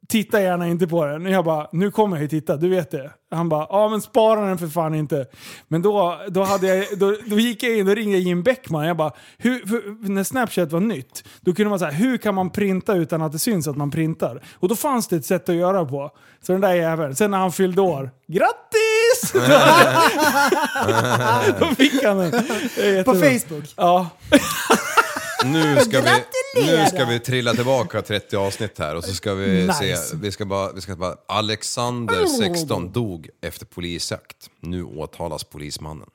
titta gärna inte på den. Och jag bara nu kommer jag ju titta, du vet det. Han bara ja men spara den för fan inte. Men då, då, hade jag, då, då gick jag in och ringde Jim Beckman. Jag bara, hur, för, när Snapchat var nytt, då kunde man säga hur kan man printa utan att det syns att man printar? Och då fanns det ett sätt att göra på. Så den där jäveln, sen när han fyllde år, grattis! (laughs) då fick han den. Det är jättebra. På Mm. Facebook? Ja. Nu ska, vi, Gratulerar. nu ska vi trilla tillbaka 30 avsnitt här och så ska vi Nice. Oh. se. Vi ska, bara, vi ska bara... Alexander, 16, dog efter polisjakt. Nu åtalas polismannen.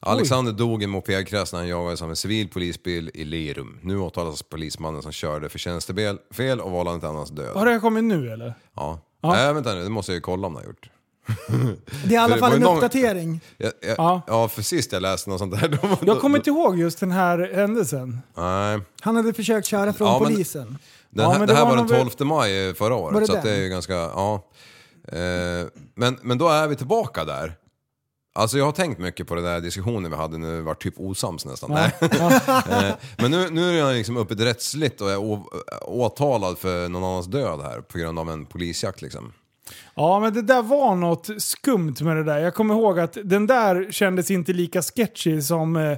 Alexander dog i en mopedkrasch när han jagades av en civil polisbil i Lerum. Nu åtalas polismannen som körde för tjänstefel och vållande till annans död. Har det här kommit nu eller? Ja. Äh, vänta nu, det måste jag ju kolla om han har gjort. (laughs) Det är i För alla fall det var en ju någon- uppdatering. Jag, jag, Ja. ja. för sist jag läste något sånt där... (laughs) Då, Jag kommer inte ihåg just den här händelsen. Nej. Han hade försökt köra från Ja, men- polisen. Den Ja, här, men det det här var var den nog väl- 12 maj eh, förra året, Var det så att det den? är ju ganska... Ja. Eh, men, men då är vi tillbaka där. Alltså jag har tänkt mycket på den där diskussionen vi hade när vi var typ osams nästan. Nej. (laughs) Eh, men nu, nu är jag liksom uppe rättsligt och är å, eh, åtalad för någon annans död här på grund av en polisjakt liksom. Ja, men det där var något skumt med det där. Jag kommer ihåg att den där kändes inte lika sketchy som eh,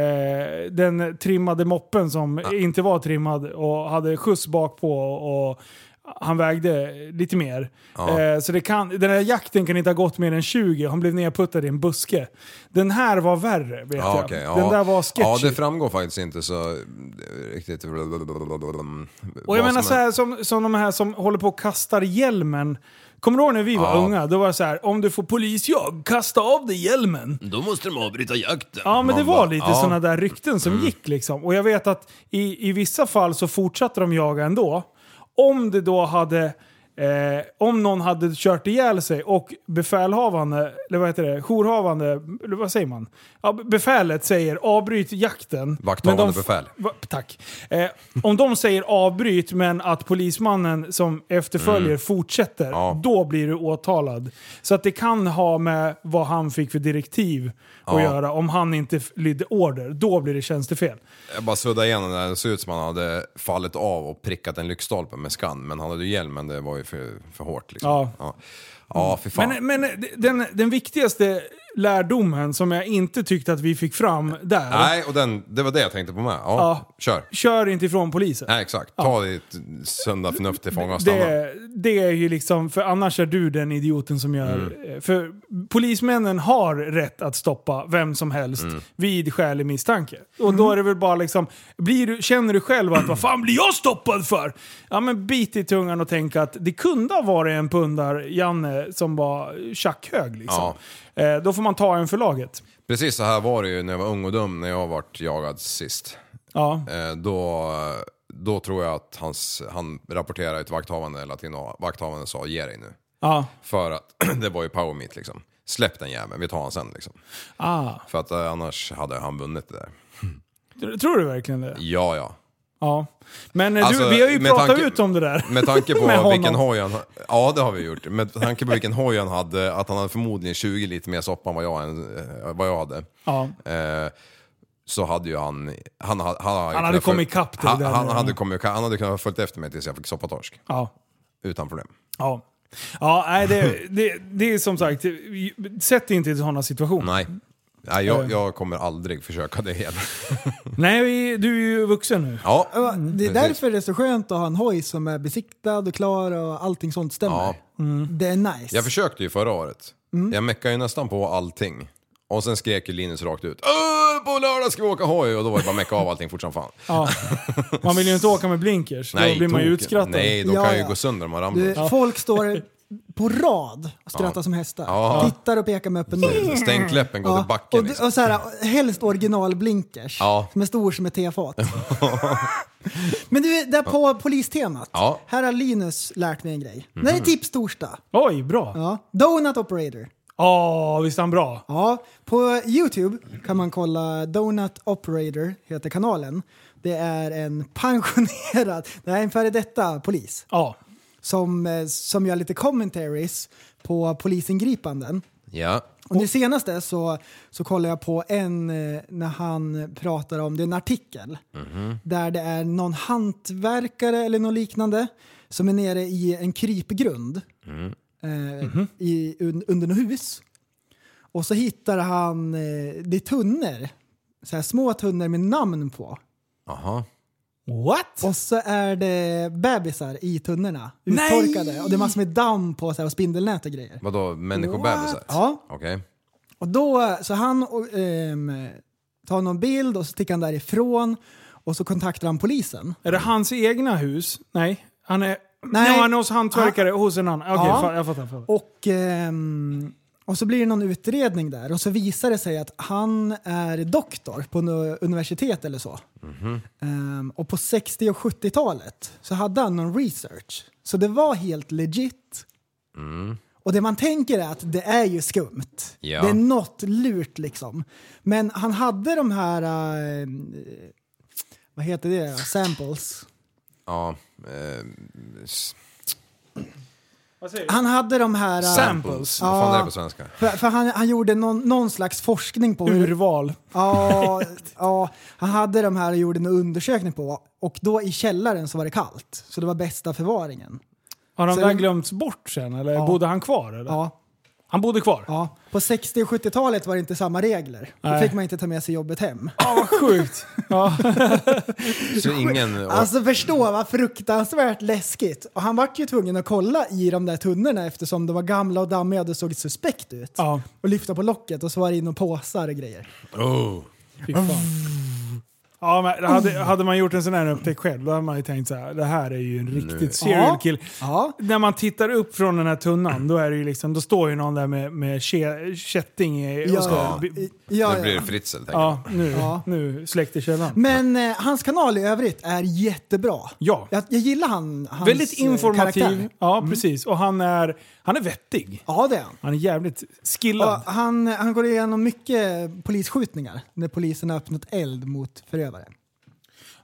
eh, den trimmade moppen som inte var trimmad och hade skjuts bak på och han vägde lite mer. Eh, så det kan, den här jakten kan inte ha gått mer än 20. Han blev nerputtad i en buske. Den här var värre, vet Ja, jag. okej, Den där var Ja, sketchy. det framgår faktiskt inte så eh, riktigt. och jag menar så här, som, som de här som håller på och kastar hjälmen. Kommer du ihåg när vi var Ja. unga? Då var det så här, om du får polisjag, kasta av dig hjälmen. Då måste de avbryta jakten. Ja, men det Man var bara, lite ja. sådana där rykten som gick liksom. Och jag vet att i, i vissa fall så fortsatte de jaga ändå. Om det då hade... Eh, om någon hade kört ihjäl sig och befälhavande, eller vad heter det, jourhavande, eller vad säger man? Ja, b- befälet säger avbryt jakten. Vakthavande men de f- befäl. Va, tack. Eh, om de säger avbryt men att polismannen som efterföljer Mm. fortsätter, då blir du åtalad. Så att det kan ha med vad han fick för direktiv att Ja. göra. Om han inte f- lydde order, då blir det tjänstefel. Jag bara suddade igenom det där. Det såg ut som han hade fallit av och prickat en lyktstolpe med skan. Men han hade ju hjälmen, det var ju för, för hårt liksom. Ja. Ja, ja fy fan. Men, men d- den, den viktigaste lärdomen som jag inte tyckte att vi fick fram där. Nej, och den, det var det jag tänkte på med. Ja, Ja. kör. Kör inte ifrån polisen. Nej, exakt. Ta ditt sunda förnuft till fånga och stanna. Det, det är ju liksom, för annars är du den idioten som gör... Mm. eh, För polismännen har rätt att stoppa vem som helst Mm. vid skälig misstanke. Och då är det väl bara liksom, blir du, känner du själv att vad fan blir jag stoppad för? Ja men bit i tungan och tänk att det kunde ha varit en pundar-Janne som var tjackhög liksom. Eh, då får man ta en för laget. Precis så här var det ju när jag var ung och dum när jag vart jagad sist. Ja. Eh, Då, då tror jag att hans, han rapporterade ett vakthavande eller att en vakthavande sa ge dig nu. Ja. För att (clears throat) det var ju power meet liksom. Släpp den jäveln, vi tar han sen liksom. Ah. För att eh, annars hade han vunnit det där. Tr- Tror du verkligen det? Ja, ja. Ja. Men eh, Alltså, du, vi har ju med pratat tanke- Mm. ut om det där. Med (laughs) tanke Med på honom. vilken hoj han Ja, det har vi gjort. Med tanke på vilken hoj han hade, att han hade förmodligen 20 lite mer soppa än vad jag, eh, vad jag hade. Ja. Eh, så hade ju han... Han, han, han, hade kommit kunnat följ- ikapp dig han, där han, nu. hade kommit, ikapp- han hade kunnat ha följt efter mig tills jag fick soppatorsk. Ja. Utan problem. Ja. Ja, nej, (laughs) det, det, det är som sagt, sätt dig inte i sådana situationer. Nej. Nej, jag, Eh. jag kommer aldrig försöka det igen. Nej, vi, du är ju vuxen nu. Ja. Ja, Eh. Det är Precis. därför det är så skönt att ha en hoj som är besiktad och klar och allting sånt stämmer. Ja. Det är nice. Jag försökte ju förra året. Mm. Jag meckade ju nästan på allting. Och sen skrek ju Linus rakt ut "Åh, på lördag ska vi åka hoj och då var det bara mecka av allting fort (laughs) som fan. Ja. Man vill ju inte åka med blinkers, då blir man ju token. utskrattad. Nej, de Ja, kan ju ja. gå sönder om man ramlar. Du, Folk står på rad och skrattar Ja. som hästar. Ja. Tittar och pekar med öppen mun. Stäng kläppen, gå till backen, Och, d- liksom. och så här, helst originalblinkers. Ja. Som är stor som ett (laughs) tefat. Men du, där på polistemat. Ja. Här har Linus lärt mig en grej. Mhm. Det här är tips torsdag. Oj, bra. Ja. Donut operator. Ja, visst är han bra? Ja, på Youtube kan man kolla Donut Operator, heter kanalen. Det är en pensionerad, (laughs) det är en före detta polis. Ja. Som, eh, som gör lite commentaries på polisingripanden. Ja. Och nu senaste så, så kollar jag på en eh, när han pratar om, det är en artikel där det är någon hantverkare eller något liknande som är nere i en krypgrund eh, i, un, under något hus. Och så hittar han, eh, det är tunnor, så här små tunnor med namn på. Aha. What? Och så är det bebisar i tunnorna, uttorkade. Och det är massor med damm på så här, och spindelnät och grejer. Vadå, människobebisar? What? Ja. Okej. Och då, så han och, ehm, tar någon bild och så sticker han därifrån och så kontaktar han polisen. Är det hans egna hus? Nej, han är... Nej. Ah. Nej. Ja, han är hos hantverkare hos en annan. Okej, Ja. fa- jag fattar. jag fattar. Och, ehm, och så blir det någon utredning där och så visar det sig att han är doktor på en universitet eller så. Mhm. Ehm, och på 60 och 70-talet så hade han någon research. Så det var helt legit. Mm. Och det man tänker är att det är ju skumt. Ja. Det är något lurt liksom. Men han hade de här, eh, vad heter det, samples. Ja. Eh, s- Han hade de här... eh, Samples. Vad fan är det på svenska? För, för han, han gjorde någon, någon slags forskning på... Urval. Ja, ja, han hade de här och gjorde en undersökning på. Och då i källaren så var det kallt. Så det var bästa förvaringen. Har han Så- där glömts bort sen, eller bodde han kvar? Eller? Ja. Han bodde kvar? Ja. På 60 och 70-talet var det inte samma regler. Då Nej. fick man inte ta med sig jobbet hem. Ja, (laughs) vad sjukt. Ja. Så ingen... Alltså förstå vad fruktansvärt läskigt. Och han vart ju tvungen att kolla i de där tunnorna eftersom de var gamla och dammiga och det såg suspekt ut. Och lyfta på locket och så var det in och påsar och grejer. Oh. Fy fan. Ja, men hade, hade man gjort en sån här upptäckt själv då hade man ju tänkt så här, det här är ju en riktigt serial Ja. kill. När man tittar upp från den här tunnan då, är det ju liksom, då står ju någon där med, med ke, kätting i- Ja. och ska... Ja, ja. Nu blir det fritzel, tänker ja, jag. nu, Ja. nu släckte källan. Men eh, hans kanal i övrigt är jättebra. Ja. Jag, jag gillar han, hans Väldigt eh, informativ. karaktär. Mm. Ja, precis. Och han är, han är vettig. Ja, det är han. Han är jävligt Och skillad. han, han går igenom mycket polisskjutningar när polisen har öppnat eld mot förövaren.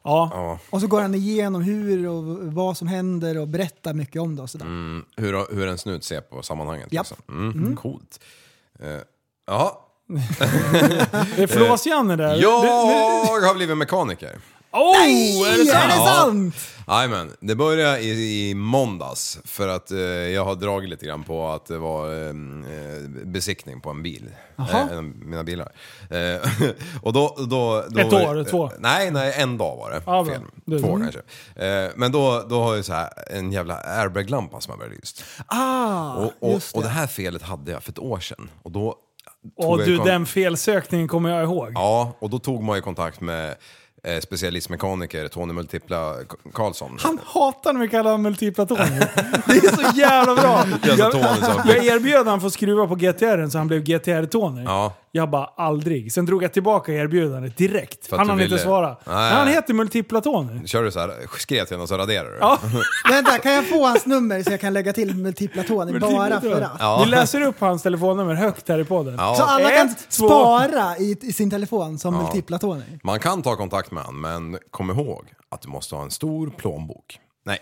Ja. Och så går han igenom hur och vad som händer och berättar mycket om det och sådär. Mm, hur, hur en snut ser på sammanhanget. Japp. Liksom. Mm, Mm. Coolt. Eh, ja. Det är Flås-Janne Eh, där. Jag har blivit mekaniker. Oh, Nej, är det sant? Jajamän, det började i, i måndags för att eh, jag har dragit lite grann på att det var eh, eh, besiktning på en bil. Jaha. Eh, en av mina bilar. Eh, (laughs) och då, då, då Ett var det- år, eh, två? Nej, nej, en dag var det. Ja, bra. Fel. Du- Två Mm. kanske. Eh, men då, då har jag så här en jävla airbag-lampa som jag började lyst. Ah, och, och, just det. och det här felet hade jag för ett år sedan. Och då Och tog jag du, kon- den felsökningen kommer jag ihåg. Ja, och då tog man ju kontakt med eh, specialistmekaniker Tony Multipla K- Karlsson. Han hatar när vi kallar honom multipla (laughs) Tony. Det är så jävla bra! Jag sa Tony som- jag erbjöd han för att skruva på GTR så han blev GTR-Tony. Ja. Jag bara aldrig. Sen drog jag tillbaka erbjudandet direkt. För att han du hann inte ville- svara. Nej. Men han heter multipla Tony. Kör du så här, skrev till honom så raderar du? Ja. Vänta, kan jag få hans nummer så jag kan lägga till multipla Tony bara för att? Ja. Vi läser upp hans telefonnummer högt här i podden. (laughs) Ja. Så alla kan Ett, två- spara i, i sin telefon som Ja. multipla Tony. Man kan ta kontakt med honom, men kom ihåg att du måste ha en stor plånbok. Nej.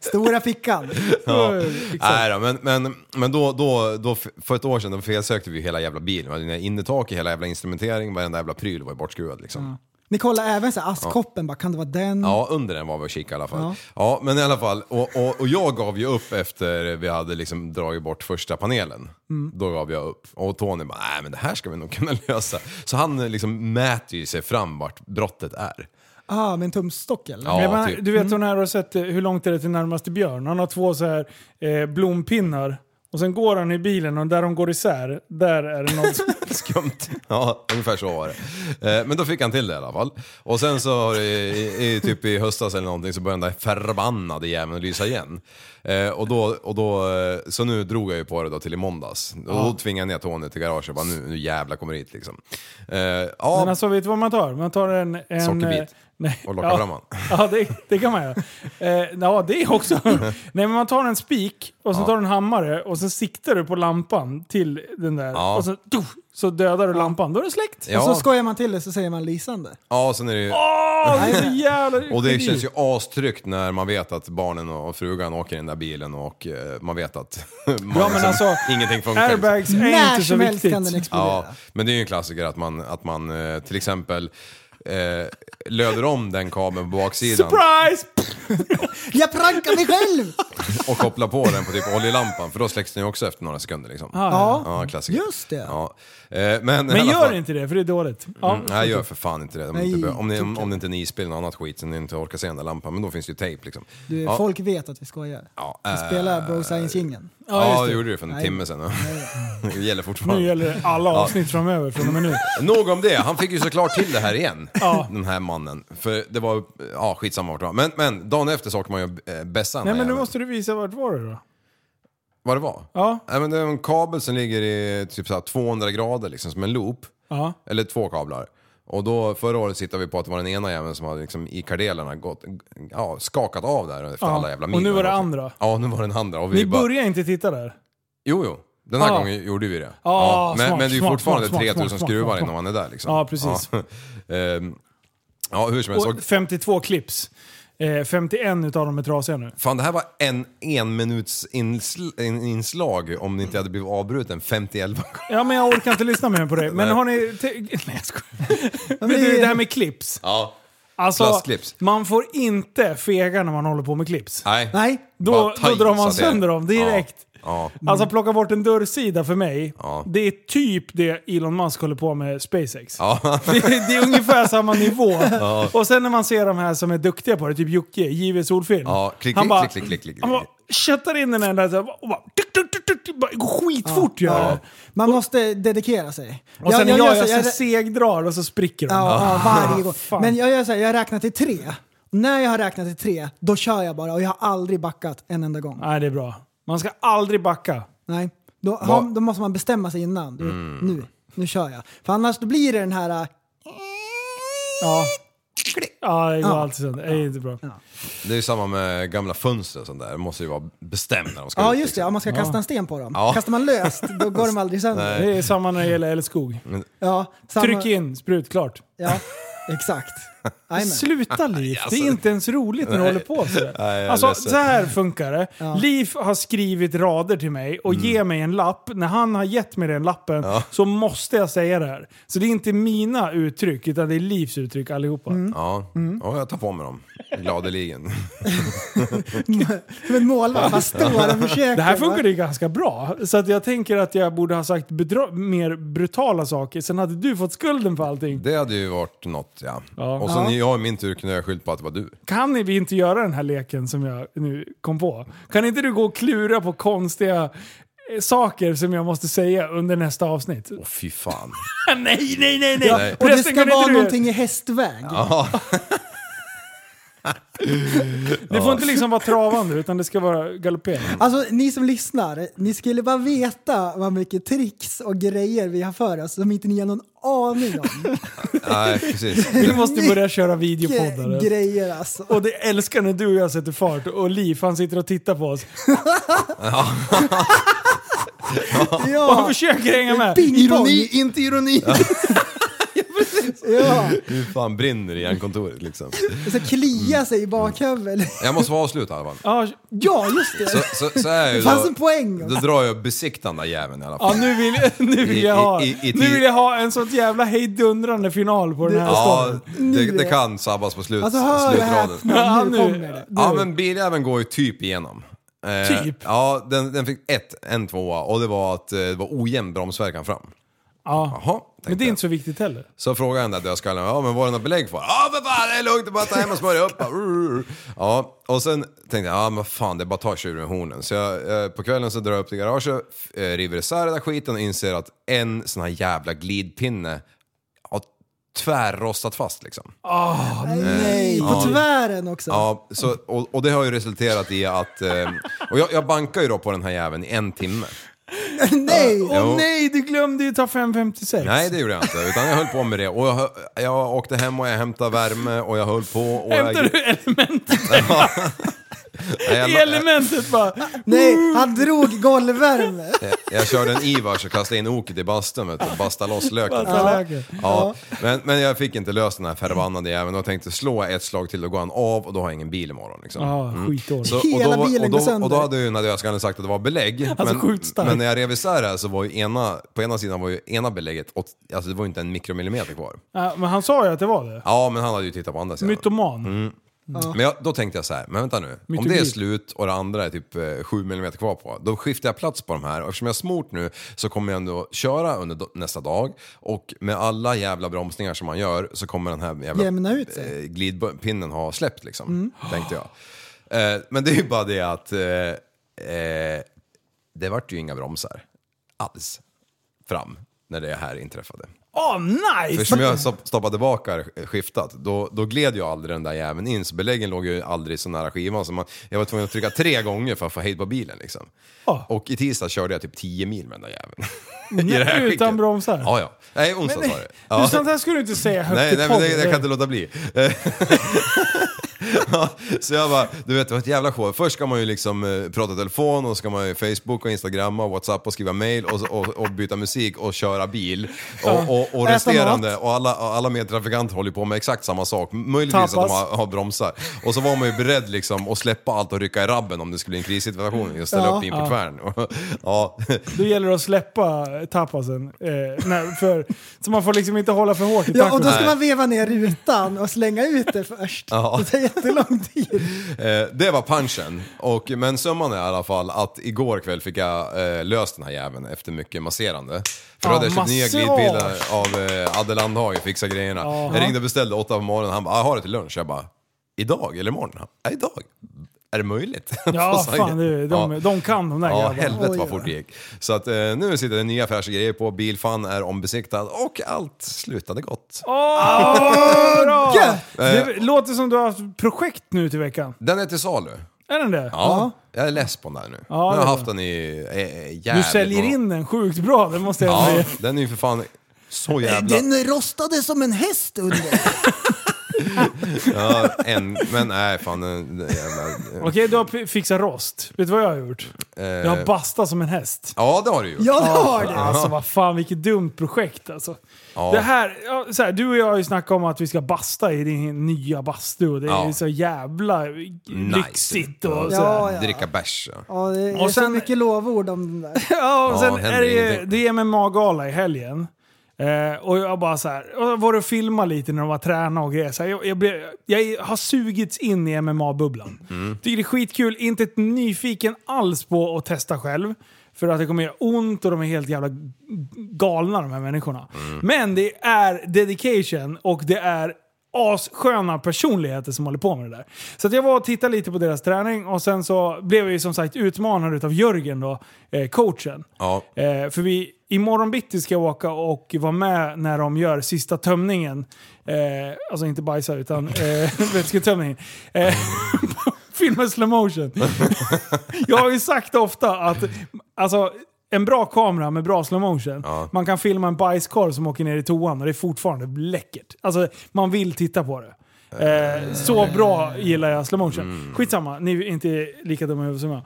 Stora fickan. Ja. Nej då, men, men, men då, då, då, för ett år sedan då felsökte vi hela jävla bilen. Vi hade innertak i hela jävla instrumentering, varenda jävla pryl var ju bortskruvad liksom. Ni kollar även så här, askkoppen, bara, kan det vara den? Ja, under den var vi och kikade i alla fall. Ja. Mm. Ja. men i alla fall. Och, och, och jag gav ju upp efter vi hade liksom dragit bort första panelen. Mm. Då gav jag upp. Och Tony bara, nej men det här ska vi nog kunna (laughs) lösa. Så han eh, liksom mäter ju sig fram vart brottet är. Ah, med en tumstock eller? Ja, men, typ. Du vet hon här har sett eh, hur långt är det till närmaste björn. Han har två så här eh, blompinnar. Och sen går han i bilen och där de går isär, där är det något som- Skumt. Ja, ungefär så var det. Eh, Men då fick han till det i alla fall. Och sen så har det i, i, typ i höstas eller någonting så började den där förbannade jäveln att lysa igen. Eh, Och då, och då, eh, så nu drog jag ju på det då till i måndags. Och då Ja. tvingade jag ner Tony till garaget och bara nu, nu jävla kommer hit liksom. Eh, Men Ja, alltså vet du vad man tar? Man tar en... en Sockerbit. eh, Nej. Och lockar ja. fram han. Ja, det, det kan man göra. Eh, ja, det (laughs) också. nej, men man tar en spik och så Ja. tar du en hammare och så siktar du på lampan till den där. Ja. Och så, tuff, så dödar du lampan. Då är det släckt. Ja. Och så skojar man till det så säger man lysande. ja sen är det ju... Åh, det är så jävla... Och det känns ju astryggt när man vet att barnen och frugan åker i den där bilen och eh, man vet att (laughs) man men alltså, ingenting funkar. (laughs) Airbags liksom. är När inte så som helst viktigt. kan den liksom- explodera. Ja, men det är ju en klassiker att man, att man eh, till exempel eh, löder om den kabeln på baksidan Surprise! Jag prankar mig själv! och kopplar på den på typ oljelampan för då släcks den ju också efter några sekunder liksom. Ah, ja. ja klassiker. Just det. Ja. Eh, men i Men alla gör fall- inte det, för det är dåligt. Ja. Mm, nej, gör för fan inte det. Om, Nej, inte, be- om, ni, om, tycker om det inte är en isbil eller något annat skit som ni inte orkar se den där lampan, men då finns det ju tejp liksom. Du, ja. folk vet att vi skojar. Ja, Vi Äh. eh, spelar Bro Science-jingeln. Ja, det gjorde det för en Nej. timme sedan. (laughs) det gäller fortfarande. Nu gäller det alla Ja. avsnitt framöver från och med nu. Nog om det, han fick ju såklart till det här igen. Ja. Den här mannen. För det var, ja skitsamma vart det var. Men, men dagen efter så åker man ju eh, bässan. Nej men nu jäveln. måste du visa vart var det då. Vad det var? Ja. Nej men det är en kabel som ligger i typ så här 200 grader liksom, som en loop. Ja. Eller två kablar. Och då förra året tittade vi på att det var den ena jäveln som hade liksom i kardelerna gått, ja, skakat av där efter Ja. alla jävla Och mil. nu var det andra. Ja, nu var det den andra. Och vi Ni bara, börjar inte titta där. Jo, jo. Den här Ja. gången gjorde vi det. Ja, men, smart, men det är ju smart, fortfarande smart, smart, 3000 smart, smart, skruvar smart. innan man är där liksom. Ja, precis. Ja, (laughs) Ehm, ja hur som helst. Och 52 clips. Eh, 51 utav dem är trasiga nu. Fan, det här var en enminuts insl- in- inslag om det inte hade blivit avbruten 51 Ja men jag orkar inte lyssna mer på det. Men Nej. har ni... te- (laughs) Nej jag (laughs) skojar. Men du, det här med clips. Ja. Alltså, Plastclips. man får inte fega när man håller på med clips. Nej. Då, Bara då drar man tajsa det. sönder dem direkt. Ja. Ja. Alltså plocka bort en dörrsida för mig, Mm. Ja. det är typ det Elon Musk håller på med SpaceX. Ja. (laughs) Det, det är ungefär samma nivå. (laughs) Ja. Och sen när man ser de här som är duktiga på det, typ Jocke, JW Solfilm. Ja, klick, han klick, bara, klick, klick, klick, klick. Han bara köttar in den här där så här, och bara, tuk, tuk, tuk, tuk, tuk, bara går skitfort gör det. Man måste dedikera sig. Och sen jag, jag, jag, gör så- så segdrar och så spricker de. Ja, ja, varje gång. Fan. Men jag gör så här, jag räknar till tre. När jag har räknat till tre, då kör jag bara och jag har aldrig backat en enda gång. Nej, det är bra. Man ska aldrig backa. Nej, då, Va- har, då måste man bestämma sig innan. Du, Mm. Nu, nu kör jag. För annars då blir det den här... äh, Ja. Ja, det går Ja. alltid sönder. Det är inte bra. Det är ju samma med gamla fönster och sånt där. De måste ju vara bestämda när de ska Ja, ut, just det. liksom. Ja, man ska kasta en sten på dem. Ja. Kastar man löst, då går de aldrig sönder. Nej. Det är samma när det gäller älskog. Ja, samma- Tryck in, sprut, klart. Ja, (laughs) exakt. Jajamän. Sluta Liv, Alltså. det är inte ens roligt när du Nej. håller på sådär. Nej, jag är Alltså ledsen. så här funkar det. Ja. Liv har skrivit rader till mig och Mm. ger mig en lapp. När han har gett mig den lappen så måste jag säga det här. Så det är inte mina uttryck utan det är Livs uttryck allihopa. Mm. Ja, liksom. ja jag tar på mig dem. Gladeligen. (laughs) Som en målvakt, bara står och försöker. Det här va? funkar ju ganska bra. Så att jag tänker att jag borde ha sagt bedra- mer brutala saker. Sen hade du fått skulden för allting. Det hade ju varit något ja. Ja. Och sen Ja. jag i min tur kunde jag skylla på att det var du. Kan ni- vi inte göra den här leken som jag nu kom på? Kan inte du gå och klura på konstiga eh, saker som jag måste säga under nästa avsnitt? Åh fy fan. nej, nej, nej, nej! Ja, och det Förresten, ska kan inte vara du- någonting i hästväg. Ja. Det får inte liksom vara travande utan det ska vara galopperande. Alltså ni som lyssnar, ni skulle bara veta vad mycket tricks och grejer vi har för oss som inte ni har någon aning om. Nej, precis. (laughs) Vi måste börja köra videopoddar. Mycket grejer alltså. Och det älskar när du och jag sätter fart och Liv han sitter och tittar på oss. Ja. Och han försöker hänga med. Ironi, inte ironi! (laughs) Ja. Ja, Hur fan brinner det i hjärnkontoret liksom. och så klia sig i bakhuvudet. Jag måste få avsluta i alla fall. Ja, just det. Så, så, så är jag ju det fanns då, en poäng. då drar jag besiktande jäveln i alla Ja, fall. nu vill, (laughs) nu, vill I- jag ha, i- i- i nu tid- vill jag ha en sån jävla hejdundrande final på den här Ja, storyn. det, det kan sabbas på slut, Alltså, hör och slutraden. häpna, nu Ja, nu. kommer det. Ja, Nu. men biljäveln går ju typ igenom. Eh, Typ? Ja, den, den fick ett, en tvåa och det var att eh, det var ojämn bromsverkan fram. Ja. men det är inte så viktigt heller. Så frågade han den där dödskallen, ja men var det något belägg för? Ja för fan det är lugnt, det är bara att ta hem och smörja upp. (laughs) Ja, och sen tänkte jag, ja men fan det är bara att ta tjuren i hornen. Så jag, eh, på kvällen så drar jag upp till garaget, f- eh, river isär den där skiten och inser att en sån här jävla glidpinne har tvärrostat fast liksom. Ah, nej, Ja. på tvären också. Ja, så, och, och det har ju resulterat i att... Eh, och jag, jag bankar ju då på den här jäveln i en timme. nej! Åh Jo. nej, du glömde ju ta 556. Nej, det gjorde jag inte. Utan jag höll på med det. Och jag, hö- jag åkte hem och jag hämtade värme och jag höll på. Och Hämtar jag, du (laughs) elementet? (laughs) Nej, jag, I elementet (laughs) bara... Mm. Nej, han drog golvvärme. jag, jag körde en Ivars och kastade in oket i bastun vet du, och bastade loss löken. Basta Ja. löken. Ja. Men, men jag fick inte löst den här förbannade jäveln och tänkte slå ett slag till och gå han av och då har jag ingen bil imorgon. Liksom. Ja, skitdåligt. Så, och Hela då, var- bilen och går då, sönder. och då hade ju den här dödskallen sagt att det var belägg. (laughs) Alltså, sjukt starkt. men, men när jag rev isär det här så var ju ena, på ena sidan var ju ena belägget, åt, alltså det var ju inte en mikromillimeter kvar. Ja, men han sa ju att det var det. Ja, men han hade ju tittat på andra sidan. Mytoman. Mm. Ja. Men jag, då tänkte jag så här, men vänta nu. Om Mytologi. det är slut och det andra är typ eh, 7 mm kvar på, då skiftar jag plats på de här. Och eftersom jag har smort nu så kommer jag ändå köra under do- nästa dag. Och med alla jävla bromsningar som man gör så kommer den här jävla Jämna ut sig. eh, glidpinnen ha släppt liksom, Mm. tänkte jag. Eh, men det är ju bara det att eh, eh, det vart ju inga bromsar alls fram när det här inträffade. Åh nice! För som (laughs) jag stopp- stoppade tillbaka skiftat, då, då gled ju aldrig den där jäveln in, så beläggen låg ju aldrig så nära skivan. Så man, jag var tvungen att trycka tre gånger för att få hejd på bilen. Liksom. Och i tisdag körde jag typ 10 mil med den där jäveln. (laughs) I det här Nej, utan skicket. bromsar. Ja, ja. Nej, onsdag Men- sa det. Du, Ja. sånt här skulle du inte säga högt Nej, i nej men det, det podden. kan jag inte låta bli. (laughs) Eh, ja, så jag bara, du vet det var ett jävla show. Först ska man ju liksom eh, prata telefon och så ska man ju Facebook och Instagram och Whatsapp och skriva mail och, och, och byta musik och köra bil. Ja. Och, och, och Äta resterande och alla, och alla medtrafikanter håller på med exakt samma sak. Möjligtvis att Tapas. de har, har bromsar. Och så var man ju beredd liksom att släppa allt och rycka i rabben om det skulle bli en krissituation. Just ställa Ja. upp in på Ja. tvären. (laughs) ja. Då gäller det att släppa tapasen. Eh, när, för, så man får liksom inte hålla för hårt i Ja, och då ska tacosen. man veva ner rutan och slänga ut det först. Ja. Så det jättelång tid. Eh, det var punchen. Och, men summan är i alla fall att igår kväll fick jag eh, löst den här jäveln efter mycket masserande. För då Ah, hade jag köpt nya massage. glidbilar av eh, Adde Landhagen, fixa grejerna. Aha. Jag ringde och beställde åtta på morgonen, han bara "Ah, “jag har det till lunch”. Jag bara “idag eller imorgon?” Han, "Ja, “idag”. Är det möjligt? Ja, (laughs) Så sa fan jag, du, de, "Ja." de kan de där Ja, grabbarna. helvete Oj, vad oj, fort det gick. Så att eh, nu sitter det nya fräscha grejer på, bilfan är ombesiktad och allt slutade gott. Åh, bra! Gött! Det låter som du har haft projekt nu till veckan. Den är till salu. Är den det? Ja, jag är less på den där nu. Ja, nu det har är jag bra. haft den i eh, eh, Du jävligt säljer många- in den sjukt bra, det måste jag Ja, säga. den är ju för fan så jävla... Den rostade som en häst under. Ja, en, men nej fan den den jävla... eh, Okej, du har p- fixat rost. Vet du vad jag har gjort? eh, Jag har bastat som en häst. Ja, det har du gjort. Alltså vad fan, vilket dumt projekt alltså. Ja. Det här, ja, så här, du och jag har ju snackat om att vi ska basta i din nya bastu och det är Ja. så jävla lyxigt och så här. Ja, ja. Dricka bärs. ja. Ja, det är Och så sen- Mm. mycket lovord om den där. (laughs) Ja, och Ja, sen är händer det, ju- ingenting. det är MMA-gala i helgen. Eh, och jag bara så här, och jag var och filmade lite när de var tränade och grejer. Så här, jag, jag, blev, jag har sugits in i MMA-bubblan. Mm. Tycker det är skitkul, inte ett nyfiken alls på att testa själv. För att det kommer göra ont och de är helt jävla galna de här människorna. Men det är dedication och det är assköna personligheter som håller på med det där. Så att jag var och tittade lite på deras träning och sen så blev jag ju som sagt utmanad av Jörgen då, eh, coachen. Ja. Eh, för vi, imorgon bitti ska jag åka och vara med när de gör sista tömningen. Eh, alltså inte bajsa utan eh, vätsketömningen. Eh, (laughs) Filma slow motion. jag har ju sagt ofta att alltså, en bra kamera med bra slow motion, man kan filma en bajskorv som åker ner i toan och det är fortfarande läckert. Alltså, man vill titta på det. Eh, så bra gillar jag slow motion. Skitsamma, ni är inte lika dumma i huvudet som jag.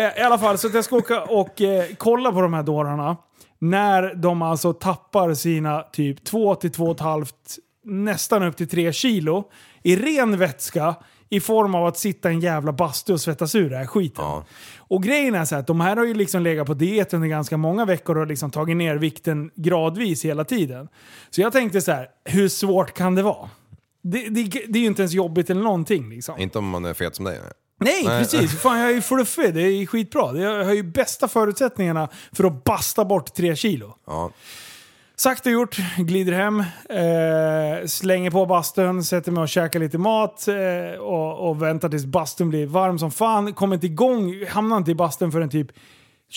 Eh, I alla fall, så att jag ska åka och eh, kolla på de här dårarna. När de alltså tappar sina typ 2 till 2,5, nästan upp till 3 kilo i ren vätska i form av att sitta i en jävla bastu och svettas ur den här skiten. Och grejen är så här att de här har ju liksom legat på diet under ganska många veckor och liksom tagit ner vikten gradvis hela tiden. Så jag tänkte så här, hur svårt kan det vara? Det, det, det är ju inte ens jobbigt eller någonting liksom. Inte om man är fet som dig. Nej, precis. Fan, jag är ju fluffig. Det är ju skitbra. Jag har ju bästa förutsättningarna för att basta bort tre kilo. Ja. Sagt och gjort, glider hem, eh, slänger på bastun, sätter mig och käkar lite mat eh, och, och väntar tills bastun blir varm som fan. Kommer inte igång, hamnar inte i bastun förrän typ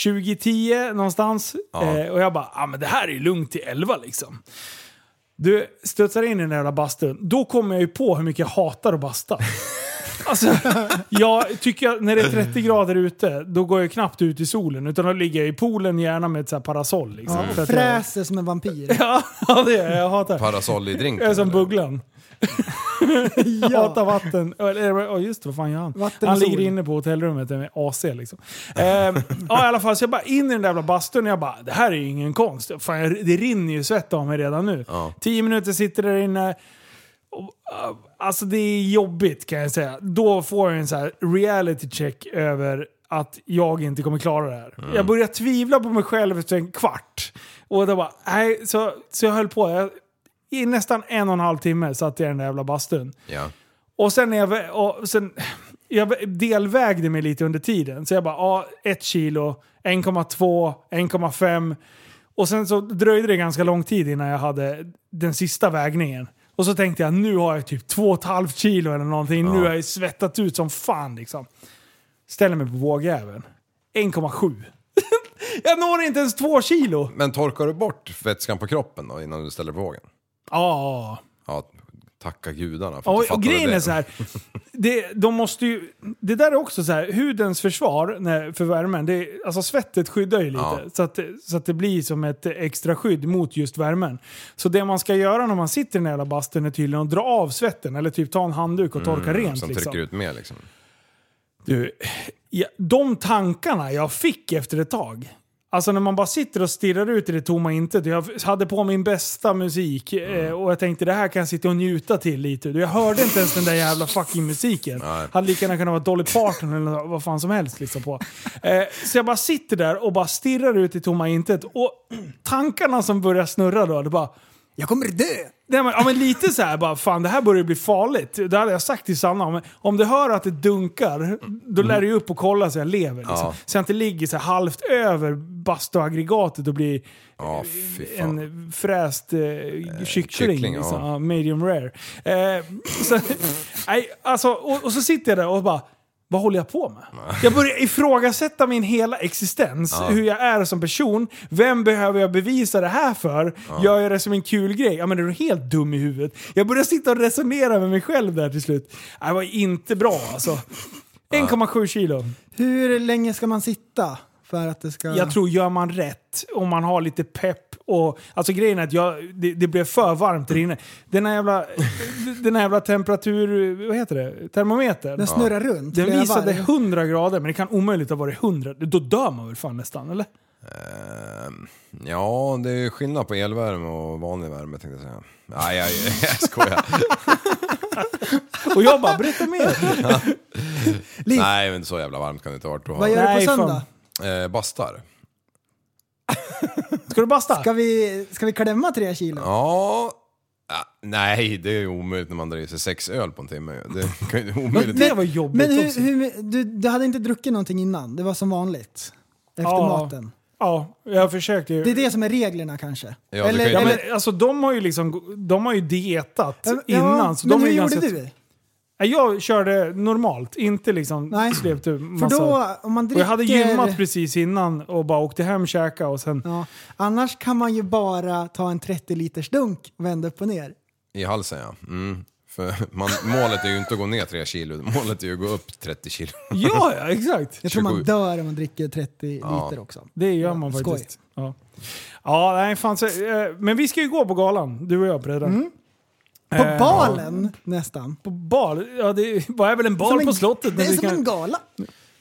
2010 någonstans. Ja. Eh, och jag bara, ah, men det här är ju lugnt till 11 liksom. Du studsar in i den där jävla bastun, då kommer jag ju på hur mycket jag hatar att basta. Alltså, jag tycker jag, när det är 30 grader ute, då går jag knappt ut i solen. Utan då ligger jag i poolen gärna med ett så här parasoll. Liksom, Ja, För att jag- fräser som en (laughs) vampyr. Ja, ja, det är jag. Jag hatar. Parasoll i drinken, Jag är som Bugglan. jag hatar vatten. Eller, Ja just det, vad fan gör han? Vatten han och ligger sol. inne på hotellrummet med AC liksom. Ehm, ja i alla fall, så jag bara in i den där jävla bastun och jag bara, det här är ju ingen konst. Fan, jag, det rinner ju svett av mig redan nu. Tio minuter sitter där inne. Alltså det är jobbigt kan jag säga. Då får jag en så här reality check över att jag inte kommer klara det här. Jag börjar tvivla på mig själv efter en kvart. Och då bara, nej, så, så jag höll på. Jag, I nästan en och en halv timme satt jag i den där jävla bastun. Ja. Och sen, när jag, vä- och sen jag delvägde mig lite under tiden. Så jag bara, ja, ett kilo, 1,2, 1,5. Och sen så dröjde det ganska lång tid innan jag hade den sista vägningen. Och så tänkte jag, nu har jag typ 2,5 kilo eller någonting. Nu har jag ju svettat ut som fan liksom. Ställer mig på vågjäveln. 1,7. (laughs) jag når inte ens 2 kilo. Men torkar du bort vätskan på kroppen då innan du ställer på vågen? Ja. Ja, tacka gudarna för att Och, du och fattade grejen det. är så här, det, de måste ju, det där är också så här, hudens försvar när, för värmen, det, är- alltså svettet skyddar ju lite. Ja. Så, att, så att det blir som ett extra skydd mot just värmen. Så det man ska göra när man sitter i den här jävla bastun är tydligen att dra av svetten, eller typ ta en handduk och torka Mm, rent. Som Liksom. trycker ut mer liksom. Du, ja, de tankarna jag fick efter ett tag. Alltså när man bara sitter och stirrar ut i det tomma intet. Jag hade på min bästa musik eh, och jag tänkte det här kan jag sitta och njuta till lite. Du, Jag hörde inte ens den där jävla fucking musiken. Hade lika gärna kunnat vara Dolly Parton eller vad fan som helst liksom på. Eh, så jag bara sitter där och bara stirrar ut i tomma intet. Och tankarna som börjar snurra då, det bara... Jag kommer dö! Nej, men, ja, men lite så här bara, fan det här börjar bli farligt. Det hade jag sagt till Sanna. Om, om du hör att det dunkar, då lär du ju upp och kolla så jag lever. Liksom. Ja. Så jag inte ligger så här halvt över bastuaggregatet och blir Ja, fy fan. en fräst eh, kyckling. kyckling, liksom. ja. ja. medium rare. Eh, så, (laughs) nej, alltså, och, och så sitter jag där och bara, vad håller jag på med? Jag börjar ifrågasätta min hela existens, Ja. hur jag är som person. Vem behöver jag bevisa det här för? Ja. Gör jag det som en kul grej? Ja men är du helt dum i huvudet? Jag börjar sitta och resonera med mig själv där till slut. Nej, Det var inte bra alltså. 1,7 kilo. Hur länge ska man sitta för att det ska... Jag tror gör man rätt, om man har lite pepp och... Alltså grejen är att jag, det, det blev för varmt där inne. Den här jävla, (laughs) den här jävla temperatur... Vad heter det? Termometern. Den snurrar runt Den flera visade varv. 100 grader, men det kan omöjligt ha varit 100. Då dör man väl fan nästan, eller? Ehm, Ja, det är ju skillnad på elvärme och vanlig värme tänkte jag säga. Nej, jag, (laughs) jag skojar. Och jag bara, berätta mer! Nej, men så jävla varmt kan det inte ha varit. Då har- Vad gör du på söndag? Eh, bastar. Ska du basta? Ska vi, ska vi klämma tre kilo? Ja. Ah, Nej, det är ju omöjligt när man drar i sig sex öl på en timme. ju. Det kan (laughs) ju omöjligt. Men hur, hur, du, du hade inte druckit någonting innan? Det var som vanligt? Efter Ja. maten? Ja, jag försökte ju. Det är det som är reglerna kanske? Ja, Eller- ja, eller- men, alltså, de har ju liksom de har ju dietat Ja, innan. Så men de är hur ju gjorde ganska- du? Nej, Jag körde normalt, inte liksom Nej. slepte ur För massa. då, om man Och dricker... jag hade gymmat precis innan och bara åkte hem, käka och sen... Ja, annars kan man ju bara ta en 30 liters dunk och vända upp och ner. I halsen ja. Mm. För man, målet är ju inte att gå ner tre kilo, målet är ju att gå upp 30 kilo. Ja, ja exakt. Jag tror man 27. dör om man dricker 30 Ja. liter också. Det gör man Skoj. faktiskt. Ja. ja, nej fan. Så, eh, men vi ska ju gå på galan, du och jag Breddan. Mm. På balen nästan. På Eh, bal? Ja, det var väl en bal Som en- på slottet. Det men är vi som kan- en gala.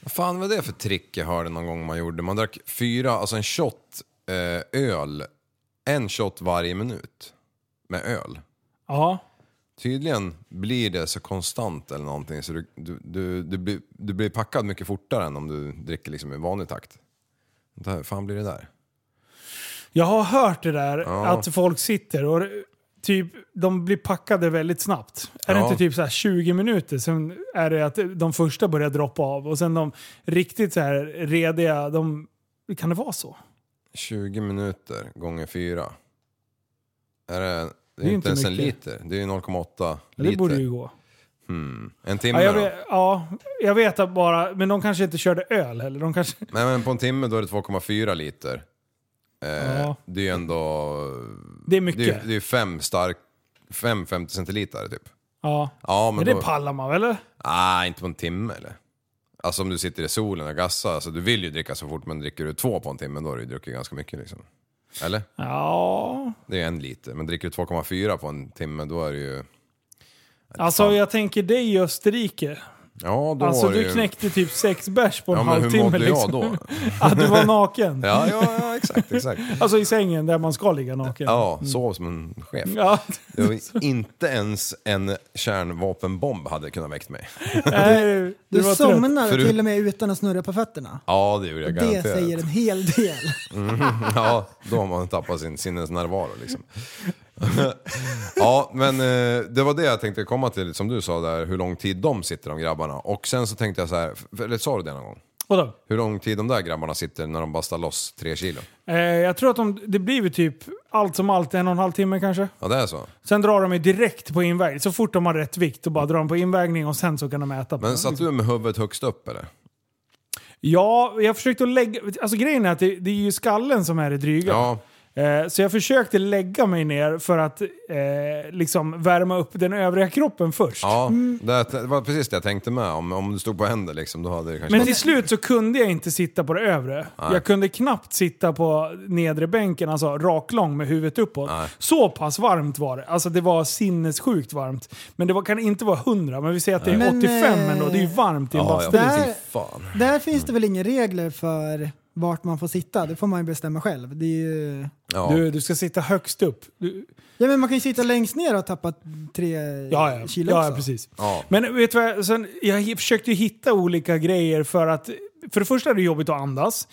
Vad fan var det för trick jag hörde någon gång man gjorde? Man drack fyra, alltså en shot eh, öl, en shot varje minut med öl. Ja. Tydligen blir det så konstant eller någonting så du, du, du, du, blir, du blir packad mycket fortare än om du dricker liksom i vanlig takt. Vänta, Hur fan blir det där? Jag har hört det där Ja. att folk sitter och typ, de blir packade väldigt snabbt. Är det Ja. inte typ så här 20 minuter sen är det att de första börjar droppa av och sen de riktigt så här rediga, de, kan det vara så? 20 minuter gånger fyra. Är det, det är, är inte inte ens en mycket. liter, det är ju 0,8 Det liter. borde ju gå. Hmm. En Ja timme jag, då? vet, ja, jag vet att bara, men de kanske inte körde öl heller. De kanske, Nej men på en timme då är det 2,4 liter. Eh, Ja. Det är ju ändå... Det är mycket. Det är, det är fem stark... Fem 50 centiliter typ. ja. Ja, men men det då- pallar man väl? eller? Nej, Ah, inte på en timme eller? Alltså om du sitter i solen och gassar, alltså, du vill ju dricka så fort men dricker du två på en timme då har du ju druckit ganska mycket liksom. Eller? Ja. Det är ju en liter, men dricker du 2,4 på en timme då är det ju... Alltså jag tänker dig i Österrike. Ja, då Alltså var det du ju... knäckte typ sex bärs på en Ja, men hur halvtimme. mådde jag liksom. då? (laughs) Att du var naken. Ja, ja, ja, (laughs) exakt, exakt. Alltså i sängen där man ska ligga naken. Ja, sov som en chef. Ja. Det var ju inte ens en kärnvapenbomb hade kunnat väckt mig. (laughs) Eh, Nej, Du somnar Förut- till och med utan att snurra på fötterna. Ja, det gjorde jag Det garanterat. säger en hel del. Mm, (laughs) ja, då har man tappat sin sinnesnärvaro liksom. (laughs) ja, men eh, det var det jag tänkte komma till, som du sa där, hur lång tid de sitter de grabbarna. Och sen så tänkte jag så här, för- eller sa du det någon gång? Vadå? Hur lång tid de där grabbarna sitter när de bastar loss tre kilo? Eh, jag tror att de, det blir väl typ allt som allt en och en halv timme kanske. Ja, det är så. Sen drar de ju direkt på inväg. Så fort de har rätt vikt och bara drar de på invägning och sen så kan de äta. på den, Men satt liksom. du med huvudet högst upp eller? Ja, jag försökte att lägga... Alltså grejen är att det, det är ju skallen som är det dryga. Eh, Så jag försökte lägga mig ner för att eh, liksom värma upp den övriga kroppen först. Ja, det, det var precis det jag tänkte med. Om, om du stod på händer liksom, då hade det kanske... Men till slut så kunde jag inte sitta på det övre. Nej. Jag kunde knappt sitta på nedre bänken, alltså raklång med huvudet uppåt. Så pass varmt var det. Alltså det var sinnessjukt varmt. Men det var, kan inte vara 100, men vi säger att det är Men, 85 eh, ändå. Det är ju varmt i en bastu. där, där finns det väl inga regler för vart man får sitta? Det får man ju bestämma själv. Det är ju... Du, du ska sitta högst upp. Du, Ja men man kan ju sitta längst ner och tappa tre Ja, ja. kilo ja, också. ja precis. Men vet du vad, jag- sen, jag hi- försökte ju hitta olika grejer för att... För det första är det jobbigt att andas.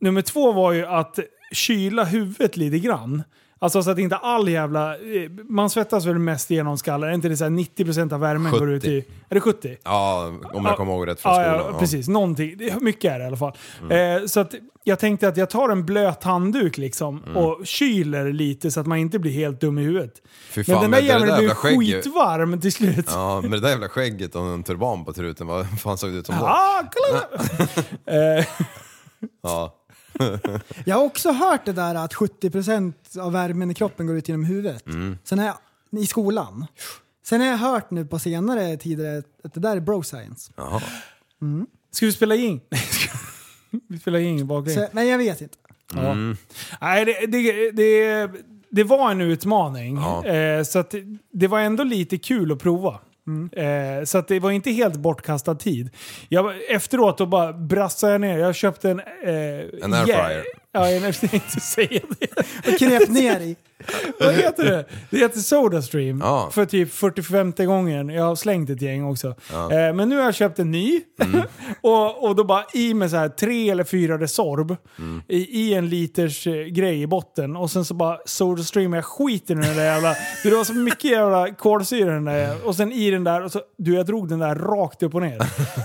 Nummer två var ju att kyla huvudet lite grann. Alltså så att inte all jävla... eh, Man svettas väl mest genom skallen? Är inte det så här 90% av värmen går ut i... 70. Är det 70? Ja, om jag kommer ihåg rätt från ja, skolan. Ja, precis. Någonting. Det- Mycket är det i alla fall. Eh, så att jag tänkte att jag tar en blöt handduk liksom Mm. och kyler lite så att man inte blir helt dum i huvudet. Fy fan, men den där men det där jäveln jävla blev skägget- skitvarm till slut. (laughs) Ja, men det där jävla skägget och en turban på truten, vad fan såg det ut som då? Ah, kolla! Eh, Ja. Jag har också hört det där att 70% av värmen i kroppen går ut genom huvudet. Mm. Sen har jag, I skolan. Sen har jag hört nu på senare tider att det där är bro science. Jaha. Mm. Ska vi spela in? (laughs) vi spelar in Så, baklänges. nej, jag vet inte. Ja. Nej, det, det, det, det var en utmaning. Ja. Eh, så att, det var ändå lite kul att prova. Eh, så att det var inte helt bortkastad tid. Jag, efteråt då bara brassade jag ner. Jag köpte en... Eh, En airfryer. Ja, en, inte säga det. Och knep ner i. (laughs) Vad heter det? Det heter Sodastream. För typ 45 gången. Jag har slängt ett gäng också. Ja. Mm. Eh, men nu har jag köpt en ny. (laughs) och, och då bara i med så här tre eller fyra Resorb Mm. i, i en liters eh, grej i botten. Och sen så bara Sodastream, jag skiter i den där jävla... (laughs) Du, det var så mycket jävla kolsyra i den där. Och sen i den där, och så, du jag drog den där rakt upp och (laughs) ner.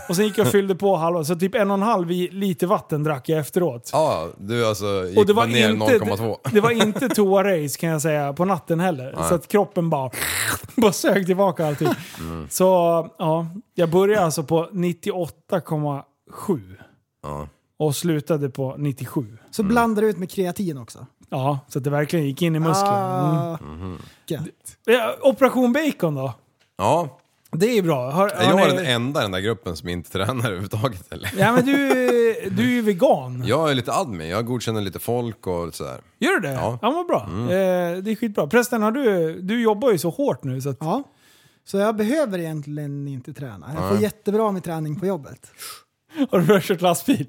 Och sen gick jag och fyllde på halva, så typ en och en halv i- liter vatten drack jag efteråt. Ja, du alltså gick Och det bara var, ner inte, 0,2. det, det var inte toarace kan jag säga på natten heller. Nej. Så att kroppen bara, bara sög tillbaka allting. Mm. Så ja, jag började alltså på 98,7 Ja. och slutade på 97. Så blandar du ut med kreatin också. Ja, så att det verkligen gick in i musklerna. Mm. Ah. Gött. Ja, Operation Bacon då? Ja. Det är bra. Har, Är jag har ni- den enda i den där gruppen som inte tränar (laughs) överhuvudtaget eller? Ja men du, du är ju vegan. Jag är lite admin, jag godkänner lite folk och sådär. Gör du det? Ja. Mm. Ja, vad bra. Eh, det är skitbra. Prästen, har du, du jobbar ju så hårt nu så att... Ja. Så jag behöver egentligen inte träna. Jag får Nej. jättebra med träning på jobbet. Har du börjat köra lastbil?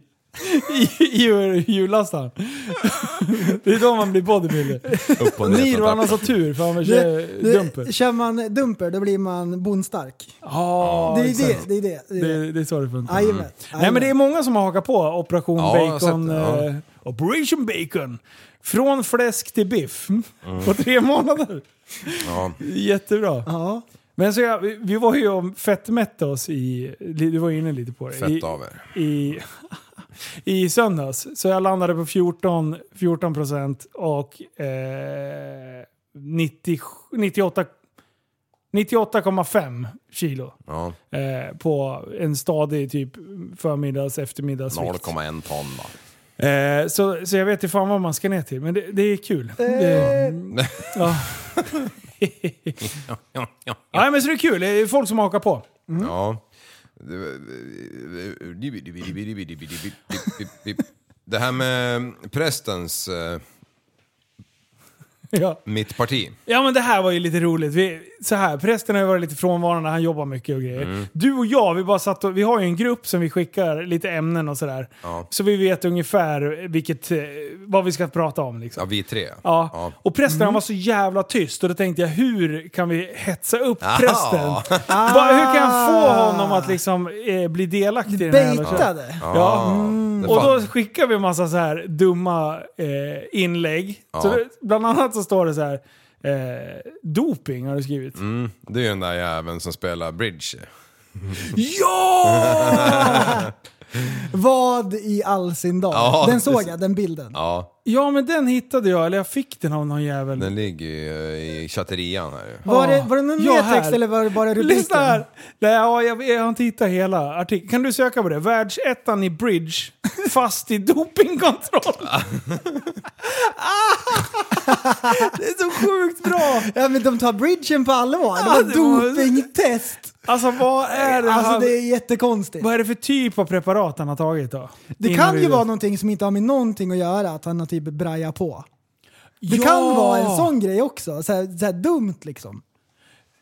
I- I i hjullastaren? (laughs) Det är då man blir bodybuilder. Upp och ner från Nirvan har så trappan. tur för han Det, kör det, dumper. kör man dumper då blir man bondstark. Ja, det, är det, exakt. det är det. Det är det. Det, det är så det funkar. Jajamän, Nej men det är många som har hakat på Operation Ja, jag har Bacon. sett det, ja. eh, Operation Bacon. Från fläsk till biff. På tre månader. Ja. Jättebra. Men så jag, vi- vi var ju om fettmätta oss i... Du var ju inne lite på det. Fett I, av er. i, i söndags. Så jag landade på 14, 14 procent och eh, 90 98 98,5 kilo Ja. eh, på en stadig typ förmiddags eftermiddagsvikt. 0,1 ton va. Eh, så, så jag vet inte fan vad man ska ner till, men det, det är kul. Det, Eh. ja. Ja, ja. Nej, men så det är kul, det är folk som hakar på. Ja. Det här med prästens, eh, Ja. mitt parti. Ja men det här var ju lite roligt. Vi, så här, prästen har ju varit lite frånvarande, han jobbar mycket och grejer. Mm. Du och jag, vi bara satt och, vi har ju en grupp som vi skickar lite ämnen och sådär. Ja. Så vi vet ungefär vilket, eh, vad vi ska prata om liksom. Ja, vi tre. Ja. Ja. Mm. Och prästen han var så jävla tyst och då tänkte jag hur kan vi hetsa upp Aha. (laughs) prästen? Bara, hur kan jag få honom att liksom eh, bli delaktig i den här jävla Baitade. kören? Ja. Ja. Det Mm. Och då fan- skickar vi en massa så här dumma eh, inlägg. Ja. Så det, bland annat så står det så här eh, doping har du skrivit. Mm, det är ju den där jäveln som spelar bridge. Ja! Vad i all sin dag. Ja, den såg det- jag, den bilden. Ja, Ja men den hittade jag, eller jag fick den av någon jävel. den ligger ju eh, i chatterian här ju. Var, Ah. det, var det någon Ja, mer här. text eller var det bara rubriken? Lyssna här! Nej, ja, jag, jag har inte hittat hela artikeln. Kan du söka på det? Världsettan i bridge, (laughs) fast i dopingkontroll. (laughs) det är så sjukt bra! Ja men de tar bridgen på allvar. Det Ja, var det var- dopingtest. Alltså vad är det Alltså här? det är jättekonstigt. Vad är det för typ av preparat han har tagit då? Det Innan kan vi ju vet. vara någonting som inte har med någonting att göra, att han har typ brajat på. Det Ja! kan vara en sån grej också, så här, så här dumt liksom.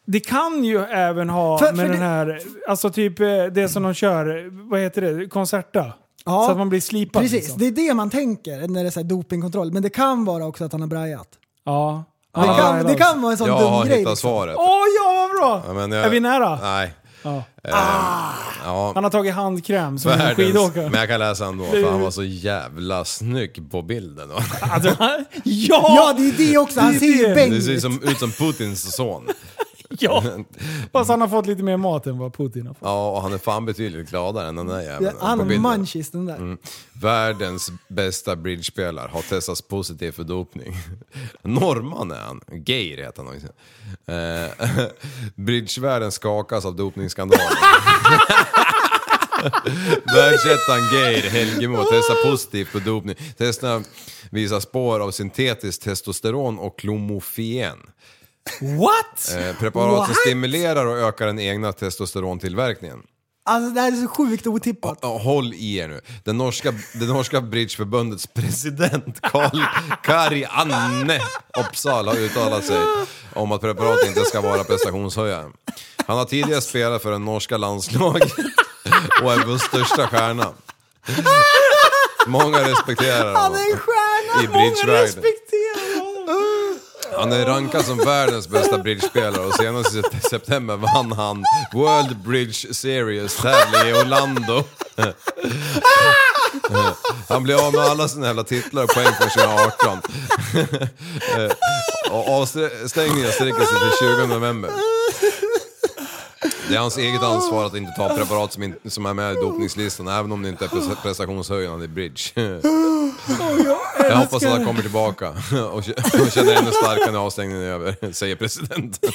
Det kan ju även ha För- med för den det- här, alltså typ eh, det som de kör, eh, vad heter det, Concerta? Ja. Så att man blir slipad. Precis, liksom. det är det man tänker när det är så här dopingkontroll. Men det kan vara också att han har brajat. Ja. Det kan- det kan vara en sån jag dum har grej, hittat liksom. svaret. Åh ja, vad bra! Ja, men Är vi nära? Nej. Ja. Ah! Eh, ja. Han har tagit handkräm som en Världens- skidåkare. Men jag kan läsa ändå, för han var så jävla snygg (laughs) på bilden. Alltså, (laughs) Ja! ja, det är det också. Han Det är ser ju det. bäng Det ser som, ut som Putins son. (laughs) Ja. Fast han har fått lite mer mat än vad Putin har fått. (laughs) Ja, och han är fan betydligt gladare än den där jäveln. Han på har bilden. munchies den där. Mm. Världens bästa bridgespelare har testats positiv för dopning. (laughs) Norrman är han. Geir heter han också. Eh, (laughs) Bridgevärlden skakas av dopningsskandalen. (laughs) Världsettan Geir Helgemo testar positivt för dopning. Testerna visar spår av syntetiskt testosteron och klomofen. What? Eh, preparat som What? stimulerar och ökar den egna testosterontillverkningen. Alltså det här är så sjukt otippat. Ja, Håll i er nu. Den norska, det norska bridgeförbundets president Karl Kari Anne Opsal har uttalat sig om att preparat inte ska vara prestationshöjare. Han har tidigare spelat för det norska landslaget och är vår största stjärna. Många respekterar Han honom. är en I stjärna! Många bridgevärlden. respekterar honom! Han är rankad som världens bästa bridgespelare och senast i se- september vann han World Bridge Series tävling i Orlando. Han blev av med alla sina jävla titlar och poäng från 2018. Och avstängningen sträcker sig till 20 november. Det är hans eget ansvar att inte ta preparat som, in, som är med i dopningslistan även om det inte är pres- prestationshöjande i bridge. Oh, jag Jag hoppas att älskar han det. kommer tillbaka (laughs) och k- och känner ännu starkare när avstängningen är över, säger presidenten.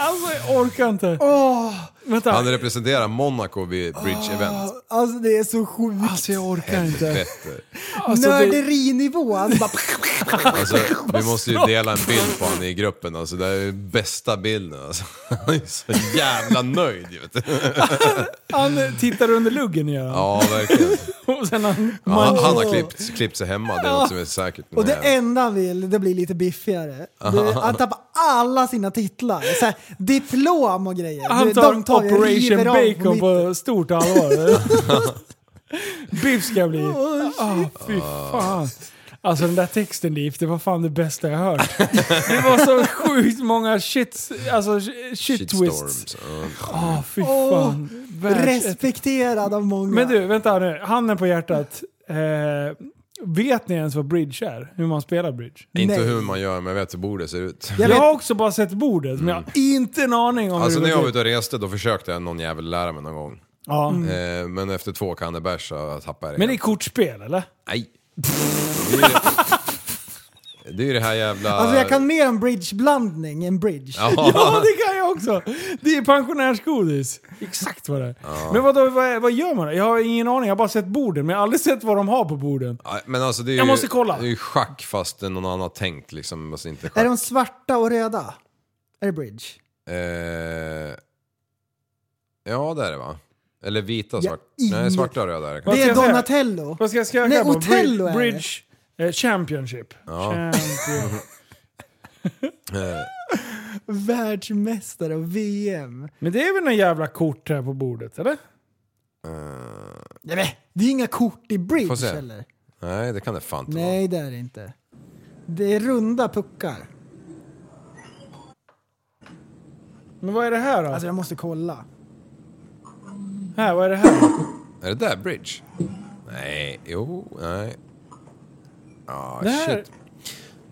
Alltså jag orkar inte. Oh, vänta. Han representerar Monaco vid bridge-event. Alltså det är så sjukt. Alltså jag orkar Helvete. Alltså, det- Nörderinivå. Alltså, bara... Alltså, vi måste ju dela en bild på honom i gruppen. Alltså, det är ju bästa bilden. Alltså. (laughs) Han är så jävla nöjd. Vet du. Han tittar under luggen gör han. Ja, verkligen. Och sen han... Ja, han, han har klippt, klippt sig hemma, det är något som är säkert. Och det enda han vill, det blir lite biffigare. Det, han tappar alla sina titlar. Så här, diplom och grejer. Han Det- tar de tar jag och Operation river av på Bacon mitt- på stort allvar. (laughs) Biff ska jag bli. Ah, fy fan. Alltså den där texten Liv, det var fan det bästa jag hört. Det var så sjukt många shits, alltså shit, shit twists. Ah, fy Åh, fan. Världsettan. respekterad av många. Men du, vänta nu. Handen på hjärtat. Eh, vet ni ens vad bridge är? Hur man spelar bridge? Inte hur man gör, men jag vet hur bordet ser ut. Jag, har också bara sett bordet, men jag har inte en aning om Mm. Alltså hur när det jag går var till. ute och reste då försökte jag någon jävel lära mig någon gång. Ja. Eh, men efter två kannor bärs så tappade jag det. Men det är kortspel, eller? Nej. Det är ju det- Det är ju det här jävla... Alltså jag kan mer om bridgeblandning än bridge. Ja. (laughs) Ja, det kan jag också! Det är pensionärsgodis. Exakt vad det är. Men vadå, vad, vad gör man då? Jag har ingen aning, jag har bara sett borden, men jag har aldrig sett vad de har på borden. Nej, Men alltså det är Jag ju, måste kolla. Det är ju schack fast det är någon annan har tänkt liksom. Alltså inte Är schack. de svarta och röda? Är det bridge? Eh, ja det är det va? Eller vita och Ja, svart. ingen- Nej, svarta och röda är det Det kanske. är Donatello. Vad ska jag skriva Nej, på? Otello är Bri- det. Bridge eh, Championship. Ja. Champion. Eh, Världsmästare och VM. Men det är väl några jävla kort här på bordet, eller? Nej, men, det är inga kort i Får bridge se. eller? nej det kan det fan inte Nej det är det inte. Det är runda puckar. Men vad är det här då? Alltså jag måste kolla. Här, vad är det här? vara. Är det där bridge? Nej, jo, nej. Ja, Det här- shit.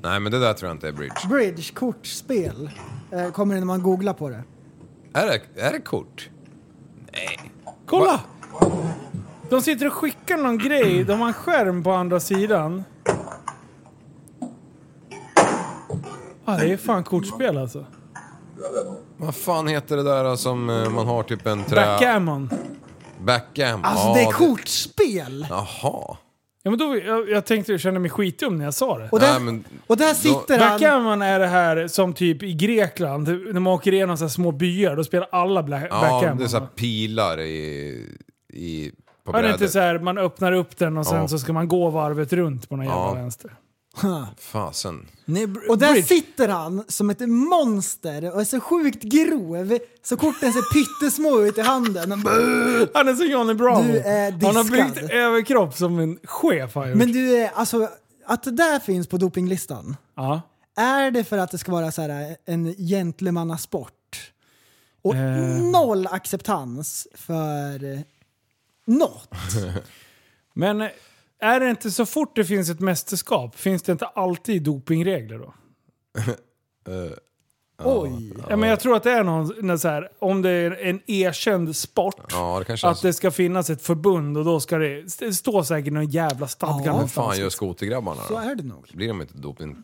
Nej men det där tror jag inte är bridge. Bridge, kortspel. Eh, kommer det när man googlar på det. Är det, är det kort? Nej. Kolla! De sitter och skickar någon grej. De har en skärm på andra sidan. Ah, det är fan kortspel alltså. Vad fan heter det där som eh, man har typ en trä... Backgammon. Backgammon. Alltså ja, det är kortspel! Jaha. Ja, men då, jag, jag tänkte jag kände mig skitdum när jag sa det. Och där- Nej, men, Och där sitter han... Backgammon är det här som typ i Grekland, när man åker igenom så här små byar, då spelar alla bla- ja, backgammon. det är såhär pilar i... i på Är det inte brädet. så här, man öppnar upp den och sen Ja. så ska man gå varvet runt på någon jävla Ja. vänster? Fasen. Och där sitter han som ett monster och är så sjukt grov så korten ser pyttesmå ut i handen. Han bara- Han är som Johnny Bravo. Du är Han har diskad. byggt överkropp som en chef har gjort. Men du, är- alltså att det där finns på dopinglistan, ja. är det för att det ska vara så här en gentlemannasport? Och Eh. noll acceptans för något. Men eh, är det inte så fort det finns ett mästerskap, finns det inte alltid dopingregler då? (laughs) Eh, Oj! Ja, men jag tror att det är någon, när så här, om det är en erkänd sport, Ja, det kanske är att det ska finnas ett förbund och då ska det, det står säkert någon jävla stadga Vad någonstans. fan gör skotergrabbarna då? Så är det nog. Blir de inte doping?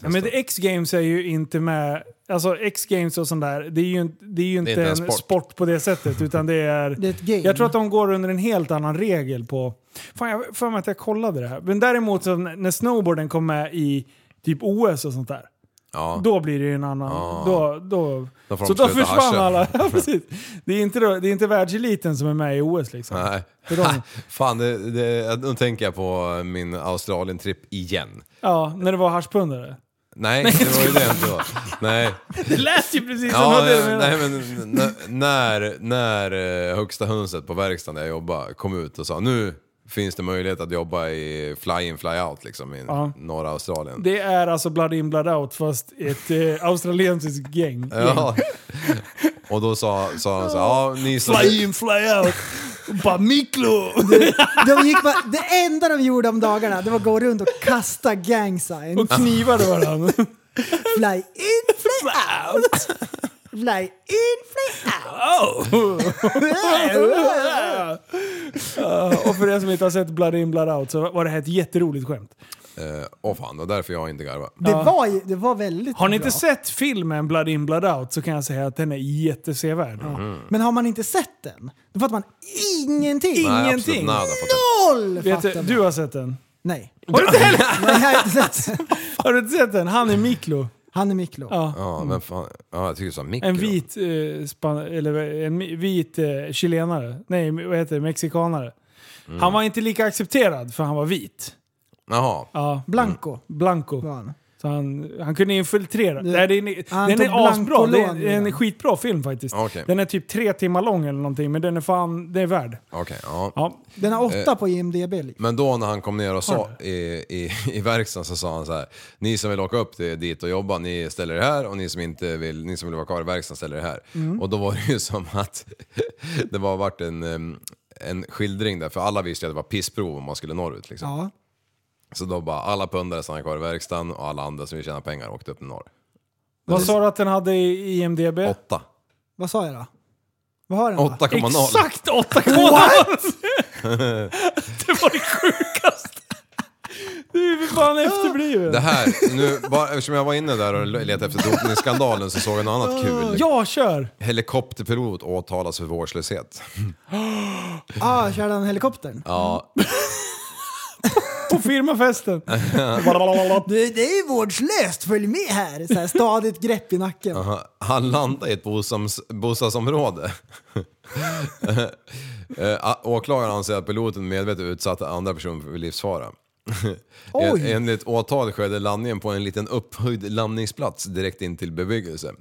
Ja, men det- X-games är ju inte med... Alltså X-games och sånt där, det är ju, inte- det är ju inte, en sport. på det sättet. Utan det är... det är ett game. Jag tror att de går under en helt annan regel på... Fan, jag har för mig att jag kollade det här. Men däremot så när när snowboarden kom med i typ OS och sånt där. Ja. Då blir det ju en annan... Då, då, Då får de så då sluta försvann hascha. alla. (laughs) Ja, precis. Det är inte, då- det är inte världseliten som är med i OS liksom. Nej. För de- (laughs) Fan, det, det, nu tänker jag på min Australien-tripp igen. Ja, när det var (laughs) haschpundare. Nej, det var ju det inte var. Nej. Det lät ju precis som (laughs) Ja, vad du menade. nej, nej, men n- n- när, när eh, högsta hönset på verkstaden där jag jobbade kom ut och sa nu finns det möjlighet att jobba i fly-in fly-out liksom i Ja. norra Australien. Det är alltså Blood In Blood Out fast ett eh, australiensiskt gäng. Ja. (laughs) Och då sa, sa han så här, ja ni som... Fly in, fly out. Bara miklo! De gick bara, det enda de gjorde om dagarna det var att gå runt och kasta gang signs. Och knivade varandra. Fly in, fly out! Fly in, fly Oh. out! Ja, (laughs) och för er som inte har sett Blood In Blood Out så var det här ett jätteroligt skämt. Eh, Åh fan, det var därför jag inte garvade. Det, var ju, det var väldigt Har ni inte bra. sett filmen Blood In Blood Out så kan jag säga att den är jättesevärd. Men har man inte sett den, då fattar man ingenting. Nej, absolut Ingenting. nada Noll Vet fattar du, man. du har sett den? Nej. Har du inte heller? Nej, jag har inte sett den. Har du inte sett den? Han är Miklo. Han är Miklo. Ja. Ja, men fan, ja, jag tycker du sa mikro. En vit, eh, span, eller en mi- vit eh, chilenare. Nej, vad heter det? Mexikanare. Mm. Han var inte lika accepterad för han var vit. Jaha. Ja. Blanco. Blanco. Så han, han kunde infiltrera. Nej, det är, han den tog är asbra. Det är, Blanco-lån i det är en den. skitbra film faktiskt. Ah, Okej. Den är typ tre timmar lång eller någonting, men den är fan, det är värd. Okej, ja. Den har åtta Eh, på IMDB. liksom. Men då när han kom ner och Har sa i, i, i verkstaden så sa han så här. Ni som vill åka upp till, dit och jobba, ni ställer er här och ni som inte vill, ni som vill vara kvar i verkstaden ställer er här. Mm. Och då var det ju som att (laughs) det var varit en, em, en skildring där, för alla visste ju att det var pissprov om man skulle norrut liksom. Ja. Så då bara alla pundare stannade kvar i verkstaden och alla andra som vill tjäna pengar åkte upp norr. Vad sa du att den hade i IMDB? Åtta. Vad sa jag då? Vad har den då? 8,0. (laughs) Exakt 8,0! (laughs) Det var det sjukaste! Du är för (laughs) fan efterbliven. Det här, nu, bara, eftersom jag var inne där och letade efter dopningsskandalen så såg jag något annat kul. Ja, kör! Helikopterpilot åtalas för vårdslöshet. Ah, körde han helikoptern? Ja, På firmafesten. Du, det är vårdslöst, följ med här! Så här stadigt grepp i nacken. Mm. Aha. Han landade i ett bostads, (laughs) bostadsområde. Eh, Åklagaren anser att piloten medvetet utsatte andra personer för (laughs) livsfara. Oj. En- Enligt åtal skedde landningen på en liten upphöjd landningsplats direkt in till bebyggelse.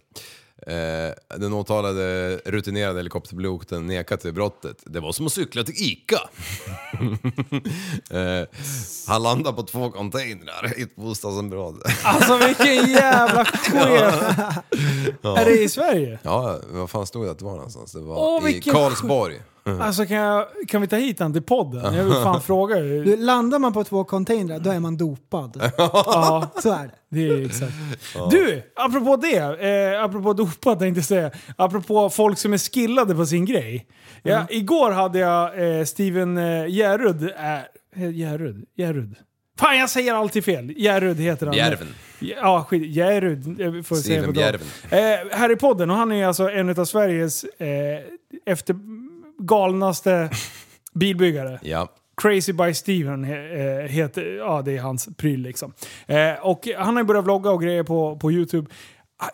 Eh, Den åtalade rutinerade helikopterpiloten nekar till brottet. Det var som att cykla till ICA. (laughs) Eh, Han landade på två containrar i ett bostadsområde. Alltså vilken jävla chef! (laughs) Ja. Är det i Sverige? Ja, vad fan stod det att det var någonstans? Det var Åh, i vilken Karlsborg. Alltså kan, jag, kan vi ta hit han till podden? Jag vill fan fråga. hur- Du, landar man på två containrar, då är man dopad. Ja. Så är det. Det är exakt. Du, apropå det, eh, apropå dopa tänkte jag säga, apropå folk som är skillade på sin grej. Ja, Mm. Igår hade jag eh, Steven eh, Järrud, eh, Järrud, Järrud. Fan jag säger alltid fel. Järrud heter han. Järven. Ja, skit. Järrud. eh, Får jag säga Steven på dag. Järven. Eh, här i podden, och han är ju alltså en av Sveriges eh, efter galnaste bilbyggare. Ja. Crazy by Steven eh, heter, ja det är hans pryl liksom. Eh, och han har ju börjat vlogga och grejer på, på YouTube.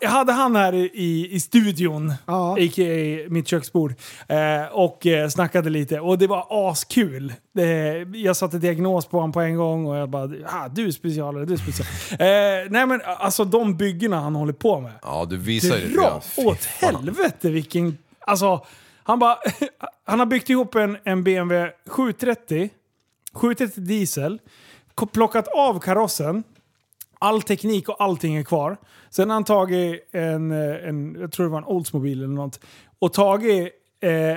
Jag hade han här i- i, i studion, a.k.a. mitt köksbord, eh, och eh, snackade lite. Och det var askul. Det, jag satte diagnos på honom på en gång och jag bara ah, “du är specialare, du är special”. (laughs) eh, nej men alltså de byggena han håller på med. Ja, du visar ju lite Dra grann. åt helvete vilken... Alltså, han bara... (laughs) Han har byggt ihop en, en BMW 730, 730 diesel, ko- plockat av karossen, all teknik och allting är kvar. Sen har han tagit en, eh, en jag tror det var en Oldsmobile eller något, och tagit eh, eh,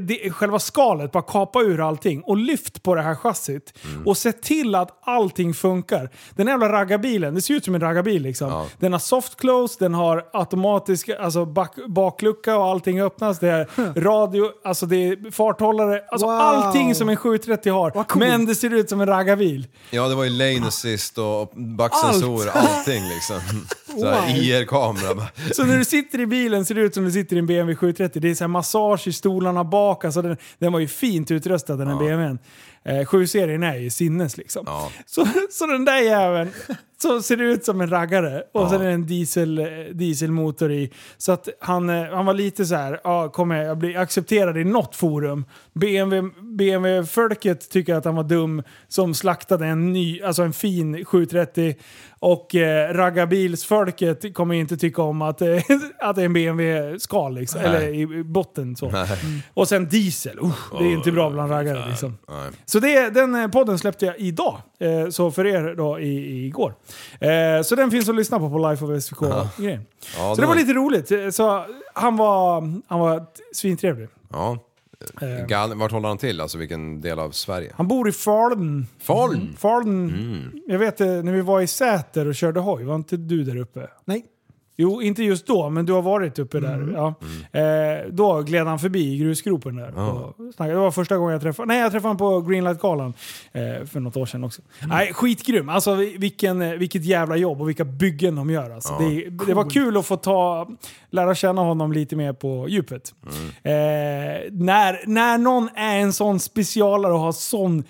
det, själva skalet, bara kapa ur allting och lyft på det här chassit. Mm. Och se till att allting funkar. Den här jävla raggarbilen, det ser ut som en raggarbil liksom. Den har soft close, den har automatisk alltså back, baklucka och allting öppnas. Det är radio, alltså det är farthållare. Alltså Wow. allting som en 730 har. coolt. Men det ser ut som en raggarbil. Ja, det var ju lane assist och backsensor och Allt. allting liksom. Så Wow. här IR-kamera. bara. Så när du sitter i bilen ser det ut som du sitter i en BMW 730. Det är så här massage i stolarna bak. Alltså den, den var ju fint utrustad den här BMWn. Eh, 7-serien är ju sinnes liksom. Så, så den där jäveln så ser det ut som en raggare. Och sen är det en diesel, eh, dieselmotor i. Så att han, eh, han var lite så här, ja, kommer jag bli accepterad i något forum? BMW, BMW-folket tycker att han var dum som slaktade en ny, alltså en fin 730. Och eh, raggarbilsfolket kommer inte tycka om att, eh, (laughs) att det är en BMW-skal liksom, Nej. eller i i botten så. Mm. Nej. Och sen diesel, usch, det är inte bra bland raggare liksom. Nej. Så det, den eh, podden släppte jag idag. Eh, så för er då i, i- igår. Eh, så den finns att lyssna på på Life of SVK. grejen. Ja, så det var lite roligt. Eh, Så han var, han var t- svintrevlig. Ja. Eh. Gal- Vart håller han till? Alltså vilken del av Sverige? Han bor i Falun. Falun? Falun. Mm. Jag vet eh, när vi var i Säter och körde hoj, var inte du där uppe? Nej. Jo, inte just då, men du har varit uppe där. Ja. Eh, då gled han förbi i grusgropen där. Ja. Och snackade. Det var första gången jag träffade Nej, jag träffade honom på Greenlight-galan eh, för något år sedan också. Mm. Nej, skitgrym. Alltså vi- vilken, eh, vilket jävla jobb och vilka byggen de gör. Alltså. Ja. Det, det var kul att få ta, lära känna honom lite mer på djupet. Mm. Eh, när, när någon är en sån specialare och har sån sp-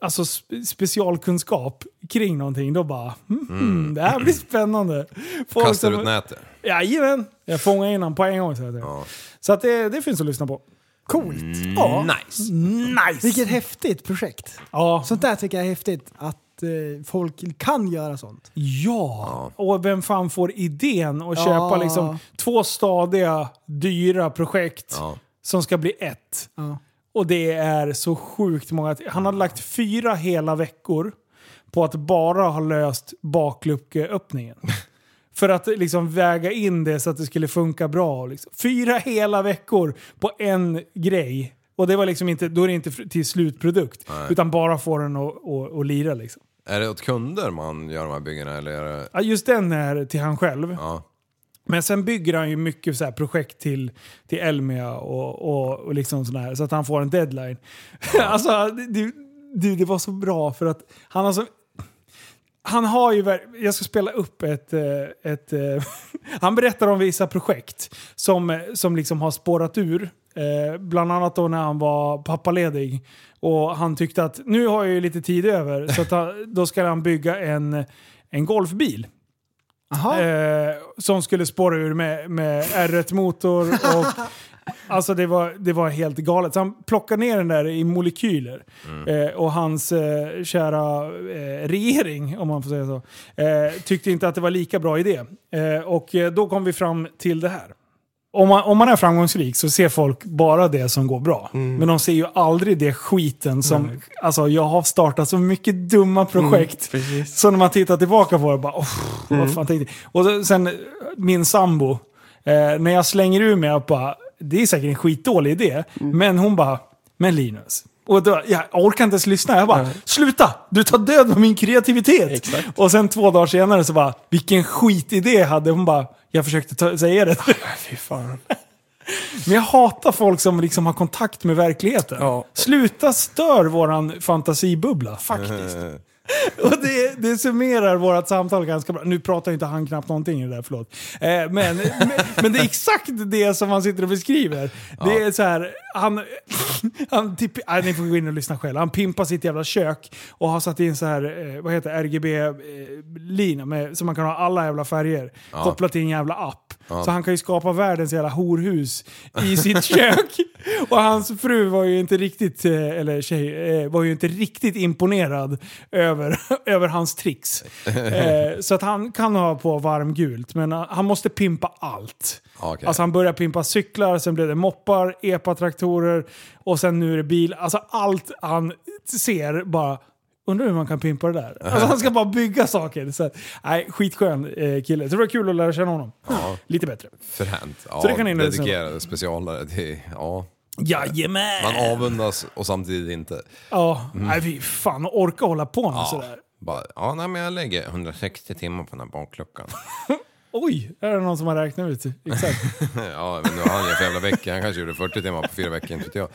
Alltså sp- specialkunskap kring någonting, då bara mm, Mm. det här blir (clears throat) spännande. Folk Kastar som- ut nätet. Jajamän! Jag fångar in honom på en gång. Så att, så att det, det finns att lyssna på. Coolt! Ja. Nice. nice! Vilket häftigt projekt. Ja. Sånt där tycker jag är häftigt. Att eh, folk kan göra sånt. Ja! Och vem fan får idén att Ja. köpa liksom två stadiga, dyra projekt som ska bli ett? Ja. Och det är så sjukt många. Han hade lagt fyra hela veckor på att bara ha löst bakluckeöppningen. För att liksom väga in det så att det skulle funka bra. Liksom. Fyra hela veckor på en grej. Och det var liksom inte, då är det inte fr- till slutprodukt. Nej. Utan bara få den att, att, att lira liksom. Är det åt kunder man gör de här byggena eller är det... Ja, just den är till han själv. Ja. Men sen bygger han ju mycket så här projekt till, till Elmia och, och, och liksom sån här, så att han får en deadline. (laughs) alltså, det, det, det var så bra för att han har så... Han har ju... ver- Jag ska spela upp ett... eh, ett eh, (laughs) han berättar om vissa projekt som, eh, som liksom har spårat ur. Eh, Bland annat då när han var pappaledig. Och han tyckte att nu har jag ju lite tid över så att han, då ska han bygga en, en golfbil. Eh, som skulle spåra ur med, med R1-motor och... Alltså det var, det var helt galet. Så han plockade ner den där i molekyler. Eh, och hans eh, kära eh, regering, om man får säga så, eh, tyckte inte att det var lika bra idé. Eh, och eh, då kom vi fram till det här. Om man, om man är framgångsrik så ser folk bara det som går bra. Men de ser ju aldrig det skiten som... Mm. Nej. Alltså jag har startat så mycket dumma projekt. Mm, precis. så när man tittar tillbaka på det bara... "Åh, Mm. vad fan tänkte jag?" Och så- sen eh, min sambo. Eh, när jag slänger ur mig jag bara... Det är säkert en skitdålig idé. Mm. Men hon bara... Men Linus. Och då, jag orkar inte ens lyssna. Jag bara, sluta! Du tar död på min kreativitet! Och sen två dagar senare så bara, vilken skitidé jag hade. Hon bara, jag försökte ta, (laughs) säga det. Fy fan. Men jag hatar folk som liksom har kontakt med verkligheten. Sluta stör våran fantasibubbla. Faktiskt. Och det, det summerar vårt samtal ganska bra. Nu pratar ju inte han knappt någonting i det där, förlåt. Eh, men, men, men det är exakt det som han sitter och beskriver. Det är så här, han, han typ, nej, ni får gå in och lyssna själva. Han pimpar sitt jävla kök och har satt in så här, eh, vad heter det, RGB-lina med, så man kan ha alla jävla färger. Ja. Kopplat till en jävla app. Ja. Så han kan ju skapa världens jävla horhus i sitt (laughs) kök. Och hans fru var ju inte riktigt, eh, eller tjej, eh, var ju inte riktigt imponerad över, (laughs) över hans tricks. Eh, Så att han kan ha på varmgult, men han- han måste pimpa allt. Okej. Alltså han började pimpa cyklar, sen blev det moppar, epatraktorer och sen nu är det bil. Alltså allt han ser bara Undrar hur man kan pimpa det där. Alltså, han ska bara bygga saker. Så, att- nej, skitskön eh, kille. Så det var kul att lära känna honom. Ja. Lite bättre. Fränt. Ja, Så det kan in i det sen. dedikerade specialare. Det, ja. Jajamän! Man avundas och samtidigt inte. Ja, Mm. nej fy fan. Orka hålla på med Ja. sådär. Bara, ja, nej, men jag lägger 160 timmar på den här bakluckan. Oj, är det någon som har räknat ut? Exakt. (laughs) ja, men nu har han ju för jävla vecka. Han kanske gjorde 40 timmar på fyra veckor, inte vet jag.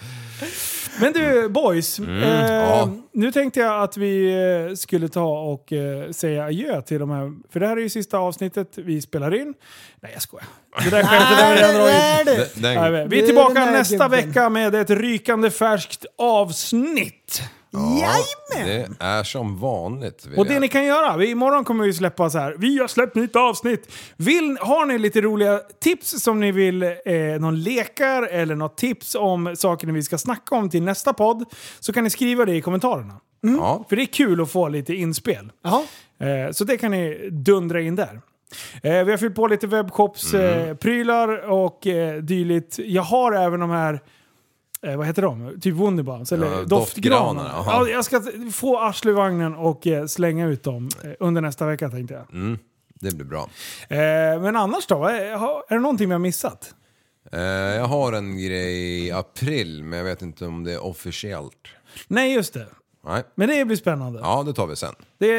Men du boys, Mm, eh, ja. nu tänkte jag att vi eh, skulle ta och eh, säga adjö till de här. För det här är ju sista avsnittet vi spelar in. Nej jag skojar. Det där skämtet har vi redan Nej, det är dragit. det. Den- (laughs) Nej, men Vi är Det är tillbaka den här nästa gubben. vecka med ett rykande färskt avsnitt. Det är som vanligt. vill Och det jag- ni kan göra, vi, imorgon kommer vi släppa så här. Vi har släppt nytt avsnitt. Vill, har ni lite roliga tips som ni vill, eh, någon lekar eller något tips om saker ni vi ska snacka om till nästa podd så kan ni skriva det i kommentarerna. För det är kul att få lite inspel. Eh, så det kan ni dundra in där. Eh, vi har fyllt på lite webbshopsprylar eh, Mm. prylar och eh, dylikt. Jag har även de här Eh, vad heter de? Typ Wunderbaums? Eller Ja, doftgranar? doftgranar, ja, jaha. jag ska t- få arsle i vagnen och eh, slänga ut dem eh, under nästa vecka tänkte jag. Mm, det blir bra. Eh, men annars då? Eh, har- Är det någonting vi har missat? Eh, jag har en grej i april, men jag vet inte om det är officiellt. Nej, just det. Nej. Men det blir spännande. Ja, det tar vi sen. Det,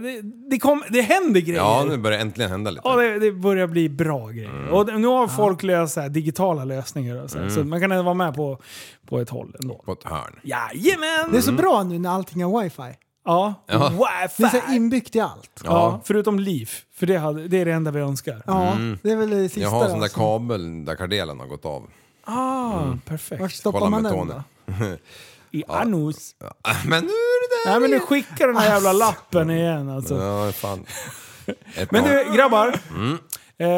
det, det, kom, det händer grejer. Ja, nu börjar det äntligen hända lite. Eh. Ja, det, det börjar bli bra grejer. Och det- nu har folk löst så här, digitala lösningar. Och så, här, Mm. så man kan ändå vara med på, på ett håll ändå. På ett hörn. Jajamän! Det är så bra nu när allting har wifi. Ja. Ja. Wifi! Det är så inbyggt i allt. Ja. förutom liv. För det, hade, det är det enda vi önskar. Ja, det är väl det sista. Jag har en då, sån där alltså. som- kabel där kardelen har gått av. Ah, Mm. perfekt. Vart stoppar Kolla man med den Tony. då? I anus. (laughs) Men nu är det där Nej men nu igen. skickar den här jävla lappen igen alltså. Ja, fan. (laughs) Ett Men par- du grabbar. Mm. Eh,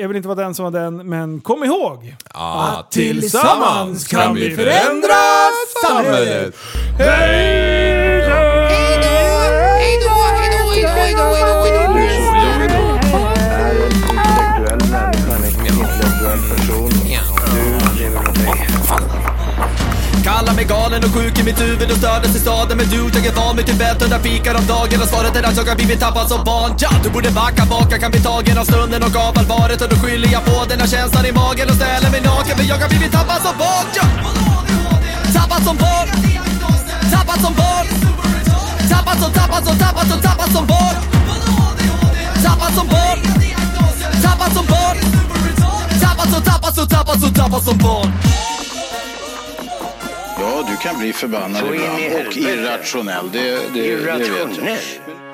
jag vill inte vara den som var den, men kom ihåg. Att tillsammans kan vi förändra samhället. Hej då! Hej då! Hej då! Hej då! Hej då! Hej då! är en intellektuell människa, en intellektuell person. Du lever med mig. Kallar mig galen och sjuk i mitt huvud och stördes i staden Men du, jag är van vid Tibet under fikar om dagen Och svaret är att jag har blivit tappad som barn ja, Du borde backa bak, jag kan bli tagen av stunden och av allvaret Och då skyller jag på den här känslan i magen och ställer mig naken För jag har blivit tappad som barn ja. Tappad som barn Tappad som barn Tappad som, tappad som, tappad som, tappad som barn Tappad som barn Tappad som barn Tappad som, tappad som, tappad som, tappad som barn Ja, du kan bli förbannad Så in i ibland och helvete. irrationell. Det, det, det vet jag. Irrationell.